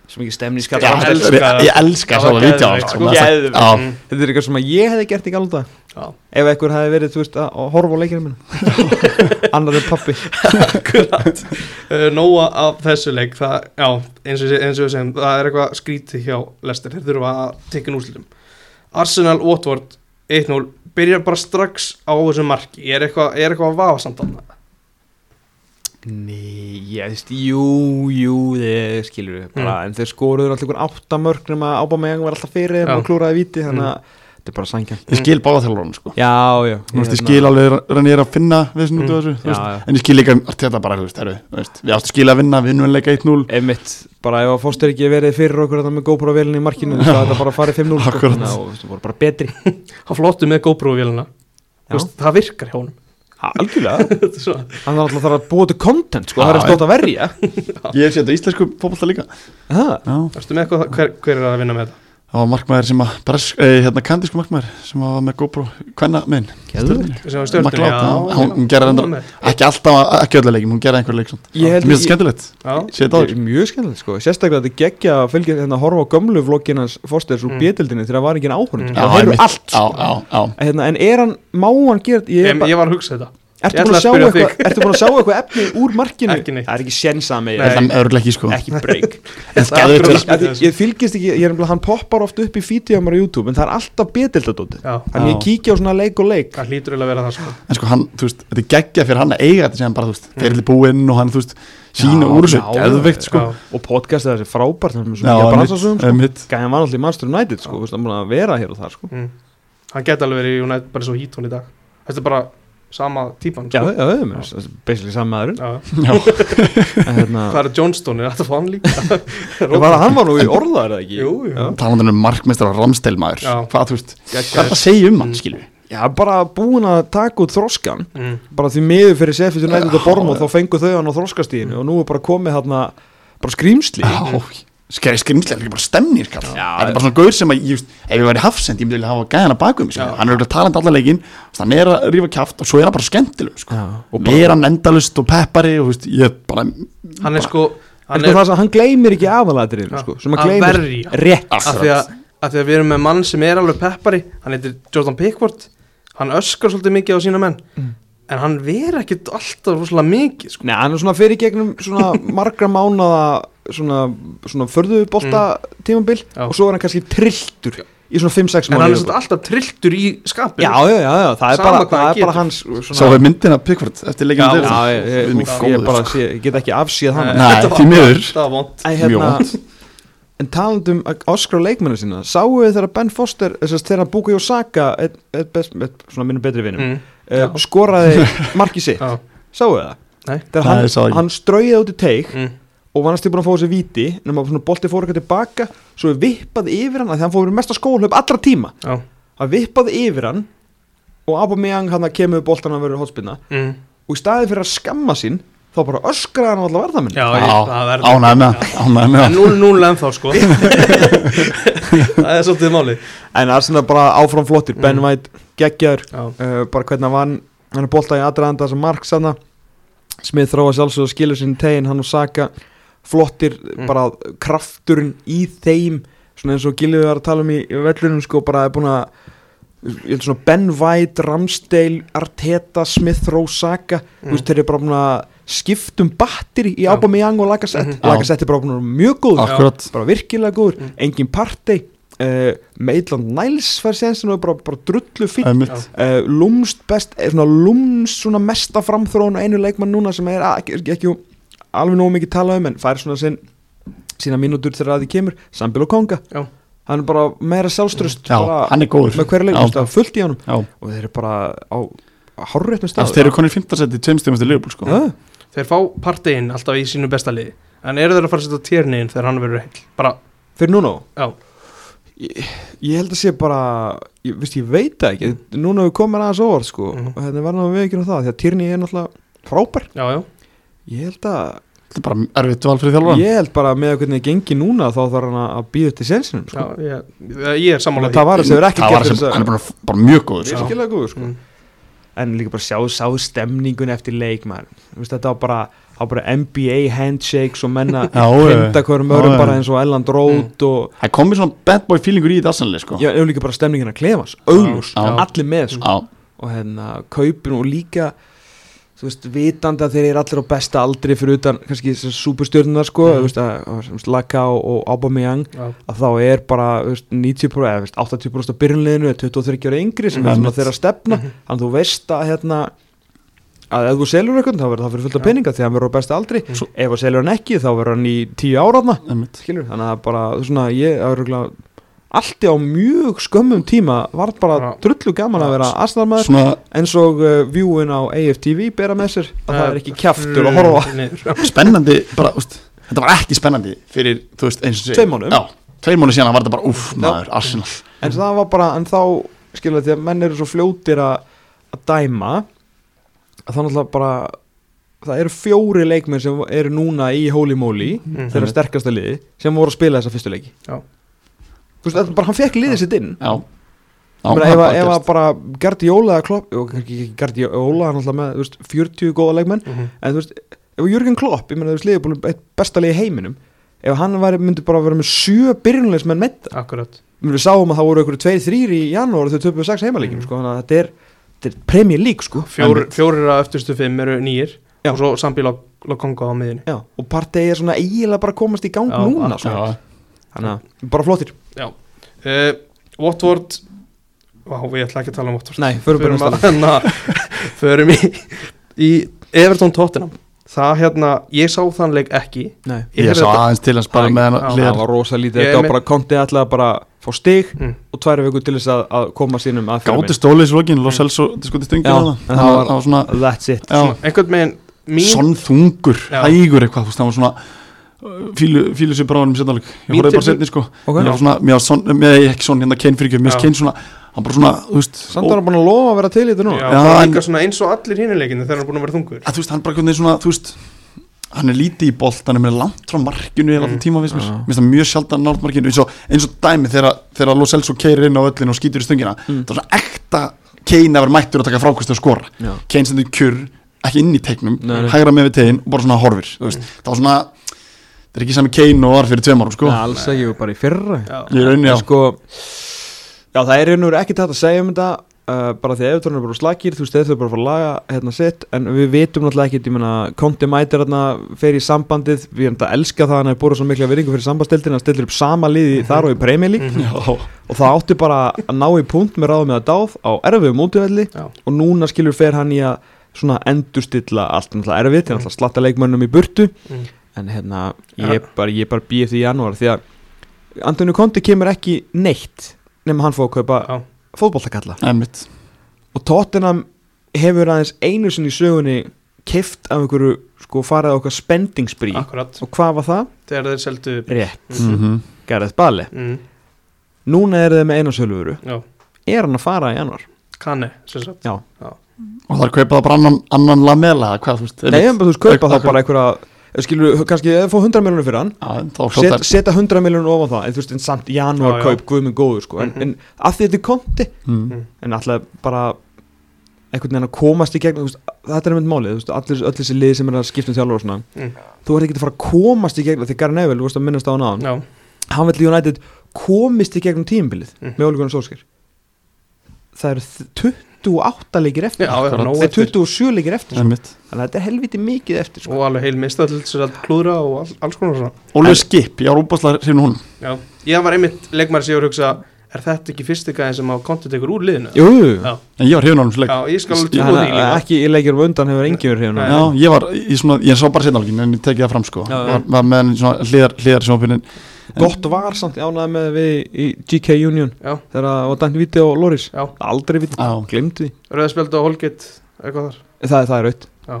Speaker 3: Svo mikið stemni
Speaker 1: Já,
Speaker 2: Ég
Speaker 1: elska
Speaker 2: elska-
Speaker 1: það.
Speaker 2: ég elska
Speaker 1: Það var
Speaker 2: svo að vítja á
Speaker 1: geðveikt,
Speaker 2: sko.
Speaker 1: sko.
Speaker 3: Geðveikt.
Speaker 2: Já.
Speaker 1: Mm,
Speaker 3: Þetta er eitthvað sem að ég hefði gert í galda
Speaker 1: já.
Speaker 3: Ef einhver hefði verið, þú veist, að að horfa á leikinu minna Annar er pappi
Speaker 1: Akkurat uh, Nóa af þessu leik það, Já, eins og, eins og við segjum Það er eitthvað skrítið hjá Lester Þeir þurfa að tekja núslutum Arsenal Watford 1-0 Byrjar bara strax á þessu marki Er eitthvað er eitthvað að vafa samt annað
Speaker 3: Ný, ég veist, jú, jú, þið skilur við bara En þeir skoruður alltaf einhvern áttamörk nema Ábameyang var alltaf fyrir þeim
Speaker 1: Já.
Speaker 3: og klúraði víti Þannig að þetta er bara sangjan
Speaker 2: Ég skil báða þjálfurinn sko.
Speaker 3: Mm. Já, já Hérna,
Speaker 2: Þú veist, ég skil alveg rannir að finna við þessum út af þessu, þú
Speaker 3: Mm. Já,
Speaker 2: veist.
Speaker 3: já.
Speaker 2: en ég skil líka þetta bara, þú veist, heru, þú veist, við áttum skil að vinna, við vinnum leika 1-0
Speaker 3: Einmitt, bara ef að fóstur ekki verið fyrir okkur þarna með GoPro-vélina í markinu þá er þetta bara farið 5-0 sko.
Speaker 2: Akkurat.
Speaker 3: Þannig að, þú veist, það voru bara betri
Speaker 1: Hann flottu með GoPro-vélina
Speaker 3: Já.
Speaker 1: Það virkar hjá honum
Speaker 3: Algjörlega
Speaker 1: Þetta er svona-
Speaker 3: Hann er alltaf þarf að búa til content sko,
Speaker 2: Já,
Speaker 3: það er
Speaker 2: já.
Speaker 3: stótt að verja
Speaker 2: Ég hef séð þetta í íslensku fótbolta líka
Speaker 3: Það,
Speaker 2: Já,
Speaker 1: Ertu með eitthvað, hver, hver er að vinna með þetta?
Speaker 2: það var markmaður sem að bresk, eh, hérna kandísku markmaður sem að var með GoPro, hvenna minn
Speaker 3: Geðveikt.
Speaker 1: Sem var stjórnum
Speaker 2: McLeod, já, hún- hún gerði reyndar- ekki alltaf, ekki öllu leikum, hún gerði einhver leik svona.
Speaker 3: Ég held
Speaker 2: Mér finnst
Speaker 3: ég-
Speaker 2: skemmtilegt,
Speaker 1: Já,
Speaker 2: sé þetta á
Speaker 3: það er mjög skemmtilegt sko Sérstaklega þetta geggja að fylgja hérna að horfa á gömlu vlogginans fórstöðs úr
Speaker 1: Mm.
Speaker 3: mm. bétildinni þegar það var ekki áhörn
Speaker 1: Mm.
Speaker 3: mm. Það heyrðu allt
Speaker 2: Já, já, já
Speaker 3: hérna, En er hann, má hann gera ég er
Speaker 1: ég,
Speaker 3: bara-
Speaker 1: ég var að hugsa þetta ég
Speaker 3: Ertu
Speaker 1: ætla
Speaker 3: búin
Speaker 1: að
Speaker 3: að sjá
Speaker 1: spyrja
Speaker 3: eitthvað- ertu búin að sjá eitthvað efni úr markinu?
Speaker 1: Ekki neitt.
Speaker 3: Það er ekki sjensa með
Speaker 1: Nei.
Speaker 2: Þetta er örgleiki sko
Speaker 3: Ekki break
Speaker 1: Það er
Speaker 2: En skæðu
Speaker 1: akkurat-
Speaker 2: þetta
Speaker 3: Af því Ég fylgist ekki, ég er nefnilega, hann poppar oft upp í fíti á mér á YouTube En það er alltaf betildadóti
Speaker 1: Já,
Speaker 3: Þannig
Speaker 2: Já.
Speaker 3: ég kíkja á svona leik og leik
Speaker 1: það hlýtur eiginlega að vera það sko
Speaker 2: En sko hann, þú veist, þetta er geggja fyrir hann að eiga þetta sem bara, þú veist,
Speaker 1: Mm.
Speaker 2: ferli búinn og hann, þú veist, sína
Speaker 3: Já,
Speaker 2: úr þessu,
Speaker 3: já,
Speaker 2: geðveikt sko
Speaker 1: Já,
Speaker 3: Og podcastið þessi frábært Það er
Speaker 2: Já,
Speaker 3: svona nýja
Speaker 2: einmitt,
Speaker 3: bransasögum sko.
Speaker 2: einmitt.
Speaker 3: Gæðan var alltaf í Manchester United sko, veist, hann búin að vera hér og þar sko.
Speaker 1: mm. Hann geti alveg verið í United bara svo hítón í dag Þetta er bara sama típan
Speaker 3: Já,
Speaker 1: sko.
Speaker 3: já, já, mér finnst það basically saman maðurinn
Speaker 1: Já.
Speaker 2: Já,
Speaker 3: En hérna,
Speaker 1: Hvað er Johnston, er þetta fann líka?
Speaker 3: en var, hann var nú í orða, er það ekki?
Speaker 1: Jú, jú.
Speaker 3: Já.
Speaker 2: talandur um markmeistar og ramstelmaður
Speaker 1: Já.
Speaker 2: hvað þú veist, hvað er
Speaker 1: Geggjaður.
Speaker 2: það að segja um hann
Speaker 1: Mm.
Speaker 2: skilju,
Speaker 3: Já, bara búin að taka út þroskan
Speaker 1: Mm.
Speaker 3: bara því miður fyrir Sefis United og Borm og
Speaker 2: Já.
Speaker 3: þá fengu þau hann á þroskastíðinu og nú er bara komið hérna bara skrýmsli
Speaker 2: skæði skrimslega, það er bara stemnir kall
Speaker 3: Já,
Speaker 2: það er bara svona gaur sem að, ég, veist, ef ég væri hafsend ég myndi vilja hafa gæðan að baku mig,
Speaker 1: Já.
Speaker 2: hann er auðvitað talandi allan leikinn, þú veist, hann er að rífa kjáft og svo er hann bara skemmtileg, sko
Speaker 3: Já, og bara,
Speaker 2: meira hann endalust og peppari og þú veist, ég bara
Speaker 1: Hann er sko
Speaker 3: en
Speaker 1: Hann
Speaker 3: sko
Speaker 1: er
Speaker 3: það sem hann gleymir ekki aðalatriðinu
Speaker 1: Já.
Speaker 3: sko, sem hann
Speaker 1: Að
Speaker 3: gleymir
Speaker 1: verja.
Speaker 3: rétt
Speaker 2: sko.
Speaker 1: af því, að, af því að við erum með mann sem er alveg peppari Hann heitir Jordan Pickford Hann öskar svolítið mikið á sína menn En hann veri ekkit alltaf rosalega mikið sko.
Speaker 3: Nei, hann er svona fyrir gegnum svona margra mánaða svona, svona förðubolta tímabil
Speaker 1: Mm. Já.
Speaker 3: og svo er hann kannski trilltur í svona 5-6
Speaker 1: En hann er
Speaker 3: mánuði
Speaker 1: svolítið alltaf trilltur í skapinu
Speaker 3: Já, já, já, já, það er
Speaker 1: Sama
Speaker 3: bara,
Speaker 1: hvað
Speaker 3: það
Speaker 1: hann
Speaker 3: er
Speaker 1: getur.
Speaker 3: bara hans
Speaker 2: sá við myndina Pickford eftir leikinn
Speaker 1: Já,
Speaker 2: á
Speaker 3: Já,
Speaker 2: Davidson.
Speaker 3: ég, ég,
Speaker 2: Guð minn
Speaker 3: úf, ég
Speaker 2: góður,
Speaker 3: bara
Speaker 2: sko.
Speaker 3: sé, ég get ekki afsíð hann
Speaker 2: Nei,
Speaker 1: þetta var
Speaker 2: því miður.
Speaker 1: vont, Það var vond
Speaker 3: En
Speaker 2: mjög
Speaker 3: hérna,
Speaker 2: vont.
Speaker 3: en talandum um Oscar og leikmennu sína, sáu þið þegar Ben Foster þess að þegar Buki Osaka einn einn best- einn svona minnum betri vinnum
Speaker 1: mm.
Speaker 3: uh,
Speaker 1: já.
Speaker 3: skoraði markið sitt,
Speaker 1: Já,
Speaker 3: sáu þið það?
Speaker 1: Nei.
Speaker 3: Þegar
Speaker 2: Nei, ég sá
Speaker 3: hann,
Speaker 2: ekki.
Speaker 3: hann strauði út í teik
Speaker 1: mm.
Speaker 3: og var næstu búin að fá þessi víti nema svona bolti fór eitthvað tilbaka svo er vippað yfir hann að því hann fór verið mesta skóhlaup allra tíma
Speaker 1: já.
Speaker 3: hann vippað yfir hann og Aubameyang hann kemur við boltan að vera hotspinna
Speaker 1: Mm.
Speaker 3: og í staði fyrir að skamma sín þá bara öskraði hann á alla varðamenn
Speaker 1: já ég, það
Speaker 2: Já,
Speaker 1: verður
Speaker 2: ánægð með það, ánægð
Speaker 1: En
Speaker 2: með það
Speaker 1: 0-0 ennþá sko Það er svolítið máli
Speaker 3: en Arsenal bara áfram flottir Ben
Speaker 1: Mm.
Speaker 3: White geggjar
Speaker 1: Já,
Speaker 3: uh, bara hvernig hann vann hann er bolta í aðræðanda þessa mark sanna Smith þróa sjálfsög og skilur sinni tegin hann og Saka flottir
Speaker 1: Mm.
Speaker 3: bara krafturinn í þeim svona eins og Gilvið var að tala um í í vellunum sko bara er búin að ég held svona Ben White, Ramsdale, Arteta, Smith, Rowe, Saka
Speaker 1: Mm.
Speaker 3: þú veist þeir eru bara búin að skiptum batteri í
Speaker 1: Já.
Speaker 3: Aubameyang og
Speaker 1: Mhm.
Speaker 3: Lacazette
Speaker 2: Já.
Speaker 3: Lacazette er bara búin að vera mjög góður
Speaker 2: akkurat,
Speaker 3: bara virkilega góður,
Speaker 1: Mm.
Speaker 3: engin partey uh, Maitland Niles fær séðan og er bara, bara drullu fín
Speaker 2: einmitt
Speaker 1: Já.
Speaker 3: uh, lúmst best, eh, svona lúmst svona mesta framþróun og einu leikmann núna sem er að- ekki, ekki alveg nógu mikið talað um en fær svona sinn sína mínútur þegar að því kemur, Sambil og Konga
Speaker 1: Já.
Speaker 3: hann er bara meira sjálfströst
Speaker 2: Já,
Speaker 3: bara,
Speaker 2: hann er góður
Speaker 3: með hverju leikum,
Speaker 2: Já.
Speaker 3: það er fullt í honum
Speaker 2: Já,
Speaker 3: og þeir eru bara á hárréttum
Speaker 2: Þú
Speaker 3: stað
Speaker 2: veist, þeir eru konir 15 seti, tveim stífum eftir Liverpool sko.
Speaker 3: Já,
Speaker 1: Þeir fá parteginn alltaf í sínu besta liði En eru þeir að fara að setja tjerniðin þegar hann verður heil Bara,
Speaker 3: fyrir núna
Speaker 1: já,
Speaker 3: ég, ég held að sé bara ég, veist, ég veit það ekki,
Speaker 2: Mm.
Speaker 3: núna við komum aðeins óvart sko, mm
Speaker 1: Mhm.
Speaker 3: -hmm. þannig var náttúrulega ekki á það því að Tyrni er náttúrulega frábær
Speaker 1: já, já
Speaker 3: ég held að,
Speaker 2: Þetta er bara erfitt val fyrir þjálfara
Speaker 3: ég held bara með hvernig það gengi núna þá þarf hann að býða til sensinum sko.
Speaker 1: Já, ég, ég er sammála
Speaker 3: það var sem er ekki
Speaker 2: Það var
Speaker 3: gert
Speaker 2: sem,
Speaker 3: þess
Speaker 2: hann er
Speaker 3: að
Speaker 2: bara, bara mjög góður sko.
Speaker 1: Já.
Speaker 3: virkilega góður sko.
Speaker 1: Mm.
Speaker 3: en líka bara sjá, sá stemningun eftir leik maður, Þú veist, þetta var bara, það var bara NBA handshakes og menna
Speaker 2: Já,
Speaker 3: hrinda hverjum örum
Speaker 2: Já, Mm.
Speaker 3: bara
Speaker 2: já.
Speaker 3: eins og Elland Rót og
Speaker 2: Það komið svona bad boy feelingur í þetta sannlega sko.
Speaker 3: Já, ef líka bara stemningin að klefas, augljós,
Speaker 2: Já.
Speaker 3: allir með sko.
Speaker 2: Já,
Speaker 3: og hérna kaupin og líka þú veist, vitandi að þeir eru allir á besta aldri fyrir utan kannski þessar superstjörnunar sko,
Speaker 1: Mhm.
Speaker 3: þú veist, að, að, sem Laka og, og Aubameyang
Speaker 1: Já,
Speaker 3: að þá er bara þú veist, 90% eða þú veist, 80% af byrjunliðinu er 23 ára yngri sem er
Speaker 2: Mhm.
Speaker 3: svona þeirra stefna
Speaker 1: Mm-hmm.
Speaker 3: þannig að þú veist að hérna að ef þú selur eitthvað þá verður það fyrir fullt af
Speaker 1: Já.
Speaker 3: peninga því að hann verður á besta aldri
Speaker 1: Mhm.
Speaker 3: Svo, ef þú selur hann ekki þá verður hann í 10 ára þarna
Speaker 2: einmitt
Speaker 3: skilur, þannig að bara þú veist, svona ég það er örugglega- allt í á mjög skömmum tíma var bara
Speaker 1: Já.
Speaker 3: drullu gaman að vera aðstæðarmaður
Speaker 2: Svona
Speaker 3: eins og uh, viewin á AFTV bera með sér að það er
Speaker 1: Mm.
Speaker 3: ekki kjaftur að horfa á.
Speaker 1: niður.
Speaker 2: spennandi bara, úst, Þetta var ekki spennandi fyrir, þú veist, eins og sé
Speaker 3: Tveim mánuðum.
Speaker 2: Já, tveim mánuðum síðan var þetta bara, uff, maður, Arsenal
Speaker 3: en það var bara, en þá skilja því að menn eru svo fljótir að að dæma að það náttúrulega bara það eru fjóri leikmenn sem eru núna í Holy Moly,
Speaker 1: Mhm.
Speaker 3: þeirra sterkasta liði sem voru að spila þessa fyrstu leiki
Speaker 1: Já.
Speaker 3: þú veist, þetta er bara hann fekk liðið sitt inn
Speaker 2: Já, já
Speaker 3: Já,
Speaker 2: það
Speaker 3: ef,
Speaker 2: er
Speaker 3: að- ef
Speaker 2: bara
Speaker 3: að bara Gardiola eða Klopp, og kannski ekki Gardiola hann alltaf með þú veist, 40 góða leikmenn
Speaker 1: Mhm.
Speaker 3: en þú veist, ef Jürgen Klopp ég meina þú veist, liðbúlum, eitt besta lið í heiminum ef hann var, myndi bara vera með sjö byrjunleismenn með
Speaker 1: Akkurat
Speaker 3: við sáum að það voru einhverju 2-3 í janúar þau töpuðu 6 heimaleikjum
Speaker 1: Mhm.
Speaker 3: sko, þannig að þetta er, þetta er Premier League sko
Speaker 1: Fjór, Fjórir að eftirstu fimm eru nýjir
Speaker 3: Já.
Speaker 1: Og svo Sambi Lokonga á miðinni
Speaker 3: Já, og partegi er svona eiginlega bara að komast í gang
Speaker 1: Já,
Speaker 3: núna
Speaker 1: að-
Speaker 3: sko.
Speaker 2: Já,
Speaker 3: þannig að bara flottir
Speaker 1: uh, Watford Vá, ég ætla ekki að tala um Watford
Speaker 3: Nei, förum bara
Speaker 1: að hérna, Förum í, í Everton Tottenham Það hérna, ég sá þann leik ekki
Speaker 3: Nei,
Speaker 2: ég
Speaker 1: heyrði
Speaker 2: sá
Speaker 1: þetta-
Speaker 2: aðeins til hans bara
Speaker 1: Æ,
Speaker 2: með
Speaker 1: já.
Speaker 2: hann
Speaker 3: það
Speaker 2: hliðar
Speaker 3: var rosa
Speaker 1: Ég
Speaker 3: lítið þetta
Speaker 1: er
Speaker 3: var
Speaker 1: með-
Speaker 3: bara kontið alltaf bara fá stig
Speaker 1: mm.
Speaker 3: og tvær viku til þess að, að koma sínum að
Speaker 2: Gáti stólið í slokkin, Los Elso, þetta sko til
Speaker 3: Já,
Speaker 2: stungið
Speaker 3: en
Speaker 2: Það
Speaker 3: það
Speaker 2: var
Speaker 3: var-
Speaker 2: það var svona,
Speaker 3: That's it
Speaker 2: já
Speaker 1: Svona, Einhvern veginn mín,
Speaker 2: Svon þungur,
Speaker 1: Já.
Speaker 2: hægur eitthvað þú veist, það var svona fílu sér bara á hann um setnaleg ég
Speaker 1: Mín
Speaker 2: horfði bara
Speaker 1: tilfin-
Speaker 2: setni sko
Speaker 3: Ok.
Speaker 2: ég var svona, mér var svona, mér er ekki svona hérna Kane fyrir ekki, mér
Speaker 1: Já.
Speaker 2: er Kane svona hann bara svona, þú veist
Speaker 3: Samt var
Speaker 2: ó-
Speaker 3: hann búin að lofa að vera til í þetta núna
Speaker 1: já,
Speaker 2: Já,
Speaker 1: bara
Speaker 2: en-
Speaker 1: líka svona eins og allir hinuleikinu þegar hann er búin að vera þungur
Speaker 2: að þú veist, hann bara hvernig svona, þú veist hann er lítið í bolt, hann er mér langt frá markinu í
Speaker 1: Mm.
Speaker 2: alltaf tíma, veist mér,
Speaker 3: Já.
Speaker 2: mér finnst það mjög sjaldan nátt markinu, eins og, eins og dæmi þegar, þegar Los Elso keirir inn á öllin og skýtur í stöngina
Speaker 3: Mm.
Speaker 2: það var svona ekta Kane að vera mættur að taka frákvæmstu og skora
Speaker 3: Já.
Speaker 2: Kane sendur kjur, ekki inn í teiknum
Speaker 3: Nei, Mm. nei.
Speaker 2: hægra með við tegin og bara svona horfir þú veist, það var svona, það er ekki sami Kane og var fyrir tveim árum, sko,
Speaker 3: Nei, alls ekki, bara í fyrra
Speaker 1: Já,
Speaker 2: ég er
Speaker 3: En
Speaker 2: raunni á
Speaker 3: sko, já, það er einhverjum ekki tætt að segja um þetta uh, bara því að Evertón er bara slakir, þú veist, þeir þurfa bara að fara að laga hérna sitt, en við vitum náttúrulega ekkert, ég meina, Conte mætir hérna fer í sambandið, við erum þetta að elska það hann hefur búið svo mikla veringu fyrir sambandstildin að stildir upp sama liði þar og í Premier League
Speaker 1: Mhm.
Speaker 2: Já.
Speaker 3: og það átti bara að ná í punkt með ráðum eða dáð á erfiðum útivelli
Speaker 1: Já.
Speaker 3: og núna skilur fer hann í að svona endurstilla allt náttúrulega erfitt, mm. náttúrulega slatta leikmönnum í burtu
Speaker 1: Mm.
Speaker 3: en hérna, ég er bara, ég er bara býð eftir í janúar því að Antoni Konti kemur ekki neitt nema hann fóð að kaupa
Speaker 1: Já.
Speaker 3: fótboltakalla
Speaker 2: Emmitt,
Speaker 3: og Tottenham hefur aðeins einu sinni í sögunni keift af einhverju sko farið á okkar spendingsbrí
Speaker 1: akkurat
Speaker 3: og hvað var það?
Speaker 1: Þegar þeir seldu
Speaker 3: Rétt,
Speaker 2: mm -hmm.
Speaker 3: Mm-hmm. Gareth Bale
Speaker 1: mm.
Speaker 3: núna er þeir með eina söluvuru
Speaker 1: Já,
Speaker 3: er hann að fara í janúar?
Speaker 1: kanni, sem sagt
Speaker 2: og það er kaupað bara annan, annan lamela, eða hvað, þú veist
Speaker 3: Nei, en bara þú veist, kaupa
Speaker 2: Auk-
Speaker 3: þá bara einhverja skilur, kannski eða fá 100 miljonir fyrir hann
Speaker 2: Já, þá
Speaker 3: set,
Speaker 2: hljóta
Speaker 3: setja 100 miljonir ofan það en þú veist, en samt janúar
Speaker 1: Já, já.
Speaker 3: kaup guðminn góður sko, en,
Speaker 1: Mhm.
Speaker 3: en að því þetta er konti
Speaker 2: mm.
Speaker 3: en alltaf bara einhvern veginn að komast í gegn þú veist, þetta er einmitt málið, þú veist, allir, allir þessi liði sem er að skipta um þjálfur og svona
Speaker 1: Mm.
Speaker 3: þú ert ekki að fara að komast í gegn því Gary Neville, þú veist að minnast á hann aðan
Speaker 1: Já,
Speaker 3: hann vill United komist í gegnum tímabilið
Speaker 1: Mm.
Speaker 3: með Ole Gunnar Solskjær það eru þ- 28 leikir eftir
Speaker 1: já, já,
Speaker 2: Akkurat.
Speaker 1: nóg
Speaker 3: það er
Speaker 1: eftir Mm.
Speaker 3: 27 leikir eftir sko.
Speaker 2: Emmitt
Speaker 3: þannig að þetta er helviti mikið eftir sko.
Speaker 1: Og alveg heil mistallt sér að klúðra og all, alls konar svona
Speaker 2: Ólega skip, ég var úbáslega hrifin hún
Speaker 1: Já, ég var einmitt leikmæri sem ég var að hugsa Er þetta ekki fyrsti gæðin sem á konti tekur úr liðinu?
Speaker 3: jú, jú, jú.
Speaker 1: Já.
Speaker 2: En ég var hrifin á hann
Speaker 1: Já,
Speaker 2: slik
Speaker 1: ég skal alveg
Speaker 2: Já,
Speaker 3: Já,
Speaker 1: trúa því
Speaker 3: hann,
Speaker 1: líka
Speaker 3: ekki í leikjum undan hefur engin verið hérna
Speaker 1: Nei.
Speaker 2: Já, ég var, ég, svona, ég sá bara setnálgin en ég tekið það fram sko
Speaker 3: Já, já.
Speaker 2: var, var með hann í svona hliðar, hliðar sjónpinnin
Speaker 3: Gott var samt ánægð með við í GK Union
Speaker 1: Já.
Speaker 3: þegar það var dæmt viti á Loris
Speaker 1: Já.
Speaker 3: Aldrei viti,
Speaker 2: Já.
Speaker 3: glemdi því
Speaker 1: Röðspjald og Holgate, eitthvað þar
Speaker 3: Það, það er aukt
Speaker 2: Já,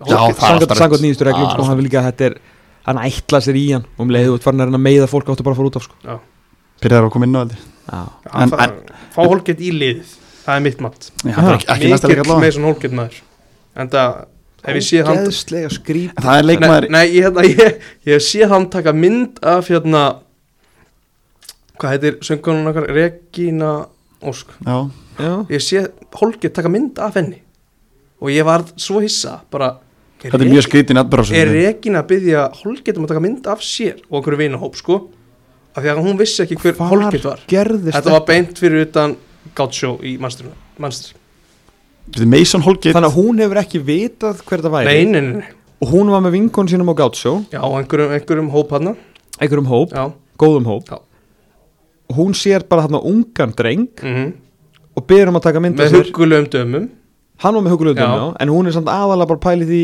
Speaker 1: Holgate-
Speaker 2: það er alltaf rautt.
Speaker 3: Sangot nýjumstu reglum
Speaker 2: Það er
Speaker 3: sko,
Speaker 2: alltaf
Speaker 3: hann vil ekki að þetta er hann ætla sér í hann og um leiðu út farin að reyna að meiða fólk áttu bara að fara út af sko.
Speaker 2: Pyrraður að koma inn á þetta
Speaker 3: Já.
Speaker 1: Já,
Speaker 2: en-
Speaker 1: það Fá Holgate í liðið, það er mitt mat
Speaker 2: Já, það er ekki, ekki næsta leik
Speaker 1: Mikill
Speaker 2: allavega
Speaker 1: Mason Holgate maður En það, hef ég séð hann
Speaker 3: Ógeðslega skrýp
Speaker 2: En Það er leikmaður
Speaker 1: Nei, nei ég, hérna, ég, ég hef séð hann taka mynd af hérna Hvað heitir söngunum okkar? Regina Ósk
Speaker 2: Já,
Speaker 3: Já,
Speaker 1: Ég sé Holgate taka mynd af henni Og ég var svo hissa bara
Speaker 2: þetta er mjög skrítin atbyrður
Speaker 1: er Regina að byggja Holgate um að taka mynd af sér og einhverju vinahóp sko af því að hún vissi ekki hver
Speaker 3: Hvar
Speaker 1: Holgate var
Speaker 3: gerðist
Speaker 1: þetta var beint fyrir utan Gaucho í Manchester Manchester.
Speaker 2: Mason Holgate
Speaker 3: Þannig að hún hefur ekki vitað hver það væri
Speaker 1: Nei, nei, nei, nei,
Speaker 3: og hún var með vinkon sínum á Gátsjó
Speaker 1: já, á einhverjum, einhverjum hóp hann
Speaker 3: einhverjum hóp,
Speaker 1: já,
Speaker 3: góðum hóp
Speaker 1: Já.
Speaker 3: og hún sér bara hann ungan dreng
Speaker 1: mm
Speaker 3: og byrjum að taka mynda
Speaker 1: með huggulegum dömum
Speaker 3: hann var með hugulöðum,
Speaker 1: Já.
Speaker 3: já. en hún er samt aðalega bara pælið í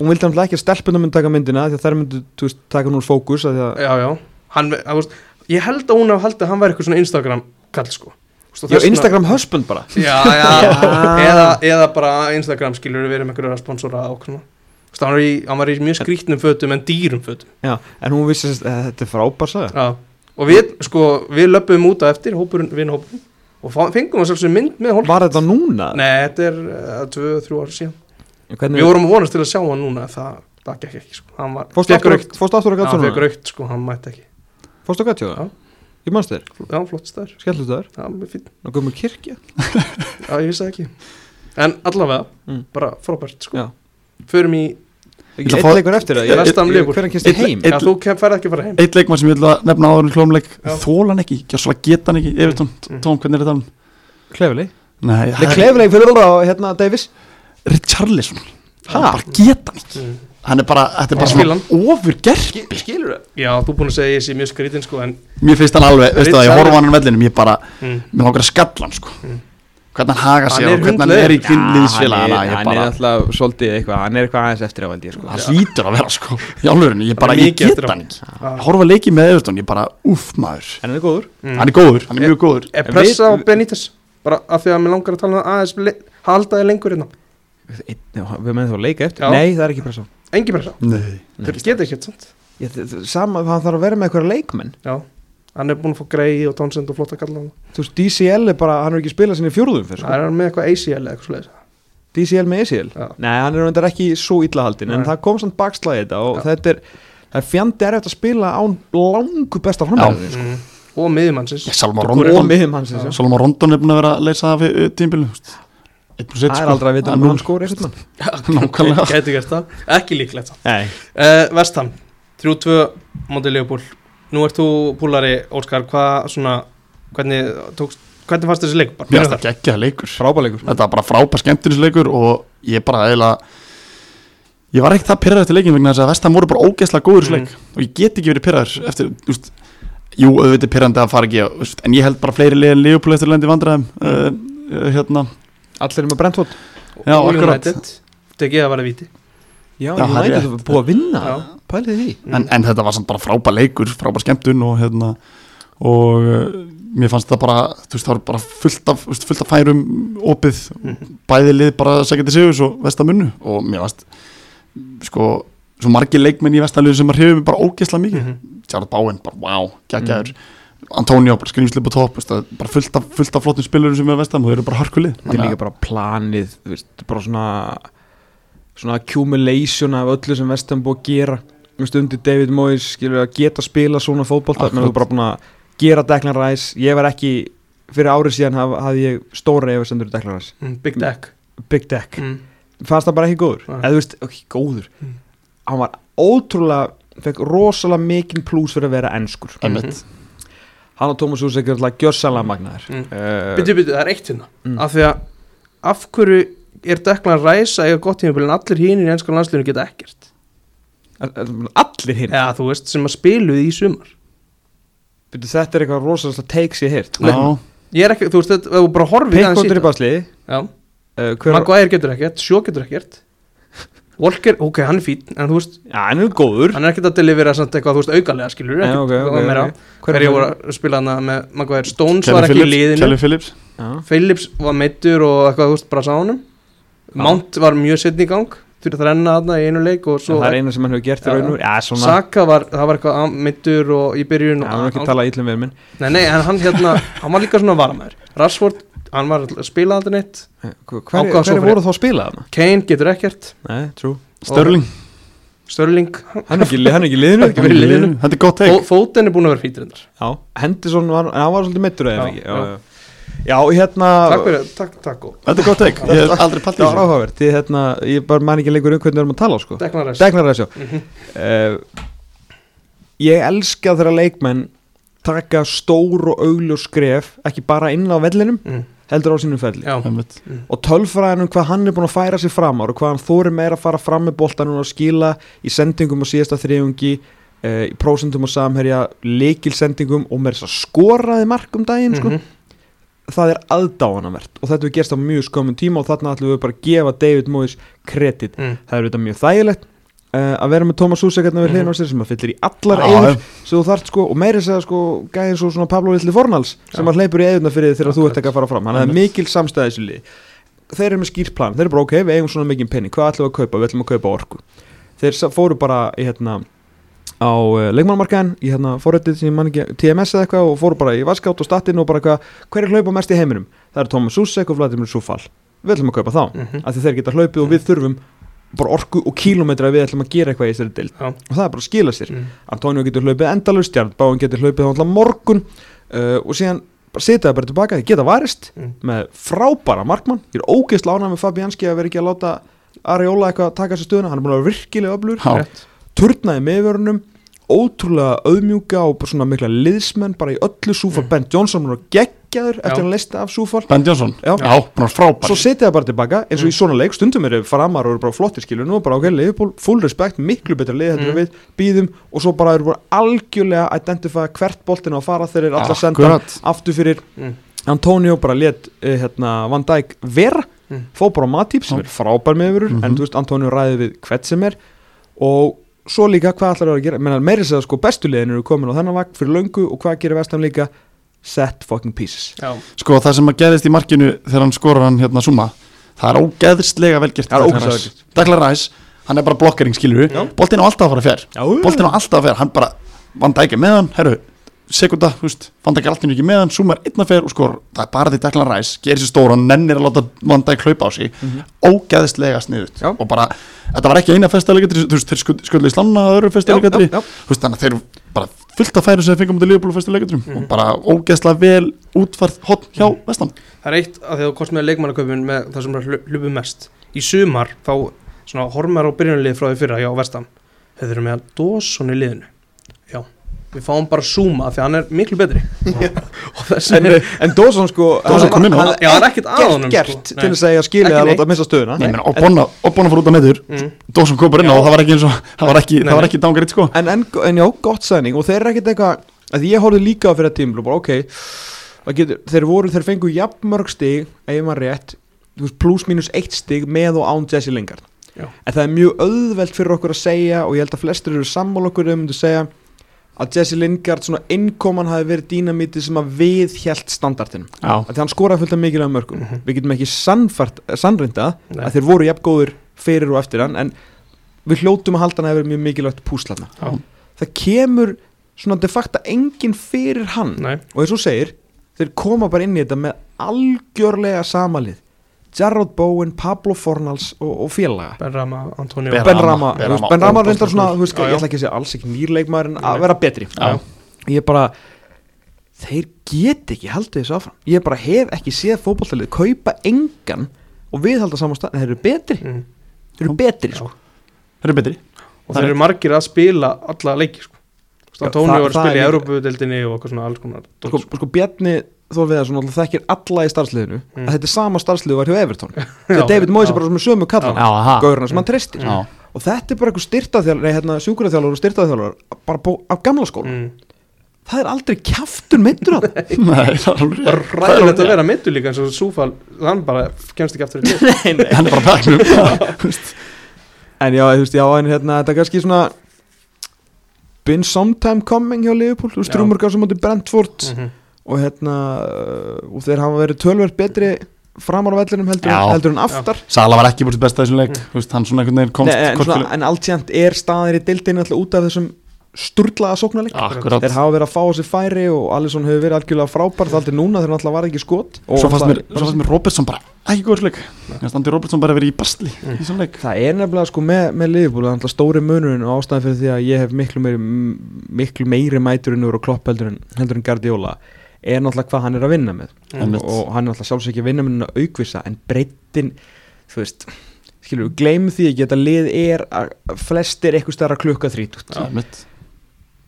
Speaker 3: hún vildi hann ekki að stelpunum myndi taka myndina af því að þær myndi, þú veist, taka núr fókus af því að,
Speaker 1: já, já, hann, að, veist, ég held að hún haf haldið að hann væri eitthvað svona Instagram kall sko Vist,
Speaker 3: já, Instagram husband bara
Speaker 1: já, já, eða, eða bara Instagram skilur við erum einhverjum að sponsora og svona Vist, hann, var í, hann var í mjög skrýtnum fötum en dýrum fötum
Speaker 3: já, en hún vissi að þetta er frábær sagði.
Speaker 1: Já, og við, sko, við löpum út að eftir, hópurinn, vinahópurinn og fá- fengum að sjálfsögum mynd með hólk
Speaker 3: var þetta núna?
Speaker 1: Nei, þetta er uh, tvö, þrjú ára síðan Við
Speaker 3: Hvernig,
Speaker 1: vorum að vonast til að sjá hann núna, en það, það gekk ekki, sko Hann var,
Speaker 3: fórstu aftur,
Speaker 1: raukt,
Speaker 3: fórstu aftur að
Speaker 1: hann fekk
Speaker 3: gatsjónu?
Speaker 1: raukt, sko, hann mætti ekki
Speaker 3: fórstu
Speaker 1: Já.
Speaker 3: að gatsjónu? ég manst þér,
Speaker 1: Já, flott staður,
Speaker 3: skelltu þér
Speaker 1: já, mér fínn,
Speaker 3: og gömur kirkja
Speaker 1: já, ég vissi það ekki En allavega,
Speaker 3: Mm.
Speaker 1: bara frábært, sko
Speaker 3: Já.
Speaker 1: Förum í,
Speaker 3: Ég
Speaker 2: ætla að
Speaker 3: eitt
Speaker 2: fá-
Speaker 3: leikur eftir það,
Speaker 1: Ég-
Speaker 3: ég veist
Speaker 1: Vestam
Speaker 3: að
Speaker 1: Liverpool.
Speaker 3: hvernig kynst þið
Speaker 2: Einn-
Speaker 3: heim
Speaker 2: einn-
Speaker 1: já, þú kem- færð ekki að fara heim
Speaker 2: Eitt leikmaður sem ég vil að nefna áður en klómleik
Speaker 1: Já.
Speaker 2: Þóla hann ekki, gjössalega geta hann ekki Evertón,
Speaker 1: Mm.
Speaker 2: Tóm, hvernig er þetta hann?
Speaker 3: klefli,
Speaker 2: Nei, það er
Speaker 3: klefli fyrir það á hérna Davis
Speaker 2: Richarlison
Speaker 3: Ha?
Speaker 2: Hann bara geta hann ekki
Speaker 1: Mm.
Speaker 2: Hann er bara, þetta er bara
Speaker 1: Ég skil
Speaker 2: svona ofurgerfi
Speaker 3: skilur það?
Speaker 1: Já, þú búin að segja að ég sé mjög skrýtin, sko, en
Speaker 2: Mér finnst hann alveg, veistu það, ég
Speaker 1: Richarlison-
Speaker 2: horfa á hann á vellinum Ég bara,
Speaker 1: mm,
Speaker 2: mér langar að skalla hann sko
Speaker 1: Mm.
Speaker 2: Hvernig hann haga
Speaker 1: Hann
Speaker 2: sér
Speaker 1: er
Speaker 2: og hvernig hann er í
Speaker 1: hundleiður.
Speaker 2: kynliðsfélag
Speaker 3: hann, er alltaf svolítið eitthvað, hann er eitthvað aðeins eftir á veldi sko.
Speaker 2: Það hlýtur að vera sko Í álurinu, ég bara,
Speaker 1: er
Speaker 2: ég
Speaker 1: mikið eftir
Speaker 2: geta
Speaker 1: á.
Speaker 2: hann ekki
Speaker 1: Já.
Speaker 2: Horfa leiki með Evertón, ég bara, uff maður
Speaker 3: hann er góður
Speaker 1: Ah, mm.
Speaker 2: Hann er góður, hann er mjög góður
Speaker 1: Er
Speaker 3: En
Speaker 1: pressa
Speaker 3: við-
Speaker 1: á Benítez bara af því að mér langar að tala um það aðeins le- halda þið lengur hérna. innan,
Speaker 3: Einn- já, við með þá leika eftir
Speaker 1: Já.
Speaker 3: nei það er ekki pressa
Speaker 1: engi pressa
Speaker 2: Nei
Speaker 3: Mm.
Speaker 1: þeir geta ekkert sant
Speaker 3: ég, þ- þ- sama, hann þarf að vera með einhverja leikmenn
Speaker 1: já, hann er búin að fá greið og tónsend og flotta kalla hann
Speaker 3: þú veist DCL er bara, hann er ekki spilað sinni í fjórðum fyrir,
Speaker 1: það
Speaker 3: sko.
Speaker 1: er hann með eitthvað ACL eða eitthvað svoleiðis
Speaker 3: DCL með ECL
Speaker 1: Já.
Speaker 3: nei hann er reyndar ekki svo illa haldinn en
Speaker 1: Nei.
Speaker 3: það kom samt bakslæði þetta og
Speaker 1: Já.
Speaker 3: þetta er það er fjandi erfitt að spila án langu besta
Speaker 2: Já.
Speaker 3: framhæðin
Speaker 1: mm. og miðjumannsins
Speaker 2: Ég Salma
Speaker 3: og
Speaker 2: Rondon
Speaker 3: miðum hans þessu.
Speaker 2: Salma Rondon er búin að vera að leysa uh, það við tímbilu
Speaker 3: það
Speaker 2: sko.
Speaker 3: er aldrei að vita um hann sko. skóri eitthvað mann
Speaker 2: Nákvæmlega
Speaker 1: gæti gert það, ekki líklegt sant
Speaker 3: nei,
Speaker 1: uh, Vestham, 3-2 mótið Leopold, nú ert þú púlari Óskar, hvað svona hvernig tókst, hvernig fannst þessi leik bara,
Speaker 2: Mér finnst
Speaker 1: byrjum
Speaker 2: það geggjaða leikur
Speaker 3: frábæleikur
Speaker 2: Þetta var bara frábær skemmtinisleikur og ég bara eiginlega Ég var ekkert það pyrraður eftir leikin vegna þess að Vestam voru bara ógeðslega
Speaker 1: Mm.
Speaker 2: góður í þessu leik og ég get ekki verið pyrraður eftir, þú veist Jú, auðvitað er pyrrandi að fara ekki þú veist, en ég held bara fleiri leiðin Leopold eftir lendi vandræðum uh, uh, hérna,
Speaker 3: allir er með Brentford
Speaker 1: þar.
Speaker 2: Já,
Speaker 1: Og
Speaker 2: akkurat.
Speaker 1: United, tekið að vera víti
Speaker 3: já,
Speaker 2: Já, það er
Speaker 3: United
Speaker 2: rétt.
Speaker 3: er búið að vinna
Speaker 1: Já.
Speaker 3: pælið því
Speaker 1: Mm.
Speaker 2: en, en þetta var samt bara frábær leikur frábær skemmtun og hérna og uh, mér fannst það bara þú veist, það var bara fullt af, þú veist, fullt af færum opið,
Speaker 1: Mhm.
Speaker 2: bæði lið bara segja til sigur svo vestamunnu og mér fannst sko, svo margir leikmenn í vestamunnu sem að hrifum bara ógeðslega mikið mm
Speaker 1: Mhm.
Speaker 2: Tjárat Báinn, bara wow, geggjaður Antonio, bara skrýmsli på topp veist, það er bara fullt af, fullt af flottum spilurum sem er vestam og þau eru bara harkulið
Speaker 3: þetta er líka bara planið þú veist, bara svona svona accumulation af öllu sem Vestam búið að gera Þú veist, undir David Moyes skilur að geta að spila svona fótbolta menn
Speaker 2: Akkurat.
Speaker 3: þú bara búin að gera Declan Rice ég var ekki, fyrir árið síðan haf, hafði ég stóra efasendur Declan Rice
Speaker 1: Mm, Big Deck
Speaker 3: Big Deck,
Speaker 1: mm.
Speaker 3: fannst það bara ekki góður
Speaker 1: Nei.
Speaker 3: eða þú veist, ok, góður
Speaker 1: Mm.
Speaker 3: hann var ótrúlega, fekk rosalega mikinn plús fyrir að vera enskur
Speaker 2: Einmitt.
Speaker 3: hann og Thomas Húsek er alltaf gjörsalega magnaðir
Speaker 1: Mm.
Speaker 3: Eh,
Speaker 1: Byttu, byttu, það er eitt hérna
Speaker 3: Mm.
Speaker 1: Af því að af hverju er Deklan Ræsa eiga gott tímabil en allir hinir í ennskan landsliðinu geta ekkert
Speaker 3: allir hinn
Speaker 1: Eða þú veist, sem að spiluði í sumar
Speaker 3: Byrju, þetta er eitthvað rosalega takes ég heyrt
Speaker 2: Já,
Speaker 1: Ég er ekki, þú veist, þetta, ef þú bara horfir aðeins í
Speaker 3: Pickford er í
Speaker 1: þetta.
Speaker 3: basli
Speaker 1: Já,
Speaker 3: uh, hver,
Speaker 1: Maguire getur ekkert, Sjó getur ekkert Walker, ok, hann er fín en þú veist,
Speaker 3: Já, hann er góður
Speaker 1: hann er ekkert að delivera samt eitthvað, þú veist, aukalega skilur
Speaker 3: Já, ok, ok, ok.
Speaker 1: okay,
Speaker 3: Hver er
Speaker 1: hverju
Speaker 3: hann?
Speaker 1: voru að spila hana með Maguire Stones
Speaker 2: Kelly
Speaker 1: var ekki í
Speaker 2: Phillips,
Speaker 1: liðinu
Speaker 2: Kelly Phillips
Speaker 3: Já.
Speaker 1: Phillips var meittur og eitthvað, þú veist, bara sá honum
Speaker 3: Já.
Speaker 1: Mount var mjög setn í gang þurfti að renna þarna í einu leik og
Speaker 3: En
Speaker 1: svo
Speaker 3: Það er eina sem hann hefur gert í
Speaker 1: Já.
Speaker 3: raun og Já, svona
Speaker 1: Saka var, það var eitthvað meittur og í
Speaker 3: Já,
Speaker 1: byrjun
Speaker 3: hann er
Speaker 1: og
Speaker 3: ekki um að tala ítlum við minn
Speaker 1: Nei, nei, en hann hérna, hann var líka svona varamæður Rashford, hann var að spila aldrei neitt
Speaker 3: Eh, Hver,
Speaker 1: Ákvað svo
Speaker 3: hver
Speaker 1: fyrir-
Speaker 3: voru þá að spila þarna?
Speaker 1: Kane getur ekkert,
Speaker 3: Nei, trú
Speaker 2: Störling
Speaker 1: Störling
Speaker 3: Hann er ekki, hann er ekki í liðinu
Speaker 1: Ekki verið í liðinu.
Speaker 2: Þetta er gott teik
Speaker 1: Fó- Fóten er búin að vera fítur endar
Speaker 3: Já, Henderson var, en hann var svolítið meittur
Speaker 1: Já,
Speaker 3: eða ekki Já, já. já hérna
Speaker 1: Takk fyrir, takk, takk og
Speaker 2: Þetta er gott teik Ég hef aldrei pælt í
Speaker 3: Það var
Speaker 2: þessu
Speaker 3: áhugavert, ég, hérna, ég bara man ekki lengur um hvernig við erum að tala sko.
Speaker 1: Dekna ræst
Speaker 3: Deklaræsjó uh, Ég elska þegar leikmenn taka stór og augljós skref ekki bara inn á vellinum,
Speaker 1: mm.
Speaker 3: heldur á sínum felli
Speaker 1: Já,
Speaker 2: Einmitt.
Speaker 3: og tölfræðin um hvað hann er búin að færa sig fram ára og hvað hann þóri meira að fara fram með boltanum og skila í sendingum á síðasta þriðungi uh, í prósentum og samherja leikilsendingum og meira þess að skoraði mark um daginn sko.
Speaker 1: Mhm.
Speaker 3: það er aðdáðanavert og þetta við gerst á mjög skömmun tíma og þarna ætlum við bara að gefa David Moyes kredit
Speaker 1: mm.
Speaker 3: það er auðvitað mjög þægilegt uh, að vera með Thomas Susek hérna við hliðin á sér sem að fyllir í allar
Speaker 2: Já,
Speaker 3: eigur sem þú þart sko og meiri segja sko gæðin svo svona Pablo Lilli Fornals sem
Speaker 1: Já.
Speaker 3: að hleypur í eigurna fyrir þig þegar þú
Speaker 1: Akkurat.
Speaker 3: ert ekki að fara fram þannig að það er mikil samstæða í þessu liði þeir eru með skýrt plan, þeir eru bara ok, við eigum svona mikið penning hvað ætlum við að kaupa, við ætlum að kaupa orku þeir sa- fóru bara í hérna á uh, leikmannamarkaðin í hérna forrættið sem ég man ekki TMS eða eitthvað og fóru bara í vaskátt og statinn og bara hvað, hver er hlaupa mest í heiminum það er Thomas Susek og Vladimir Sufal við ætlum að kaupa þá
Speaker 1: Mhm.
Speaker 3: að því þeir geta hlaupið og við þurfum bara orku og kílómetra að við ætlum að gera eitthvað í þessari dild
Speaker 1: Já.
Speaker 3: og það er bara að skila sér
Speaker 1: Mm.
Speaker 3: Antonio getur hlaupið endalust, Jarn Báin getur hlaupið þá alltaf morgun uh, og síðan bara setja það bara tilbaka, þeir geta varist
Speaker 1: Mm.
Speaker 3: með frábæra markmann, ég er ógeist lánað með Fabianski að vera ekki að láta Ariola eitthvað taka sér stöðuna, hann er búin að vera virkilega öflur
Speaker 2: Já.
Speaker 1: Rétt.
Speaker 3: turnaði meðvörunum ótrúlega auðmjúka og bara svona mikla liðsmenn bara í öllu súfal,
Speaker 1: Mm.
Speaker 3: Ben Johnson var geggjaður
Speaker 1: Já.
Speaker 3: eftir að hann leisti af súfal
Speaker 2: Ben Johnson
Speaker 3: Já.
Speaker 2: Já, bara frábær
Speaker 3: svo setja það bara tilbaka eins og
Speaker 1: Mm.
Speaker 3: í svona leik stundum eru framar og eru bara flottir skilur nú er bara ok, Liverpool, full respect, miklu betra lið heldur
Speaker 1: Mm.
Speaker 3: mm. við, býðum og svo bara eru bara algjörlega að identify hvert boltin á að fara þeir eru alltaf senda
Speaker 2: Akkurat.
Speaker 3: aftur fyrir
Speaker 1: Mm.
Speaker 3: Antonio bara let eh, hérna, Van Dijk vera,
Speaker 1: Mm.
Speaker 3: fó bara á Matip sem
Speaker 2: Já.
Speaker 3: er frábær meðurur,
Speaker 2: Mhm.
Speaker 3: en þú veist Antonio ræði við hvert sem er og svo líka hvað ætlar það að gera, menna meiri segja sko bestu liðin eru komin á þennan vakt fyrir löngu og hvað gerir vestam líka set fucking pieces
Speaker 1: Já,
Speaker 2: Sko það sem að gerðist í markinu þegar hann skorar hann hérna suma Það er ógeðslega velgert
Speaker 3: Það er ógeðslega vel gert.
Speaker 2: Daglar Ræs, hann er bara blokkering skilur
Speaker 1: Já.
Speaker 2: Boltinn á alltaf að fara fjær
Speaker 3: Já,
Speaker 2: Boltinn á alltaf að fjær, hann bara Van Dijk er með hann, herru Sekunda, þú veist, Van Dijk er alltaf ekki með hann Suma er einn að fjær og skor Það er bara því Daglar Ræs Gerir sér stóra, hann nennir að láta Van Dijk hlaupa á sig
Speaker 3: Mhm.
Speaker 2: Ógeðslega sniðut
Speaker 3: Já.
Speaker 2: Og bara, þetta var ekki eina festaleikartri Þú veist, þeir skuld- skullu í slanna að öðru
Speaker 3: já, já,
Speaker 2: festaleikartri
Speaker 3: já.
Speaker 2: Þú veist, þannig að þeir bara fullt að færa sem þeir fengum til Liverpool á fyrstu leikatrum
Speaker 1: Mhm.
Speaker 2: og bara ógeðslega vel útfært hotn hjá mm. vestan
Speaker 1: það er eitt að því að þú kost með leikmannaköpun með það sem hlupu mest Í sumar þá svona hormar á byrjunarlið frá því fyrra hjá Vestam Þau eru með að Dawson í liðinu Já, við fáum bara Zuma því að hann er miklu betri Og þessi
Speaker 3: en, en Dawson sko
Speaker 2: Dawson kom inn á.
Speaker 1: Já, það er ekkert að honum,
Speaker 3: gert,
Speaker 1: sko.
Speaker 3: gert
Speaker 1: Nei.
Speaker 3: til þess að ég skilja
Speaker 1: Ekki
Speaker 3: að
Speaker 1: neitt.
Speaker 3: láta missa stöðuna
Speaker 2: Nei, og bonna fór út að meður
Speaker 1: mm.
Speaker 2: Dósum kom bara inn á
Speaker 1: Já.
Speaker 2: og það var ekki eins og það var ekki,
Speaker 1: Nei,
Speaker 2: það var
Speaker 1: nei.
Speaker 2: ekki dangaritt sko
Speaker 3: en, en, en já, gott sæning og þeir eru ekkert eitthvað að ég horfði líka á fyrir að tímlu bara ok, það getur, þeir voru þeir fengu jafnmörg stig, ef maður rétt pluss mínus eitt stig með og án Jesse Lingard
Speaker 1: Já.
Speaker 3: en það er mjög auðvelt fyrir okkur að segja og ég held að flestir eru sammála okkur um að segja að Jesse Lingard svona innkoman hafi verið dýnamítið sem að við hjælt standartinum
Speaker 2: Já,
Speaker 3: að hann skoraði fullt af mikilvæg mörgum
Speaker 1: Mhm.
Speaker 3: við getum ekki sannfært, sannrinda
Speaker 1: Nei.
Speaker 3: að þeir voru jafn góður fyrir og eftir hann en við hljótum að halda hann að vera mjög mikilvægt púslarna
Speaker 1: Já.
Speaker 3: það kemur svona de facto enginn fyrir hann
Speaker 1: Nei,
Speaker 3: og eins og þú segir, þeir koma bara inn í þetta með algjörlega samalið Jarrod Bowen, Pablo Fornals og, og félaga
Speaker 1: Benrama, Antonio
Speaker 2: Ben-
Speaker 3: Ben
Speaker 2: Rama,
Speaker 3: Rama,
Speaker 2: Ben
Speaker 3: þú veist,
Speaker 2: Rama,
Speaker 3: Ben Rama
Speaker 2: óbáslega
Speaker 3: reyndar svona,
Speaker 2: góður.
Speaker 3: þú veist,
Speaker 1: Já, já.
Speaker 3: ég ætla ekki að segja alls ekki nýrleikmaður en
Speaker 1: Nei.
Speaker 3: að vera betri
Speaker 2: já,
Speaker 3: ég bara þeir get ekki haldið þessu áfram ég bara hef ekki séð fótbolltalið kaupa engan og viðhalda saman stað þeir eru betri,
Speaker 1: mm.
Speaker 3: þeir eru betri
Speaker 1: Já.
Speaker 3: sko.
Speaker 2: það er betri
Speaker 1: Og þeir eru margir að spila alla leiki sko. Þú veist,
Speaker 3: Já,
Speaker 1: Antonio er
Speaker 3: það-
Speaker 1: að
Speaker 3: það er
Speaker 1: spila í
Speaker 3: líka-
Speaker 1: Európa-deldinni og eitthvað svona alls konar dót,
Speaker 3: sko, sko Bjarni Þór Viðarsson náttúrulega þekkir alla í starfsliðinu
Speaker 1: Mm.
Speaker 3: að þetta er sama starfsliðu var hjá Everton
Speaker 1: Já,
Speaker 3: þegar David Moyes
Speaker 1: já. Mm.
Speaker 3: er bara sem sömu kallan
Speaker 2: aha
Speaker 3: gaurna sem hann treystir
Speaker 2: Já,
Speaker 3: og þetta er bara einhver styrtaþjálfur nei, hérna, sjúkuraþjálfur og styrtaþjálfur bara bó, af gamla skóla
Speaker 1: Mm.
Speaker 3: það er aldrei kjaftur meittur á það
Speaker 2: nei, það er alveg
Speaker 1: Það er
Speaker 2: rétt.
Speaker 1: ræðilegt að vera mittu líka eins
Speaker 2: um-
Speaker 1: og Súfal, hann bara kemst ekki aftur í lið
Speaker 2: Hann er bara bæknum
Speaker 3: en já, þú veist, já, en hérna þetta er kannski svona been sometime coming hjá Liverpool, þú veist,
Speaker 1: Já.
Speaker 3: Rúmur gaf sem átti Brentford
Speaker 1: Mhm.
Speaker 2: Mm.
Speaker 3: og hérna uh, og þeir hafa verið tölverð betri framar á vellinum heldur,
Speaker 2: Já.
Speaker 3: heldur en aftar
Speaker 2: Sala var ekki búin til besta í þessum leik mm. veist, hann svona einhvern veginn komst
Speaker 3: Nei, en,
Speaker 2: komst
Speaker 3: svona, en allt sént er staðir í deildinu alltaf út af þessum sturlaða sóknarleik
Speaker 2: akkurat
Speaker 3: þeir hafa verið að fá þessi færi og Alisson hefur verið algjörlega frábær þá aldrei núna þegar hann alltaf var ekki skot og
Speaker 2: svo fannst
Speaker 3: það,
Speaker 2: mér, svo fannst mér Robertson bara ekki góður leik Mér standi Robertson bara verið í basli
Speaker 1: Mm.
Speaker 2: í þessum leik
Speaker 3: það er nefnilega sko með, með liðbúl það er alltaf stóri munurinn og ástæðan fyrir því að ég hef miklu meiri, miklu meiri mæturinn úr og klopp heldur en, heldur en Guardiola er náttúrulega hvað hann er að vinna með
Speaker 2: Einmitt.
Speaker 3: Mm. og hann er alltaf sjálfsög ekki að vinna með hann að aukvisa en breyttin, þú veist skilur, gleym því ekki að þetta lið er að flestir eitthvað stærra klukka þrítugt
Speaker 2: Það er mitt.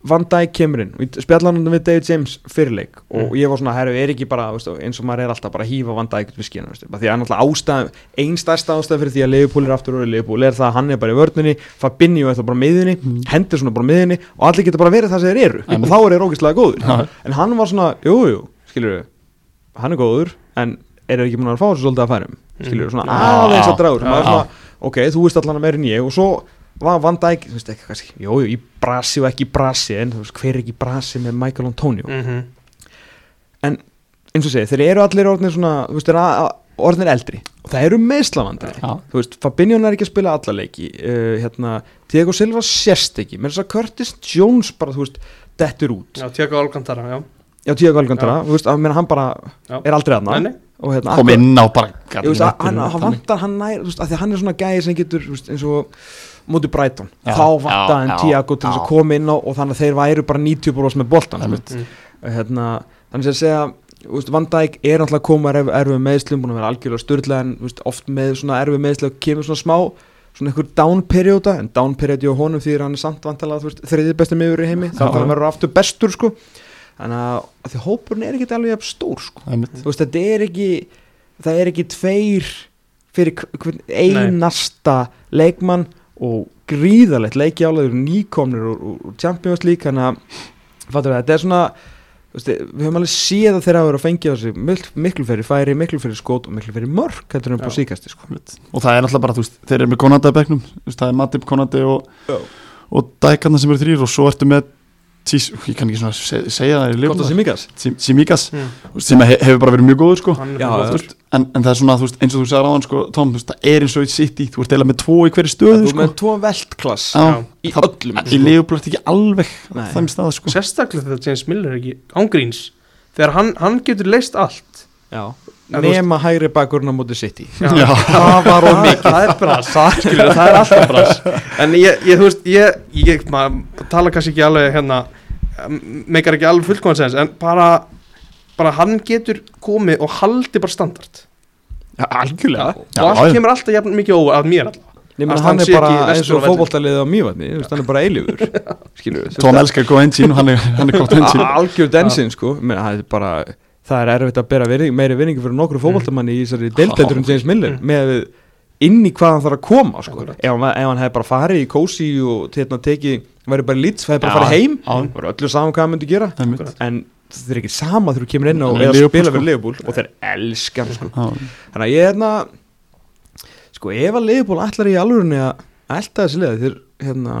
Speaker 3: Van Dijk kemur inn, við spjallanum við David James fyrirleik og
Speaker 1: Mm.
Speaker 3: ég var svona, herru, er ekki bara veistu, eins og maður er alltaf bara að hýfa Van Dijk upp við skina, veistu, bara því að náttúrulega ástæð einn stærsta ástæð fyrir því að Leifupúl er aftur orðið Leifupúl er það að hann er bara í vörninni Fabinho er það bara á miðinni,
Speaker 2: Mm.
Speaker 3: hendur svona bara á miðinni og allir geta bara verið það sem þeir eru
Speaker 2: Einmitt.
Speaker 3: og þá er þeir ógeðslega góður
Speaker 2: Já.
Speaker 3: en hann var svona, jú, jú, skilur hann er góður, en er ekki búin að fá þessu svolítið að færum, skilur svona
Speaker 2: Mm. Já.
Speaker 3: aðeins að dragur,
Speaker 2: Já.
Speaker 3: maður er svona ok, þú veist allan að meira en ég og svo var Van Dijk, þú veist ekki kannski, jú, jú, í brasi og ekki í brasi en þú veist, hver er ekki í brasi með Michael Antonio
Speaker 1: Mhm.
Speaker 3: eins og segja, þeir eru allir orðnir svona þú veist, þeir eru orðnir eldri og það eru meðslavandri
Speaker 2: Já.
Speaker 3: þú veist, Fabinho er ekki að spila alla leiki uh, hérna, Diego Silva sérst ekki menn þess að Curtis Jones bara, þú veist dettur út,
Speaker 1: Já, tjekka álkantara, já
Speaker 3: já, Diego Alcantara þú veist, að menn hann bara
Speaker 1: Já.
Speaker 3: er aldrei aðna
Speaker 1: Nei, nei,
Speaker 3: og hérna,
Speaker 2: kom inn á bara gat
Speaker 3: Ég veist
Speaker 2: ekki
Speaker 3: að hann,
Speaker 2: verið
Speaker 3: hann
Speaker 2: þannig.
Speaker 3: vantar hann nær, þú veist, að því að hann er svona gæði sem getur, þú veist, eins og móti Brighton,
Speaker 2: Já,
Speaker 3: þá vantar hann
Speaker 2: já,
Speaker 3: Tiago til þess að
Speaker 2: já.
Speaker 3: koma inn á og þannig að þeir væru bara 90% með boltan
Speaker 2: Það er
Speaker 3: sko.
Speaker 2: mitt.
Speaker 3: hérna, þannig að segja þú veist, Van Dijk er náttúrulega að koma erf, erfið meðslum, búin að vera algjörlega styrla en þú veist, oft með svona erfið meðslum kemur svona smá svona einhver down perióda en down periódi á honum því að hann er samt vantalega þú veist, þriðið besti miður í heimi, þannig að hann verður aftur bestur sko, þannig að af því að hópurinn er ekki alveg jafn stór sko
Speaker 2: Það er mitt.
Speaker 3: þú veist, þetta er ekki það er ekki tveir fyrir hv- hvern einasta leikmann og gríðalegt leikjálaður nýkomnir úr, úr- úr Champions League þannig að fattur það, þetta er svona þú veist, við höfum alveg séð að þeirra hafa verið að fengja á sig mil- miklu fyrir færi, miklu fyrir skot og miklu fyrir mörk, þetta er um
Speaker 1: Já.
Speaker 3: på síkasti sko.
Speaker 2: og það er alltaf bara, þú veist, þeir eru með Konati að bekknum þú veist, það er Matip, Konati og
Speaker 3: Já.
Speaker 2: og Dækarna sem eru þrýr og svo ertu með Tís, ég kann ekki svona se- segja það í
Speaker 3: Gott að
Speaker 2: lifum
Speaker 3: sé mikas
Speaker 2: Simíkas,
Speaker 1: Mm.
Speaker 2: sem he- hefur bara verið mjög góður sko.
Speaker 1: Hann er
Speaker 3: Já,
Speaker 1: góður.
Speaker 2: Þú veist, en, en það er svona, þú veist, eins og þú segir áðan sko, Tom, þú veist, það er eins og í City þú ert eiginlega með tvo í hverju
Speaker 3: Þú
Speaker 2: stöðu
Speaker 3: er
Speaker 2: sko.
Speaker 3: með tvo veltklass
Speaker 2: Já,
Speaker 1: Já.
Speaker 3: í
Speaker 2: það-
Speaker 3: öllum sko.
Speaker 2: í Leopold ekki alveg
Speaker 3: Nei.
Speaker 2: þannig stað sko.
Speaker 1: Sérstaklega þegar James Miller er ekki ángríns Þegar hann, hann getur leist allt
Speaker 3: Já.
Speaker 1: En þú veist-
Speaker 3: nema hægri bakurinn á móti sitt í
Speaker 1: Já.
Speaker 2: Já.
Speaker 3: það var of
Speaker 1: það,
Speaker 3: mikið
Speaker 1: það er bras, það, skilur, það er alltaf bras En ég, ég þú veist, ég, ég maður tala kannski ekki alveg hérna m- meikar ekki alveg fullkomensens en bara, bara hann getur komið og haldi bara standart
Speaker 2: algjörlega já,
Speaker 1: og allt
Speaker 2: já,
Speaker 1: kemur alltaf jafn mikið óvart að mér alltaf
Speaker 3: Ég
Speaker 1: Að
Speaker 3: meina
Speaker 1: hann
Speaker 3: hann er
Speaker 1: sé
Speaker 3: bara
Speaker 1: ekki næstur
Speaker 3: eins
Speaker 1: á
Speaker 3: og
Speaker 1: vellinum.
Speaker 3: fótboltaliðið á mývatni, þú veist, hann er bara eilífur skilur við,
Speaker 2: Tom elskar góð einsýn og hann er, hann er gott einsýn
Speaker 3: algjör densinn sko Ég meina, það er bara, það er erfitt að bera virðing, meiri vinningi fyrir nokkru fótboltamanni í þessari deildendur um James Miller,
Speaker 1: Mm.
Speaker 3: með að við inn í hvað hann þarf að koma sko.
Speaker 1: Akkurat.
Speaker 3: ef hann, ef hann hefði bara farið í kósi og hérna tekið, væri bara lít hefði bara
Speaker 2: Já,
Speaker 3: farið heim,
Speaker 2: já.
Speaker 3: var öllu saman hvað hann myndi gera
Speaker 2: Það er mitt.
Speaker 3: en það er ekki sama þegar þú kemur inn á
Speaker 2: Nei,
Speaker 3: eða
Speaker 2: Liverpool,
Speaker 3: spila
Speaker 2: sko.
Speaker 3: fyrir Leopold og þeir elska hann sko
Speaker 2: Já.
Speaker 3: Þannig að ég er hérna Sko ef að Leifból ætlar í alvörunni að Elta þessi liða þeir hérna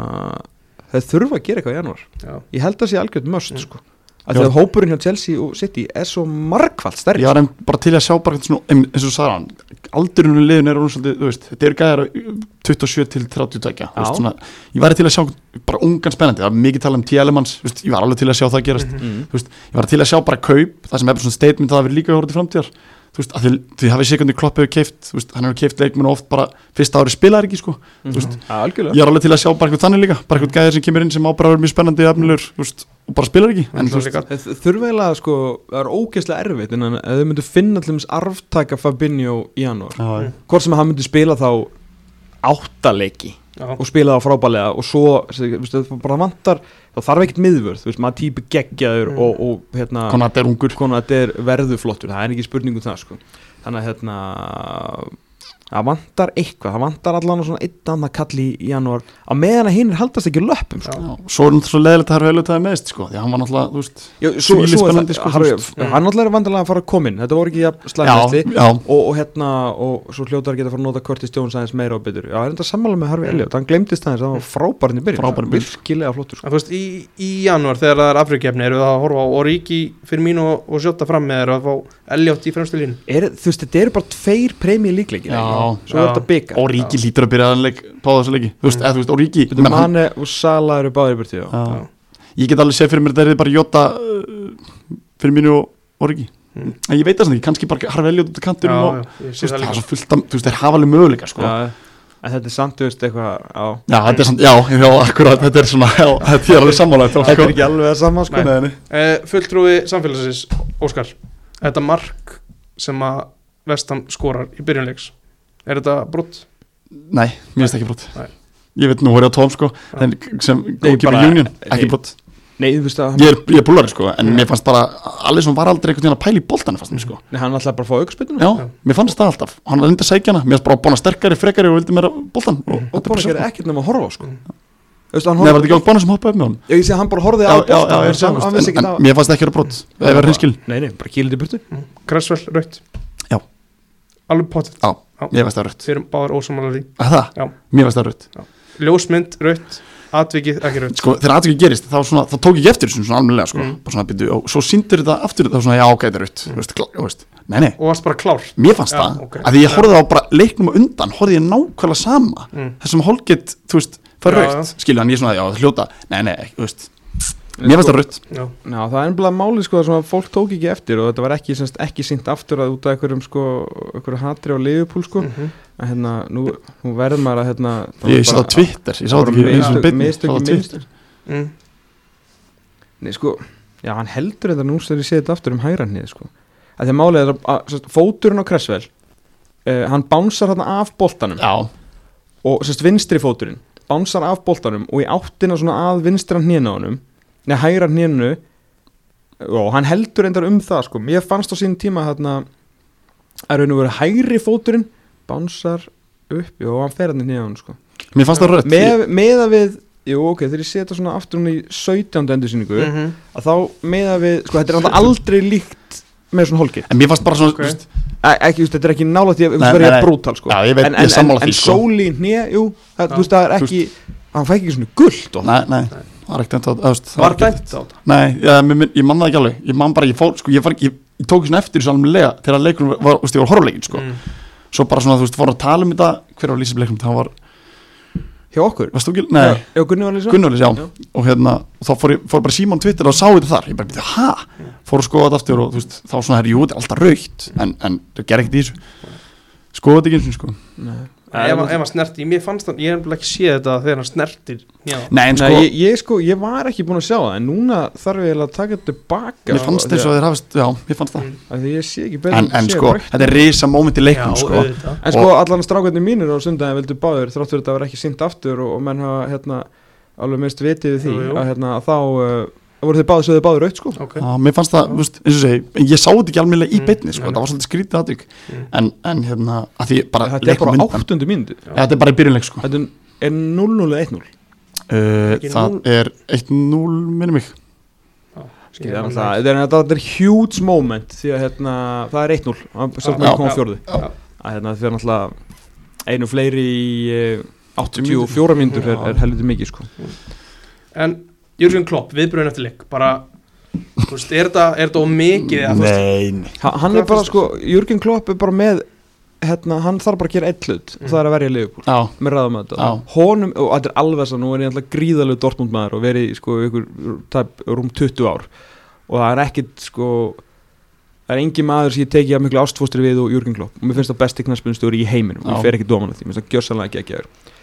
Speaker 3: Þeir þurfa að gera eitthvað í janúar
Speaker 1: Já,
Speaker 3: Ég held að það sé algjörð möst
Speaker 1: Mm.
Speaker 3: sko Að þegar hópurinn hjá Chelsea og City er svo margfald stærri
Speaker 2: ég var enn bara til að sjá bara eitthvað svona, em- eins og sagði hann, aldurinn í liðin er orðinn svolítið, þú veist, þetta eru gæðar 27 til 30 tækja
Speaker 3: Já.
Speaker 2: ég var til að sjá bara ungan spennandi það var mikið talað um TLMans, ég var alveg til að sjá það gerast
Speaker 1: Mhm.
Speaker 3: mm.
Speaker 2: ég var til að sjá bara kaup það sem er bara svona statement að það verið líka að horfa til framtíðar þú veist, af því, því hafið sékundi klopp hefur keift veist, hann hefur keift leikmenn og oft bara fyrsta ári spilaðar ekki sko,
Speaker 3: mm.
Speaker 2: þú veist,
Speaker 3: Já, Algjörlega
Speaker 2: ég er alveg til að sjá bara eitthvað þannig líka bara eitthvað gæðir sem kemur inn sem á bara að vera mjög spennandi og efnilegur, þú veist, og bara spilaðar ekki en þú veist,
Speaker 1: líka,
Speaker 3: Þeir þ- Þurfa eiginlega sko Það er ógeðslega erfitt En að þau myndu finna allir um arftaka Fabinho í janúar
Speaker 2: já,
Speaker 3: Hvort sem hann myndi spila þá áttaleiki
Speaker 1: já,
Speaker 3: og spila það frábælega og svo, þú veist, það bara vantar þá þarf ekkert miðvörð, þú veist, maður típi geggjaður
Speaker 1: Mm.
Speaker 3: og, og hérna
Speaker 2: konar er ungur
Speaker 3: konar þetta er verðu flottur, það er ekki spurning um það sko. þannig að hérna það vantar eitthvað, það vantar allan svona einn annan kall í í janúar á meðan að hinn haldast ekki á löppum sko.
Speaker 1: Já.
Speaker 2: Já, svo er náttúrulega leðilegt að það er velutaði meðist sko, því að hann var náttúrulega, þú veist
Speaker 3: Já, svo,
Speaker 2: Svíli
Speaker 3: svo er
Speaker 2: spennandi,
Speaker 3: það,
Speaker 2: sko,
Speaker 3: Harry,
Speaker 2: þú veist.
Speaker 3: hann náttúrulega er vandilega að fara að koma inn þetta voru ekki jafn slagmestli
Speaker 2: Já, já,
Speaker 3: og, og hérna, og svo hljótar að geta að fara að nota Curtis Jones aðeins meira og betur já, það er þetta sammála með Harfi Elliot, hann glemtist aðeins hann var frábærni byrjun,
Speaker 2: Frábær í byrjun.
Speaker 3: virkilega flottur sko.
Speaker 1: En þú veist, í, í janúar þegar það er Afrikjafni eru það að horfa á Origi fyrir mín og, og sjóta fram með þeir að fá Elliot í fremstu línu
Speaker 3: er, þú veist, þetta eru bara tveir premji líkleikir
Speaker 2: Já.
Speaker 3: svo er
Speaker 1: Já.
Speaker 3: þetta byggar
Speaker 2: og Ríki lítur að byrja aðanleik Pá þessa leiki, þú veist, eða þú veist, og Ríki
Speaker 3: Þetta manni og Sala eru báðir í burtu já.
Speaker 2: Já. Ég get alveg séð fyrir mér að það er bara Jota uh, fyrir mínu og Orgi
Speaker 1: Mm.
Speaker 2: En ég veit það svona ekki, kannski bara harfi eljótt út af kantinum og
Speaker 1: já, ég
Speaker 2: þú
Speaker 1: sé
Speaker 2: veist,
Speaker 1: það
Speaker 2: það er
Speaker 1: líka
Speaker 2: svo fullt af, þú veist, þeir hafa alveg möguleika sko.
Speaker 3: Já,
Speaker 2: Já,
Speaker 3: en þetta er samt, þú veist, eitthvað á,
Speaker 2: þetta er samt, já, já, akkurat, þetta er svona, já, þetta er alveg sammálaðið
Speaker 3: þetta er ekki alveg að sama sko.
Speaker 1: Nei.
Speaker 2: Nei, nei.
Speaker 1: uh, Fulltrúi samfélagsins, Óskar Þetta mark sem að Vestam skorar í byrjunleiks Er þetta brott?
Speaker 2: Nei, mér finnst ekki brot
Speaker 1: Nei.
Speaker 2: Ég veit nú, horið á Tom sko
Speaker 1: Já.
Speaker 2: en sem
Speaker 3: bara-
Speaker 2: góðkipir Union,
Speaker 3: nei.
Speaker 2: ekki brot
Speaker 3: Nei, þú veist að hann,
Speaker 2: Ég er, ég er búlari sko, en
Speaker 1: Já.
Speaker 2: mér fannst bara Alisson var aldrei einhvern veginn að pæla í boltana fannst mér sko
Speaker 3: nei, hann ætlaði bara að fá aukspilinu
Speaker 2: Já,
Speaker 1: Já.
Speaker 2: mér fannst það alltaf, hann var undir sækjana Mér fannst bara bóna sterkari, frekari og vildi mér boltan
Speaker 1: Mhm.
Speaker 2: og, þetta er
Speaker 3: og búin
Speaker 2: bara
Speaker 3: að
Speaker 2: sjálf
Speaker 3: gera
Speaker 2: Nei,
Speaker 3: ekkert nema að horfa á, sko
Speaker 1: Mm.
Speaker 3: Þú veist, hann
Speaker 2: var þetta
Speaker 3: horfði
Speaker 2: ekki alveg bóna sem hoppaði upp með honum
Speaker 3: Já, ég sé að hann bara horfið
Speaker 2: Já,
Speaker 3: á
Speaker 2: já,
Speaker 3: boltann,
Speaker 2: já,
Speaker 3: þú
Speaker 2: ég
Speaker 3: veist, hann- hann
Speaker 2: sagði
Speaker 3: vissi
Speaker 2: en,
Speaker 3: ekki
Speaker 2: en
Speaker 3: að-
Speaker 2: mér fannst ekki að vera brot, ef ég var hinskil
Speaker 3: Nei, nei, bara kýlið í burtu
Speaker 1: Kressvel, Mm. rautt
Speaker 2: Já.
Speaker 1: Alveg potið
Speaker 2: Já, Mér fannst það rött,
Speaker 1: Þeir eru báðar ósamálar því
Speaker 2: Að
Speaker 1: Já.
Speaker 2: það, mér fannst það rött
Speaker 1: Ljósmynd, rautt Atvikið, ekki rautt
Speaker 2: Sko, þegar aðtöku gerist, þá, svona, þá tók ég eftir þessu svona almennilega sko,
Speaker 1: Mm.
Speaker 2: bara svona byrju og svo sindur þetta aftur, þá svona, já, ok, þetta er rött þú veist, klá- þú veist, Nei, nei,
Speaker 1: Og varst bara klár
Speaker 2: Mér fannst
Speaker 1: Já,
Speaker 2: það,
Speaker 1: ok.
Speaker 2: að því ég horfði á bara leiknum á undan, horfði ég nákvæmlega sama
Speaker 1: Mm.
Speaker 2: þessum holget, þú veist, fær
Speaker 1: Já,
Speaker 2: raukt skilja hann, ég svona, já, það er hljóta, nei, nei, ekki, þú veist mér
Speaker 3: sko,
Speaker 2: fannst það raukt,
Speaker 1: Já,
Speaker 3: Já, það er ennblæð máli sko sem að fólk tók ekki eftir og þetta var ekki, semst, ekki sýnt aftur að út af einhverjum sko, einhverju hatri á Liverpool sko
Speaker 1: mhm.
Speaker 3: að hérna, nú, nú verður maður að hérna það var
Speaker 2: ég sá það
Speaker 3: bara-
Speaker 2: á Twitter ég sá það
Speaker 3: bara
Speaker 2: ekki eins og
Speaker 3: mistök-
Speaker 2: beinni, sá
Speaker 3: mistök
Speaker 2: það
Speaker 3: í
Speaker 2: á Twitter
Speaker 3: mistök.
Speaker 1: Mm.
Speaker 3: Nei, sko, já, hann heldur þetta nú sem ég sé þetta aftur um hægra hnið sko að því að málið er að, að semst, fóturinn á Kressvel uh, hann bánsar hérna af boltanum
Speaker 2: já,
Speaker 3: og sérst vinstri fóturinn bánsar af boltanum og í áttina svona að vinstra hnýna honum neða hægra hnýnu og hann heldur endar um það sko mér fannst á sín tíma þarna að raun og veru hægri fóturinn bánsar upp jú, og hann fer hann í hnýna honum sko
Speaker 2: mér fannst það raukt
Speaker 3: með, meða við Jú, ok, þegar ég setja svona aftur hún í 17. endursýningu
Speaker 2: Mm.
Speaker 1: Mhm.
Speaker 3: að þá meða við, sko, þetta er alltaf aldrei líkt með svona holki
Speaker 2: en mér fannst bara svona,
Speaker 1: Ok.
Speaker 2: þú veist,
Speaker 3: ekki, þú veist, þetta er ekki nálægt í að
Speaker 2: Nei,
Speaker 3: verja
Speaker 2: nei, nei.
Speaker 3: brútal, sko
Speaker 2: já, ég veit,
Speaker 3: en,
Speaker 2: ég
Speaker 3: en,
Speaker 2: er
Speaker 3: en,
Speaker 2: sammála
Speaker 3: en
Speaker 2: því, sko
Speaker 3: sóli hnið, jú það,
Speaker 1: Já.
Speaker 3: þú veist það er ekki, hann fæ ekki svona gullt og
Speaker 2: nei, nei, það var ekkert það, þú veist, það
Speaker 1: Var
Speaker 2: var
Speaker 1: dæmt á þetta?
Speaker 2: ekki nei, já, mér- mér- ég man það ekki alveg, ég man bara, ég fór, sko, ég fór ekki ég, ég tók svona eftir þessu almennilega þegar leikunum var, þú veist, ég var horfleikin, sko
Speaker 1: Mm.
Speaker 2: svo bara svona, þú veist, fór að tala um þetta hver var lýsibleikum, það var,
Speaker 3: hjá okkur
Speaker 2: varst þú ekki, nei,
Speaker 3: Já, já, Gunni var lýsa
Speaker 2: Gunnvölis, já.
Speaker 3: Já.
Speaker 2: og hérna, og þá fór, ég, fór bara síma á Twitter og sá þetta þar, ég bara byrja, hæ fór að skoða þetta aftur og þú veist, þá svona herri, jú, þetta er alltaf raukt, en, en það ger ekkert í þessu skoða þetta ekki eins og sko
Speaker 1: Ef hann- ef hann snerti, mér fannst það, ég hef nefnilega ekki séð þetta þegar hann snertir Já,
Speaker 2: nei, en sko,
Speaker 3: Nei, ég, ég sko, ég var ekki búin að sjá það en núna þarf ég eiginlega að taka þetta tilbaka
Speaker 2: mér fannst þess að þeir hafist já, mér fannst það,
Speaker 1: Mm.
Speaker 3: að því ég sé ekki betur
Speaker 2: en, en
Speaker 3: sé
Speaker 2: sko
Speaker 3: rautt.
Speaker 2: þetta er risa moment í leikum, sko
Speaker 1: auðvitað
Speaker 3: en sko, allan strákarnir mínir á sundaginn vildu báður þrátt fyrir þetta var ekki sýnt aftur og, og menn hafa, hérna, alveg mest vitið við því
Speaker 1: Jú, jú.
Speaker 3: að hérna, þá uh, voru þið báður sögðu báður raut, sko
Speaker 1: Ok,
Speaker 2: já, mér fannst það, þú veist, eins og segi ég sá þetta ekki alveg í
Speaker 1: Mm,
Speaker 2: beinni, sko,
Speaker 1: nei,
Speaker 2: það var svolítið skrítið aðtök
Speaker 1: Mm.
Speaker 2: en, en hérna, að því bara
Speaker 3: þetta er
Speaker 2: leikur
Speaker 3: bara
Speaker 2: myndan,
Speaker 3: áttundu mínútu
Speaker 2: Ja, þetta er bara í byrjunleik, sko
Speaker 3: þetta er 0-0-1-0
Speaker 2: Uh,
Speaker 1: Ekki
Speaker 2: það
Speaker 1: núll.
Speaker 2: er 1-0 minni mig
Speaker 1: Ég
Speaker 3: Skilja,
Speaker 1: man
Speaker 3: þannig að þetta er, þetta er huge moment því að hérna, það er 1-0 að
Speaker 2: Já,
Speaker 3: Stjórnmæður kom
Speaker 1: já,
Speaker 3: fjórðu
Speaker 1: já.
Speaker 3: að hérna, því að náttúrulega einu fleiri í eh, 84 mínútur er,
Speaker 2: Já.
Speaker 3: er helviti mikið sko.
Speaker 1: En Jürgen Klopp, viðbröðin eftir leik bara, þú veist, er þetta er þetta of mikið eða, þú veist,
Speaker 2: nei, nei.
Speaker 3: Ha, hann
Speaker 1: Hvað
Speaker 3: er bara
Speaker 1: finnst
Speaker 3: sko, Jürgen Klopp er bara með hérna, hann þarf bara að gera eitt hlut og það er að verja Liverpool
Speaker 2: já,
Speaker 3: með ráðum að þetta
Speaker 2: Já.
Speaker 3: honum, og þetta er alveg sann, nú er ég alltaf gríðalegu Dortmund maður og verið í, sko ykkur tæp, rúm 20 ár og það er ekkit sko það er engin maður sem ég teki að miklu ástfóstri við og Jürgen Klopp og mér finnst það besti knaspunstjóri í heiminum og
Speaker 2: Já.
Speaker 3: ég fer ekki dóman af því, mér finnst það gjössalega ekki að gera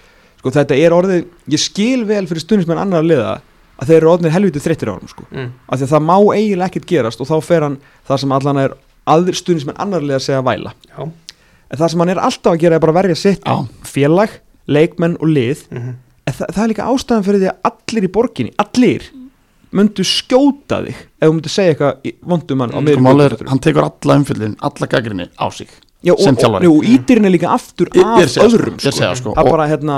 Speaker 3: sko þetta er orðið, ég skil vel fyrir stundismenn annar liða að þeir eru orðinir helviti þreyttir á hann sko
Speaker 1: mm,
Speaker 3: af því að það má eiginlega ekkert gerast og þá fer hann það sem allan er aðrir stundismenn annar liða segja að væla
Speaker 1: Já,
Speaker 3: en það sem hann er alltaf að gera er bara að verja sitt
Speaker 2: já, sko,
Speaker 3: félag, leikmenn og lið
Speaker 1: mhm,
Speaker 3: en það, það er líka ástæðan fyrir því að allir í borginni, allir
Speaker 1: Mm.
Speaker 3: myndu skjóta þig ef þú myndu segja eitthvað í vondum mann á
Speaker 1: Mm,
Speaker 3: meiri
Speaker 2: Sko málið er, hann tekur alla umfyllin, alla gaggrinni á sig
Speaker 3: Já, og,
Speaker 2: Sem
Speaker 3: og,
Speaker 2: þjálfari.
Speaker 3: og ítirinn er líka aftur
Speaker 2: Ég-
Speaker 3: af
Speaker 2: ég segi það,
Speaker 3: öðrum
Speaker 2: ég segi það, sko.
Speaker 3: að
Speaker 2: Og-
Speaker 3: bara hérna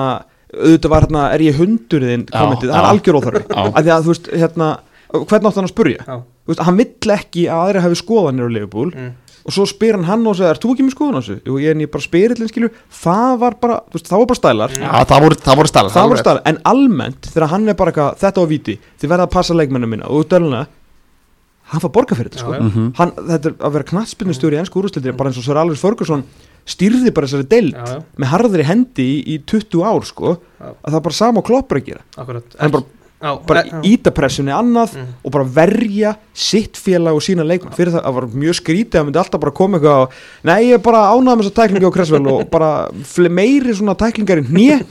Speaker 3: auðvitað var hérna er ég hundurðin
Speaker 2: Já,
Speaker 3: kommentið, það er
Speaker 2: já.
Speaker 3: algjör óþörfi
Speaker 2: Já.
Speaker 3: að því að þú veist hérna hvernig átt hann að spurja
Speaker 1: Já.
Speaker 3: Þú veist, hann vill ekki að aðri hafi skoðanir á leifubúl
Speaker 1: Mm.
Speaker 3: og svo spyr hann hann og segir, er þú ekki með skoðan á þessu? Jú, ég, en ég bara spyrillin skilju, það var bara, þú veist, það var bara stælar
Speaker 1: Mm.
Speaker 2: Já, það voru, það voru stærlega
Speaker 3: það var stælar, en almennt þegar hann er bara eitthvað, þetta var víti, þið verða að passa leikmennu mína og þú dæluna, hann fær borga fyrir þetta sko.
Speaker 1: Já, já.
Speaker 2: Mhm.
Speaker 3: hann, þetta er að vera knattspinnustjóri í ennsku úrúsleitir, bara eins og Sir Alex Ferguson stýrði bara þessari deild
Speaker 1: Já, já,
Speaker 3: með harðri hendi í, í 20 ár sko,
Speaker 1: Já.
Speaker 3: að það er bara sama og kloppur að gera
Speaker 1: akkurat
Speaker 3: hann bara,
Speaker 1: já,
Speaker 3: bara íta pressunni annað
Speaker 1: Mm.
Speaker 3: og bara verja sitt félag og sína leikmann fyrir það, það var mjög skrítið að myndi alltaf bara koma eitthvað á, nei ég er bara ánaði með þessa tæklingi á Kressvel og bara fle- meiri svona tæklingar í hné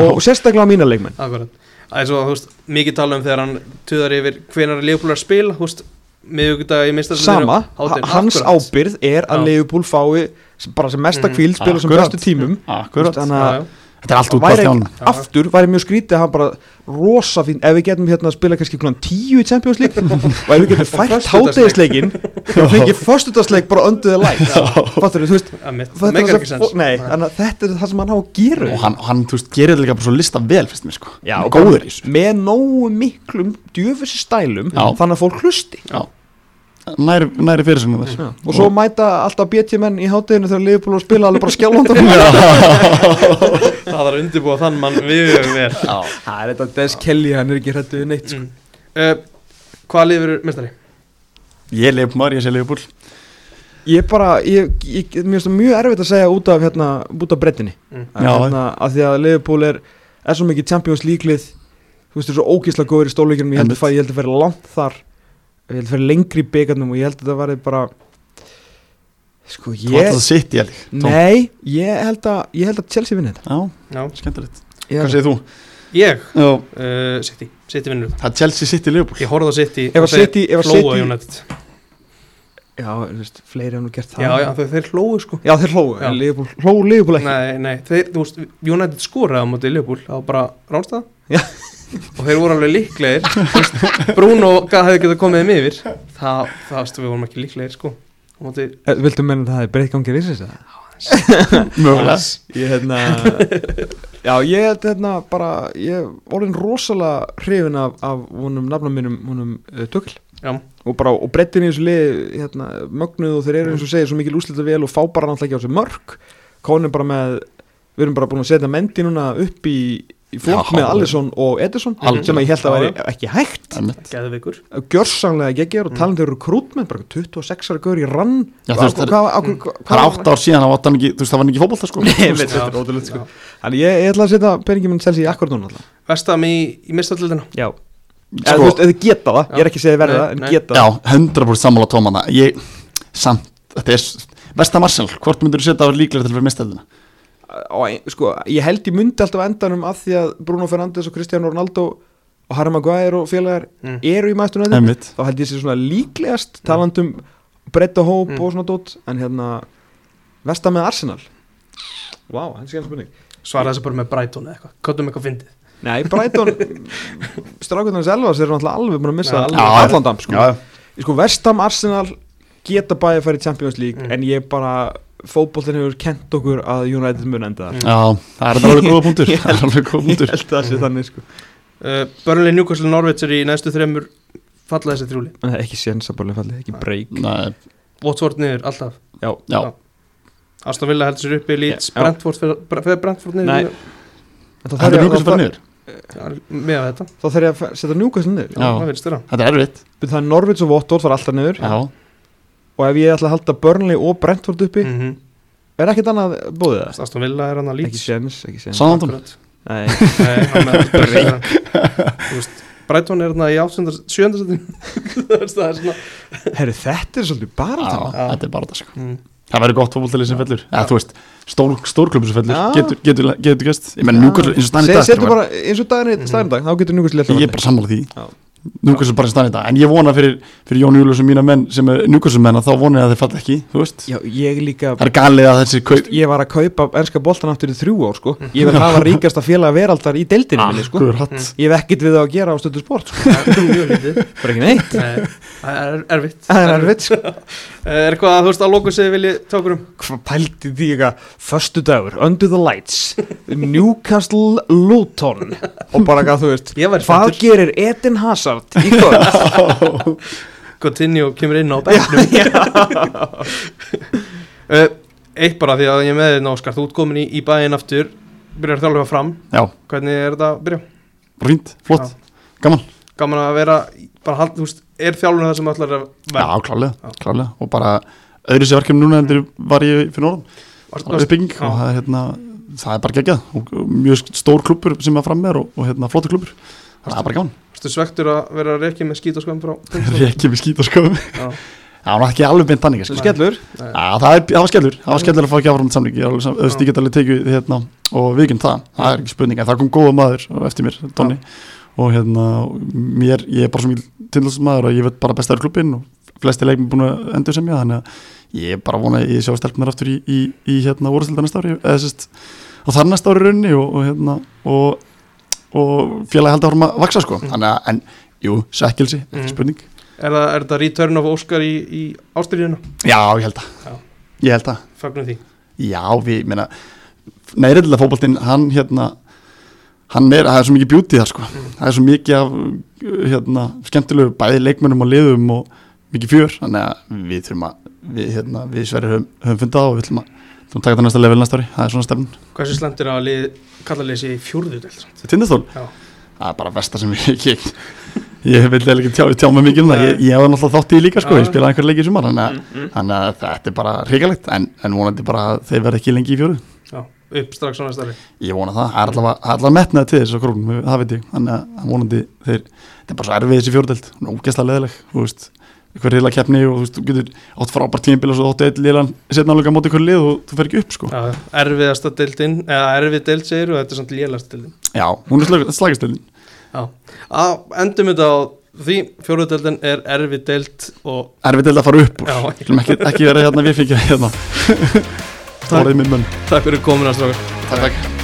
Speaker 3: og sérstaklega á mína leikmenn
Speaker 1: Akkurat. Það er svo, þú veist, mikið tala um þegar hann tuðar yfir hvenar leifbúlar spil, þú veist, miðugudag í minnstarsliðinu.
Speaker 3: sama, ha- hans ábyrð er
Speaker 1: Já.
Speaker 3: að Leifupúl fái s- bara sem mesta
Speaker 1: Mhm.
Speaker 3: kvíl spila sem
Speaker 2: Akkurat.
Speaker 3: bestu tímum
Speaker 2: Akkurat,
Speaker 3: Þú veist,
Speaker 1: Já,
Speaker 3: þannig að
Speaker 1: já,
Speaker 2: þetta er allt út
Speaker 3: væri
Speaker 2: bara
Speaker 3: ekki,
Speaker 2: þjálfum
Speaker 1: Já.
Speaker 3: aftur væri mjög skrítið að hann bara rosa fín ef við getum hérna að spila kannski klukkan 10 í Champions League og ef við getum fært hátegisleikin og fengið föstudagsleik bara under the light fattur þú veist
Speaker 1: að mitt,
Speaker 3: fattarðu
Speaker 1: meikar ekki
Speaker 3: þessa-
Speaker 1: sens.
Speaker 3: nei, þannig að þetta er það sem hann á að gera
Speaker 2: og hann, hann þú veist, gerir þetta líka bara svo lista vel fyrst mér sko,
Speaker 3: Já,
Speaker 2: Hann er
Speaker 3: og
Speaker 2: góður í þessu
Speaker 3: með nógu miklum djöfissi stælum
Speaker 2: Já.
Speaker 3: þannig að fólk hlusti
Speaker 2: næri, næri fyrir sinni þess
Speaker 3: Mhm. og svo mæta alltaf BT menn í hátteginu þegar Leifupúl og spila alveg bara skjálfandar
Speaker 1: Það þarf að undirbúa þann mann við höfum við.
Speaker 2: Já,
Speaker 3: það er þetta Des Kelly, hann er ekki hrættu neitt sko.
Speaker 1: Mm. Uh, hvað liður mestari?
Speaker 2: ég er leifbúl, ég sé leifbúl
Speaker 3: Ég bara, ég, ég, mér finnst það mjög erfitt að segja út af, hérna, út af brettinni
Speaker 1: Mm.
Speaker 3: Að
Speaker 2: Já.
Speaker 3: hérna, að Því að Liverpool er, er svo mikið Champions League-lið Þú veist, þú er svo ógeðslega góður í stóluleikinum Ég held að
Speaker 2: Einmitt.
Speaker 3: fæ- ég held að færa langt þar Ég held að færa lengri í byggarnum Og ég held að það væri bara Sko,
Speaker 2: þú ætti
Speaker 3: ég
Speaker 2: það sitt ég líka Tom.
Speaker 3: Nei, ég held að, ég held að Chelsea vinna þetta
Speaker 2: Já,
Speaker 1: Já.
Speaker 2: skemmtilegt
Speaker 3: Ég
Speaker 2: Hvað
Speaker 3: held að-
Speaker 2: segir þú?
Speaker 1: Ég,
Speaker 2: Já,
Speaker 1: uh, City, City vinnur þetta.
Speaker 2: það er Chelsea sitt í leifbúl
Speaker 1: Ég horfði á City
Speaker 3: Ef að
Speaker 1: og þeir
Speaker 3: City- ef að
Speaker 1: hlógu
Speaker 3: City-
Speaker 1: á United.
Speaker 3: Já, þú veist, fleiri hafa nú gert það
Speaker 1: Já, já, þau, þeir hlóðu sko.
Speaker 3: Já, þeir hlóu,
Speaker 1: Já.
Speaker 3: en Liverpool, hlóu Liverpool ekki
Speaker 1: Nei, nei, þeir, þú veist, United skoraði á móti Liverpool, það var bara ránstað
Speaker 3: Já.
Speaker 1: og þeir voru alveg líklegir Þú veist, Bruno ga- hefði getað komið þeim yfir það, það veist, við vorum ekki líklegir sko á móti
Speaker 3: Eh, Viltu menna að það er breytt gangið reysins eða?
Speaker 2: Mögulega
Speaker 3: ég hérna já ég held hérna bara ég orðin rosalega hrifin af, af honum nafna mínum honum uh, tökil
Speaker 1: Já.
Speaker 3: og bara og brettin í þessu lið hérna mögnuð og þeir eru eins og segir svo mikil úslita vel og fá bara náttúrulega ekki á þessu mörk konum bara með við erum bara búin að setja mendi núna upp í, í flokk
Speaker 2: Já,
Speaker 3: með Allison og Edison
Speaker 1: Algjörlega.
Speaker 3: sem að ég held að væri
Speaker 1: Já,
Speaker 3: ekki hægt
Speaker 2: Einmitt.
Speaker 1: Geðveikur
Speaker 3: gjörsanlega geggjör og
Speaker 1: Mm.
Speaker 3: talandi eru krútmenn bara 26 ára gaur í rann
Speaker 2: Já, þú
Speaker 3: Hvað-
Speaker 2: veist, það er-
Speaker 3: hvað- á hvað- hvað-
Speaker 2: Það er átt ár síðan, það var hann ekki, þú veist, það var hann ekki fótbolta sko
Speaker 3: Nei,
Speaker 2: Þú
Speaker 3: veit,
Speaker 2: veist,
Speaker 3: þetta er
Speaker 1: Já.
Speaker 3: ótrúlega sko Þannig ég, ég ætla að setja peningin minn Chelsea í akkur núna alltaf
Speaker 1: Vestam í, í mistallildina
Speaker 3: Já Eða þú
Speaker 2: Sko,
Speaker 3: veist, eða geta það, ég er ekki að segja verða
Speaker 1: Nei,
Speaker 3: það, en
Speaker 1: nei.
Speaker 3: geta
Speaker 2: já,
Speaker 3: það
Speaker 2: 100% sammála tómana Ég, samt, þetta er Vesta Marcel, hvort myndur þú setja að vera líklega til að vera misteldina?
Speaker 3: og, ein- Sko, ég held ég myndi alltaf á endanum að því að Bruno Fernandes og Cristiano Ronaldo og Harry Maguire og félagar
Speaker 1: mm.
Speaker 3: eru í mæstunni
Speaker 2: Emmitt
Speaker 3: þá held ég sér svona líklegast talandum breytta hóp
Speaker 1: Mm.
Speaker 3: og svona dót en hérna, versta með Arsenal Vá, wow, hans er ekki spurning
Speaker 1: svaraði þessu bara með Brighton eða eitthvað kottum eitthvað fyndið
Speaker 3: Nei, Brighton, strákunarins Elvas er náttúrulega alveg búin að missa
Speaker 1: Já,
Speaker 3: alveg
Speaker 2: já,
Speaker 3: allan damp sko.
Speaker 2: Já,
Speaker 3: sko, Vestam Arsenal geta bæði að fara í Champions League
Speaker 1: Mm.
Speaker 3: en ég bara, fótbollin hefur kent okkur að United mun enda
Speaker 1: Mm.
Speaker 3: það
Speaker 2: já, það er þetta alveg góða punktur Það er alveg góða
Speaker 3: ég
Speaker 2: punktur
Speaker 3: held að það sé
Speaker 1: Mm.
Speaker 3: þannig sko
Speaker 1: uh, Börnlega Newcastle Norvits er í næstu þremur falla þessi þrjúli
Speaker 3: en það er ekki sénsabarlega fallið, ekki break
Speaker 2: Nei,
Speaker 1: Watford niður alltaf
Speaker 3: já,
Speaker 2: já,
Speaker 1: Aston Villa heldur sér uppi Leeds
Speaker 3: Já.
Speaker 1: Brentford fer- bre- fer Brentford
Speaker 3: Nei.
Speaker 1: niður
Speaker 3: En þá
Speaker 2: þetta
Speaker 3: þarf
Speaker 2: er
Speaker 3: ég-
Speaker 2: Newcastle
Speaker 3: þá
Speaker 2: bara niður
Speaker 1: Já, með þetta
Speaker 3: þá þarf ég að fe- setja Newcastle niður
Speaker 2: Já.
Speaker 1: það verðist þeirra
Speaker 2: Þetta er erfitt
Speaker 3: Byrju, það er Norwich og Watford fara alltaf niður
Speaker 2: Já,
Speaker 3: og ef ég ætla að halda Burnley og Brentford uppi
Speaker 1: mm -hmm.
Speaker 3: er ekkert annað bóðið það
Speaker 1: Aston Villa er hann að
Speaker 3: ekki séns, ekki séns
Speaker 2: Sáðandum
Speaker 3: Nei.
Speaker 1: Nei, hann er Þú veist, Brighton er þarna í áttunda sjöndarsættin Það er svona
Speaker 3: herru þetta er svolítið bara það
Speaker 1: Já.
Speaker 2: Þetta er bara það sko
Speaker 1: mm.
Speaker 2: Það væri gott fótboltalið sem fellur Eða þú veist, stór, stórklubur sem fellur
Speaker 3: Já.
Speaker 2: Getur, getur, getur gæst Ég menn, Newcastle, eins og staðan í dag
Speaker 3: Settu
Speaker 2: þetta var-
Speaker 3: bara eins og staðin í
Speaker 1: Mhm.
Speaker 3: staðin dag þá getur Newcastle
Speaker 2: Ég er bara sammála því
Speaker 3: Já.
Speaker 2: Núkvæmsum bara í stann í dag, en ég vona fyrir, fyrir Jón Július og mína menn sem er núkvæmsum menn að þá vona ég að þeir falla ekki, þú veist
Speaker 3: Já, ég líka
Speaker 2: Það er galið að þessi kaup
Speaker 3: Ég var að kaupa ennska boltan aftur í þrjú ár sko. Ég vil hafa ríkasta félag veraldar í deildinu minni, sko.
Speaker 2: Akkur hatt
Speaker 3: Ég hef ekkert við það að gera á stöldu sport sko.
Speaker 1: Það er mjög lítið
Speaker 3: Bara ekki neitt
Speaker 1: Nei, Það er erfitt
Speaker 3: Það er erfitt sko.
Speaker 1: Eh, Er eitthvað að þú veist að lóku sig viljið tókur um
Speaker 3: Hvað pældi því eitthvað Föstu dagur, Under the Lights Newcastle Luton Og bara hvað þú veist
Speaker 1: Ég væri
Speaker 3: Hvað
Speaker 1: spenntur.
Speaker 3: gerir Eden Hazard í kvöld? Mm.
Speaker 1: Continue kemur inn á bæknum uh, Eitt bara því að ég er með þér Óskar, þú ert komin í, í bæinn aftur Byrjar þjálfa fram,
Speaker 2: Já,
Speaker 1: hvernig er þetta að byrja?
Speaker 2: rínt, flott, gaman
Speaker 1: Gaman að vera, í- bara hald, þú veist, er þjálfuna það sem ætlar að vera?
Speaker 2: Já, klálega,
Speaker 1: Já.
Speaker 2: klálega Og bara öðru sér verkefni núna heldur var ég fyrir norðan
Speaker 1: Varst-
Speaker 2: Það var
Speaker 1: varst-
Speaker 2: uppbygging
Speaker 1: Já.
Speaker 2: og það er hérna Það er bara geggjað og og mjög stór klubur sem að fram með og, og hérna flottur klubur Það er bara gaman
Speaker 1: Varstu svektur að vera reikið með skít og skoðum frá?
Speaker 2: Rekki við skýta sko
Speaker 1: Já.
Speaker 2: Það var ekki alveg beint þannig sko.
Speaker 3: Skellur
Speaker 2: Já, það, er, það var skellur, það var skellur að fá ekki áfram samling, ég alveg, sam- þú veist, ég get alveg tekið hérna og viðkjönd það, það er ekki spurning en það kom góða maður á eftir mér, Donni og hérna, mér, ég er bara svo mjög tilhalsmaður og ég veit bara bestaður klubbin og flesti leikmi búin að endur sem ég þannig að ég er bara vona að ég sjá stelpunar aftur í, í, í hérna voruðsilda næsta ári eða sérst, á þar næsta ári raunni og, og hérna, og, og félagi haldi áfram að vaksa sko, þannig að, en, jú, sækilsi,
Speaker 1: Mm.
Speaker 2: ekki spurning
Speaker 1: Er það- er þetta return of Óskar í, í ástriðina?
Speaker 2: Já, ég held
Speaker 1: Já.
Speaker 2: að, ég held að
Speaker 1: Fagnum því
Speaker 2: Já, við, ég meina Neirillega fótboltinn, hann hérna Hann er, það er svo mikið beauty þar sko
Speaker 1: Mm.
Speaker 2: Það er svo mikið af uh, hérna, skemmtilegu bæði leikmönnum og liðum og mikið fjör, þannig að við þurfum að við, hérna, við sverjum höfum, höfum fundað það og við ætlum að þurfum að taka það næsta level næsta ári það er svona stefn.
Speaker 1: Hversu slendir að lið, kalla leysi í fjórðu delt?
Speaker 2: Þetta er tindastól
Speaker 1: Já.
Speaker 2: Það er bara besta sem ég ég, ég vil eiginlega ekki tjá, tjá mig mikið um það ég, ég hef náttúrulega þátt í því líka sko,
Speaker 1: Já.
Speaker 2: ég spilaði einhver leikið sumar þannig
Speaker 3: Mm,
Speaker 2: að, þannig að þetta er bara hrikalegt en, en vonandi bara að þeir verða ekki lengi í fjóru
Speaker 1: Já, upp strax á næsta ári
Speaker 2: Ég vona það, það er allavega- það er allavega metnaði til þess að krónum, það veit ég, þannig að að vonandi þeir, þetta er bara svo erfið þessi fjórdelt, hún er ógeðslega leðileg, þú veist, eitthvað reyla keppni og þú veist, þú getur átt frábært tímbil og svo áttu eitt liðan, setna alveg á móti hverju lið og þú fer ekki upp sko.
Speaker 1: Já, erfiðasta deltinn, eða erfið delt segir og þetta er samt lélasta deltinn
Speaker 2: Já, hún er slag, slagastöldin.
Speaker 1: Já, að endum þetta á því fjórðu deltinn er erfið delt og
Speaker 2: Erfið delt að fara upp úr,
Speaker 1: Já.
Speaker 2: Skulum ekki, ekki vera hérna við fengið hérna,
Speaker 1: Takk.
Speaker 2: orðið minn mönn.
Speaker 1: takk fyrir komin að stráka
Speaker 2: Takk, takk.